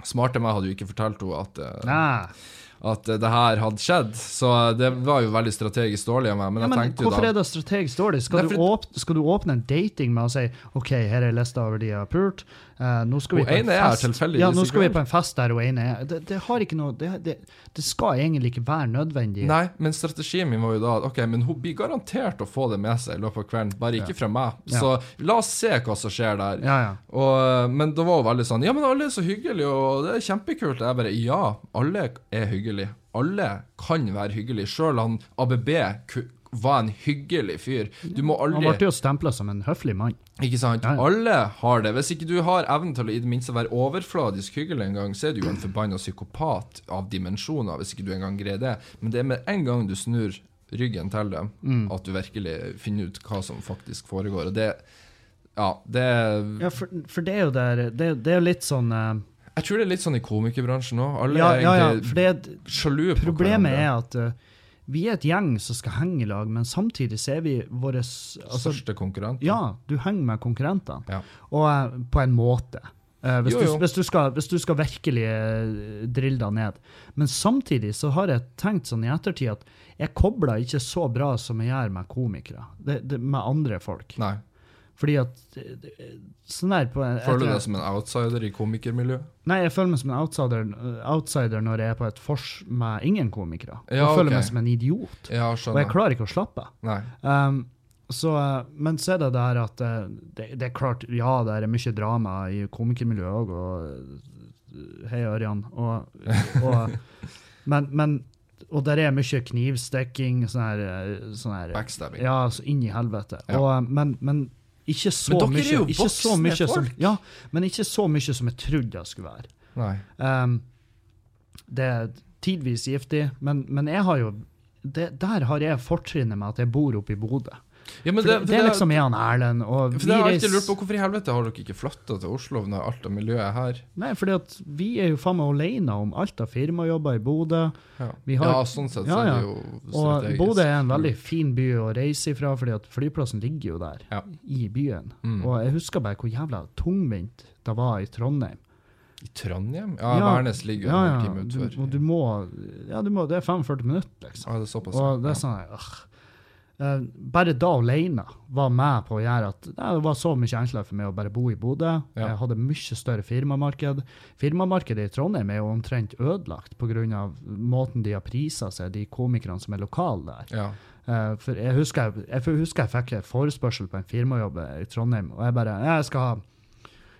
B: Smarte meg hadde jo ikke fortalt henne at, eh,
A: Nei.
B: at eh, det her hadde skjedd, så eh, det var jo veldig strategisk dårlig av meg. Men
A: Ja,
B: jeg
A: men
B: tenkte jo
A: hvorfor
B: da
A: er det strategisk dårlig? Skal,
B: Nei,
A: du
B: for-
A: åpne, skal du åpne en dating med å si OK, her er lista over de jeg har pult, eh, nå skal vi
B: Hun
A: på en
B: ene er her
A: fest
B: tilfeldigvis
A: Ja, nå
B: i
A: skal vi
B: kveld.
A: på en fest der hun ene er. Det, det har ikke noe det, det, det skal egentlig ikke være nødvendig.
B: Nei, men strategien min var jo da at ok, men hun blir garantert å få det med seg i løpet av kvelden, bare ikke fra meg.
A: Ja.
B: Så la oss se hva som skjer der.
A: Ja, ja.
B: Og, men da var hun veldig sånn Ja, men alle er så hyggelige, og det er kjempekult. Jeg bare Ja, alle er hyggelige. Alle kan være hyggelige. Sjøl han ABB ku- var en hyggelig fyr. Du må
A: Han
B: aldri
A: ble jo stempla som en høflig mann.
B: Ikke sant?
A: Ja, ja.
B: Alle har det. Hvis ikke du har evnen til å i det minste være overfladisk hyggelig en gang, så er du jo en forbanna psykopat av dimensjoner, hvis ikke du engang greier det. Men det er med en gang du snur ryggen til dem,
A: Mm.
B: at du virkelig finner ut hva som faktisk foregår. Og det Ja, det
A: Ja, for, for det er jo der Det, det er jo litt sånn eh,
B: Jeg tror det er litt sånn i komikerbransjen òg. Alle
A: Ja,
B: er
A: ja, ja.
B: egentlig
A: For det,
B: sjalu på
A: problemet
B: hverandre.
A: er at eh, vi er et gjeng som skal henge i lag, men samtidig så er vi våre altså,
B: Største konkurrent.
A: Ja, du henger med konkurrentene.
B: Ja.
A: Og eh, på en måte. Eh, hvis,
B: Jo, jo.
A: Du, hvis, du skal, hvis du skal virkelig eh, drille deg ned. Men samtidig så har jeg tenkt sånn i ettertid at jeg kobler ikke så bra som jeg gjør med komikere. Det, det, med andre folk.
B: Nei.
A: Fordi at eh, eh, Sånn der på
B: Føler du
A: etter-
B: deg som en outsider i komikermiljøet?
A: Nei, jeg føler meg som en outsider, eh, outsider når jeg er på et vors med ingen komikere. Jeg
B: Ja,
A: føler
B: ok.
A: meg som en idiot.
B: Ja,
A: Og jeg
B: skjønner.
A: klarer ikke å slappe av.
B: Nei.
A: Um, så, eh, men så er det der at eh, det, det er klart, ja, det er mye drama i komikermiljøet òg, og eh, Hei, Ørjan. Og, og, men, men, og der er mye knivstikking, sånn her, eh, sånn her
B: Backstabbing.
A: Ja, så inn i helvete.
B: Ja.
A: Og, eh, men, men ikke så
B: Men dere
A: mye
B: er jo
A: ikke så
B: voksne
A: mye som,
B: folk.
A: ja, men ikke så mye som jeg trodde jeg skulle være.
B: Nei.
A: Um, det er tidvis giftig, men, men jeg har jo det, Der har jeg fortrinnet med at jeg bor oppe i Bodø. For
B: Ja, men
A: det,
B: det, for
A: det er liksom jeg og Erlend og
B: For det har jeg alltid lurt på, Hvorfor i helvete har dere ikke flytta til Oslo når alt av miljøet er her?
A: Nei, fordi at vi er jo faen meg alene om alt av firmajobber i Bodø.
B: Ja,
A: Vi har-
B: ja sånn sett
A: Ja,
B: så er Mm.
A: ja.
B: det jo
A: Og
B: strategisk.
A: Bodø er en veldig fin by å reise ifra, fordi at flyplassen ligger jo der,
B: Ja.
A: i byen.
B: Mm.
A: Og jeg husker bare hvor jævla tungvint det var i Trondheim.
B: I Trondheim? Ja,
A: Ja,
B: Værnes ligger jo
A: Ja,
B: en
A: ja,
B: time
A: du,
B: utfor.
A: og du må, ja, du må Det er 45 minutter, liksom.
B: Ja, det er såpass.
A: Og det er
B: ja.
A: sånn, øh. Eh, Bare da alene var med på å gjøre at nei, det var så mye enklere for meg å bare bo i Bodø.
B: Ja.
A: Jeg hadde mye større firmamarked. Firmamarkedet i Trondheim er jo omtrent ødelagt pga. måten de har prisa seg, de komikerne som er lokale der.
B: Ja.
A: Eh, For jeg husker jeg, jeg husker jeg fikk en forespørsel på en firmajobb i Trondheim, og jeg bare Jeg skal ha,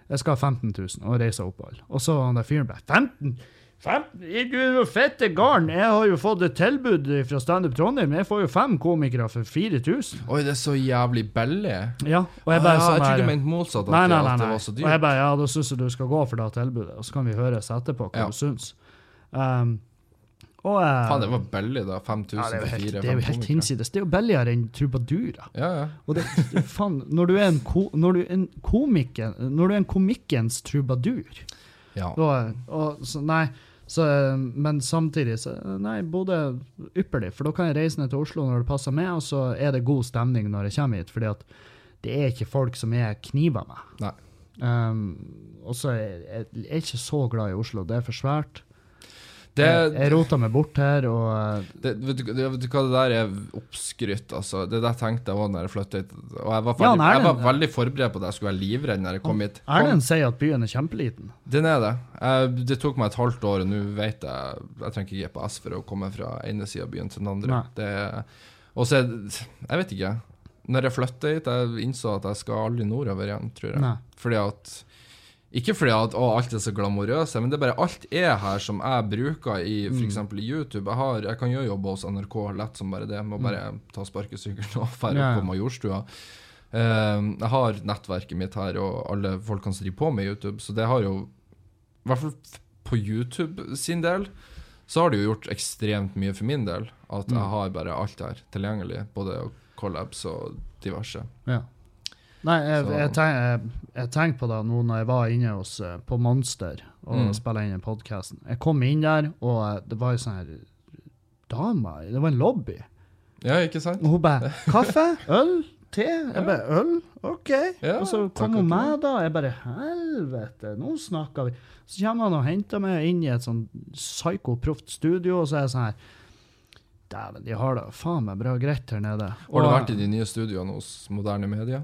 A: jeg skal ha 15 000 og reise og opphold. Og så han der fyren bare 15 15? Du er jo fette garn! Jeg har jo fått et tilbud fra Standup Trondheim. Jeg får jo fem komikere for 4000.
B: Oi, det er så jævlig billig.
A: Ja, og jeg
B: Ah,
A: bare
B: ja, jeg
A: sånn der,
B: trodde du mente motsatt, at,
A: Nei, nei, nei.
B: det- at det
A: nei.
B: var så
A: Og
B: dyrt.
A: jeg bare, ja, da syns jeg du skal gå for det tilbudet, og så kan vi høres etterpå hva
B: Ja.
A: du syns. Um, og eh,
B: Faen, det var billig, da. 5000
A: ja, det er jo
B: for
A: helt, det er
B: fire.
A: jo
B: fem
A: helt
B: komikere.
A: hinsides. Det er jo billigere enn trubadurer.
B: Ja, ja.
A: Og det, faen, når du er en, ko, når du er en komiker Når du er en komikkens trubadur
B: ja.
A: og, og, så, Nei, så, men samtidig så Nei, Bodø er ypperlig, for da kan jeg reise ned til Oslo når det passer meg, og så er det god stemning når jeg kommer hit, fordi at det er ikke folk som jeg kniver med.
B: Nei.
A: Um, og så er jeg, jeg er ikke så glad i Oslo. Det er for svært. jeg
B: Det,
A: jeg rota meg bort her, og
B: det, vet, du, det- vet du hva, det der er skrytt, altså. Det der tenkte jeg òg når jeg flytta hit. Og jeg var,
A: Ja,
B: ferdig,
A: nei,
B: jeg var
A: den-
B: veldig forberedt på at jeg skulle være livredd når jeg kom hit. Kom,
A: Erlend sier at byen er kjempeliten.
B: den er det. Jeg, det tok meg et halvt år, og nå vet jeg Jeg trenger ikke GPS for å komme fra ene sida av byen til den andre.
A: Nei.
B: Det er- Og så er det Jeg vet ikke. Når jeg flytta hit, jeg innså at jeg skal aldri nordover igjen, tror jeg.
A: Nei.
B: Fordi at Ikke fordi at å, alt er så glamorøst, men det er bare alt er her som jeg bruker i
A: Mm.
B: f.eks. i YouTube. Jeg, har, jeg kan gjøre jobb hos NRK lett som bare det, med å bare ta sparkesykkelen og dra
A: Mm. Ja, ja.
B: på Majorstua. Ehm, jeg har nettverket mitt her, og alle folkene som driver på med YouTube, så det har jo I hvert fall f- på YouTube sin del, så har det jo gjort ekstremt mye for min del. At
A: Mm.
B: jeg har bare alt her tilgjengelig, både collabs og diverse.
A: Ja. Nei, jeg,
B: Så-
A: jeg, tenk, jeg, jeg tenker på det nå når jeg var inne hos, eh, på Monster og
B: Mm.
A: spilte inn den podkasten. Jeg kom inn der, og eh, det var ei sånn her dame Det var en lobby.
B: Ja, ikke sant?
A: Og hun bare 'Kaffe? Øl? Te?' Jeg bare 'Øl? OK.'
B: Ja,
A: og så
B: takk
A: kom hun
B: og
A: med, da. Jeg bare 'Helvete, nå snakker vi'. Så kommer han og henter meg inn i et sånn psykoproft studio, og så er jeg sånn her Dæven, de har det faen meg bra greit her nede.
B: Har du
A: Og-
B: vært i de nye studioene hos Moderne Media?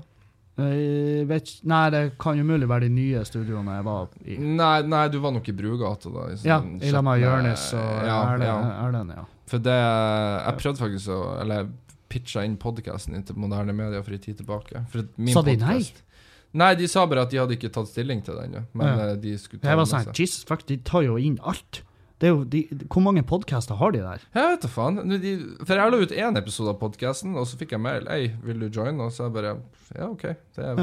A: Jeg vet, ikke- nei, det kan jo mulig være de nye studioene jeg var i.
B: Nei, nei, du var nok i Brugata da. i sånn
A: Ja, i lag med
B: skjetne-
A: Jonis og
B: ja,
A: Erlend.
B: ja.
A: Erlend, ja.
B: For det Jeg prøvde faktisk å Eller jeg pitcha inn podkasten din til Moderne Media for en tid tilbake. For at min
A: Sa de nei?
B: podcast- Nei, de sa bare at de hadde ikke tatt stilling til den. ja. Men
A: Ja.
B: eh, de skulle ta
A: Jeg var
B: den med
A: sånn,
B: seg.
A: Jesus fuck, de tar jo inn alt. Det er jo, de, hvor mange podcaster har de der?
B: Jeg vet da faen. Nå, de- For jeg la ut én episode av podkasten, og så fikk jeg mail. Ei, vil du joine? Og så jeg bare Ja, OK. Det,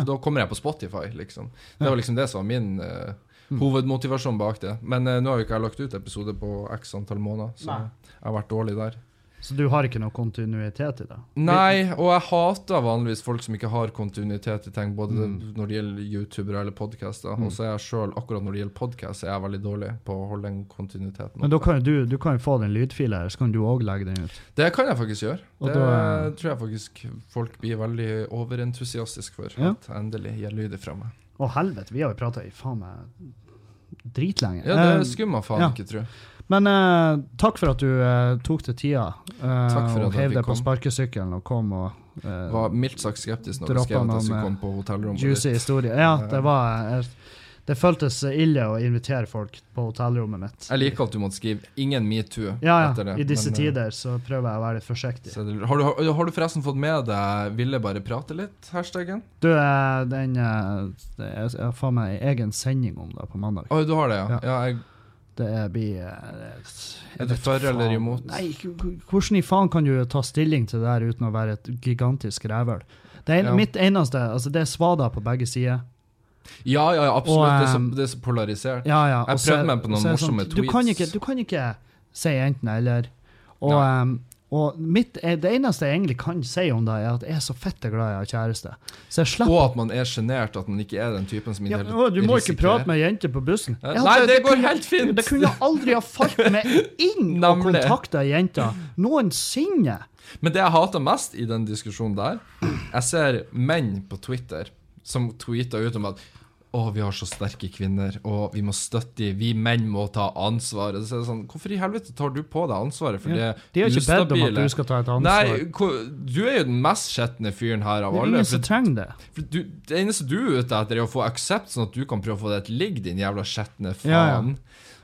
B: Da kommer jeg på Spotify, liksom. Det var liksom det som var min eh, hovedmotivasjon bak det. Men eh, nå har jo ikke jeg lagt ut episode på x antall måneder, så
A: Nei.
B: jeg har vært dårlig der.
A: Så du har ikke noe kontinuitet i det?
B: Nei, og jeg hater vanligvis folk som ikke har kontinuitet i ting, både når det gjelder youtubere eller podcaster. Og så er jeg selv, akkurat når det gjelder podcast, så er jeg veldig dårlig på å holde den kontinuiteten.
A: Men da
B: oppe.
A: kan jo du, du kan jo få den lydfila her, så kan du òg legge den ut.
B: Det kan jeg faktisk gjøre.
A: Og
B: det
A: da-
B: tror jeg faktisk folk blir veldig overentusiastiske for.
A: Ja.
B: At jeg endelig gir lyd ifra meg.
A: Å helvete, vi har jo prata i faen meg dritlenge.
B: Ja, det
A: Eh,
B: skulle man faen
A: ja.
B: ikke tro.
A: Men eh, takk for at du eh, tok til tida eh,
B: Takk for at
A: og
B: jeg
A: heiv
B: fikk
A: deg på
B: komme.
A: sparkesykkelen og kom og eh,
B: Var mildt sagt skeptisk når du
A: Droppa
B: skrev at
A: noen,
B: jeg skulle
A: eh,
B: komme på hotellrommet
A: Juicy
B: ditt.
A: historie. Ja, det var jeg- Det føltes ille å invitere folk på hotellrommet mitt.
B: Jeg liker at du måtte skrive 'ingen metoo'
A: ja,
B: etter
A: ja.
B: det.
A: I disse
B: men, eh,
A: tider så prøver jeg å være litt forsiktig.
B: så er det- Har du, har- har du forresten fått med deg 'ville bare prate litt'? Hashtaggen?
A: Du, eh, den eh, det er- Jeg har faen meg en egen sending om det på mandag.
B: Oi, du har det, ja.
A: Ja.
B: ja. jeg,
A: Det er- blir eh,
B: Er
A: jeg
B: du
A: vet
B: for eller
A: faen.
B: imot?
A: Nei, k- k- hvordan i faen kan du ta stilling til det der uten å være et gigantisk rævhøl? Det er en,
B: Ja.
A: mitt eneste Altså, det er svada på begge sider.
B: ja, ja, ja, absolutt.
A: Og,
B: det, er så,
A: ehm,
B: det er så polarisert.
A: Ja, ja.
B: Jeg
A: og så-
B: prøvde meg på noen
A: så er det sånn,
B: morsomme
A: Du kan,
B: tweets.
A: ikke, du kan ikke si enten eller. Og,
B: Nei.
A: em, og mitt, eh, det eneste jeg egentlig kan si om det, er at jeg er så fette glad jeg har kjæreste. Så jeg slipper
B: Og at man er sjenert, at man ikke er den typen som
A: ja,
B: hele-
A: å, Du må ikke
B: risikerer-
A: prate med jenter på bussen.
B: Eh,
A: Jeg hadde-
B: Nei, det går
A: kunne-
B: helt fint!
A: Det kunne aldri ha falt meg inn å
B: Nemlig.
A: kontakte ei jente noensinne.
B: Men det jeg hater mest i den diskusjonen der, jeg ser menn på Twitter som tweeter ut om at å, vi har så sterke kvinner, og vi må støtte dem, vi menn må ta ansvar. Og Så er det sånn, Hvorfor i helvete tar du på deg ansvaret for
A: Ja,
B: det
A: de har ikke bedt om at
B: ustabile?
A: du skal ta et ansvar.
B: Nei, hvor- du er jo den mest skjetne fyren her av
A: Det er
B: alle.
A: ingen
B: For
A: som trenger det.
B: For du, det eneste du er ute etter, er å få aksept, sånn at du kan prøve å få det til å ligge, din jævla skjetne faen.
A: Ja, ja.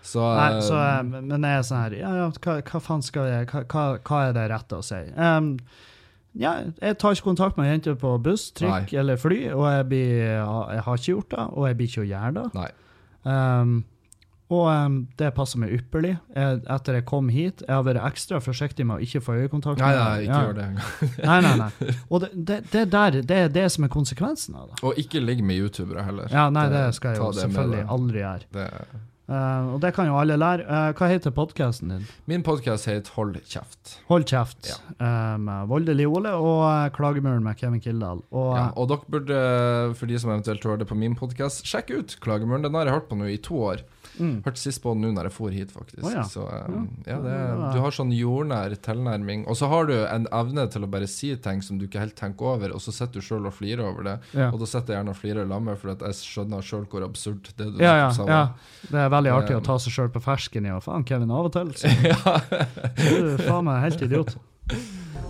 B: Så,
A: Nei,
B: Um,
A: så, eh, men jeg er sånn her Ja, ja, hva, hva faen skal jeg hva, hva- hva er det rette å si? Em, ja, jeg tar ikke kontakt med jenter på buss, trikk eller fly, og jeg, blir, jeg har ikke gjort det, og jeg blir ikke å gjøre det.
B: Nei.
A: Em, og em, det passer meg ypperlig. Jeg, etter jeg kom hit, jeg har vært ekstra forsiktig med å ikke få øyekontakt.
B: Nei,
A: med-
B: nei, ikke
A: ja.
B: gjør det engang.
A: Nei, nei, nei. Og det, det, det der, det er det som er konsekvensen av det.
B: Og ikke ligg med youtubere heller.
A: Ja, nei, det skal jeg
B: ta
A: jo
B: det med
A: selvfølgelig
B: deg.
A: aldri gjøre.
B: Det,
A: Eh, og det kan jo alle lære. Eh, hva heter podkasten din?
B: min podkast heter Hold kjeft.
A: Hold kjeft eh, med Voldelig Ole og eh, Klagemuren med Kevin Kildahl. Og,
B: Ja,
A: eh,
B: og dere burde, for de som eventuelt hører det på min podkast, sjekk ut Klagemuren. Den har jeg hørt på nå i to år.
A: Mm.
B: Hørte sist på den nå når jeg for hit, faktisk.
A: Å, ja.
B: Så um, ja,
A: Ja,
B: det,
A: det var-
B: du har sånn jordnær tilnærming. Og så har du en evne til å bare si ting som du ikke helt tenker over, og så sitter du sjøl og flirer over det.
A: ja.
B: Og da sitter jeg gjerne og flirer sammen, for at jeg skjønner sjøl hvor absurd det du
A: Ja, ja,
B: nettopp sa
A: ja.
B: var.
A: Det er veldig artig
B: Um,
A: å ta seg sjøl på fersken i og faen, Kevin, av og til. Så, du er faen meg helt idiot.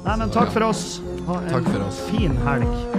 A: Nei, men takk for oss. Ha en
B: Takk for oss.
A: fin helg.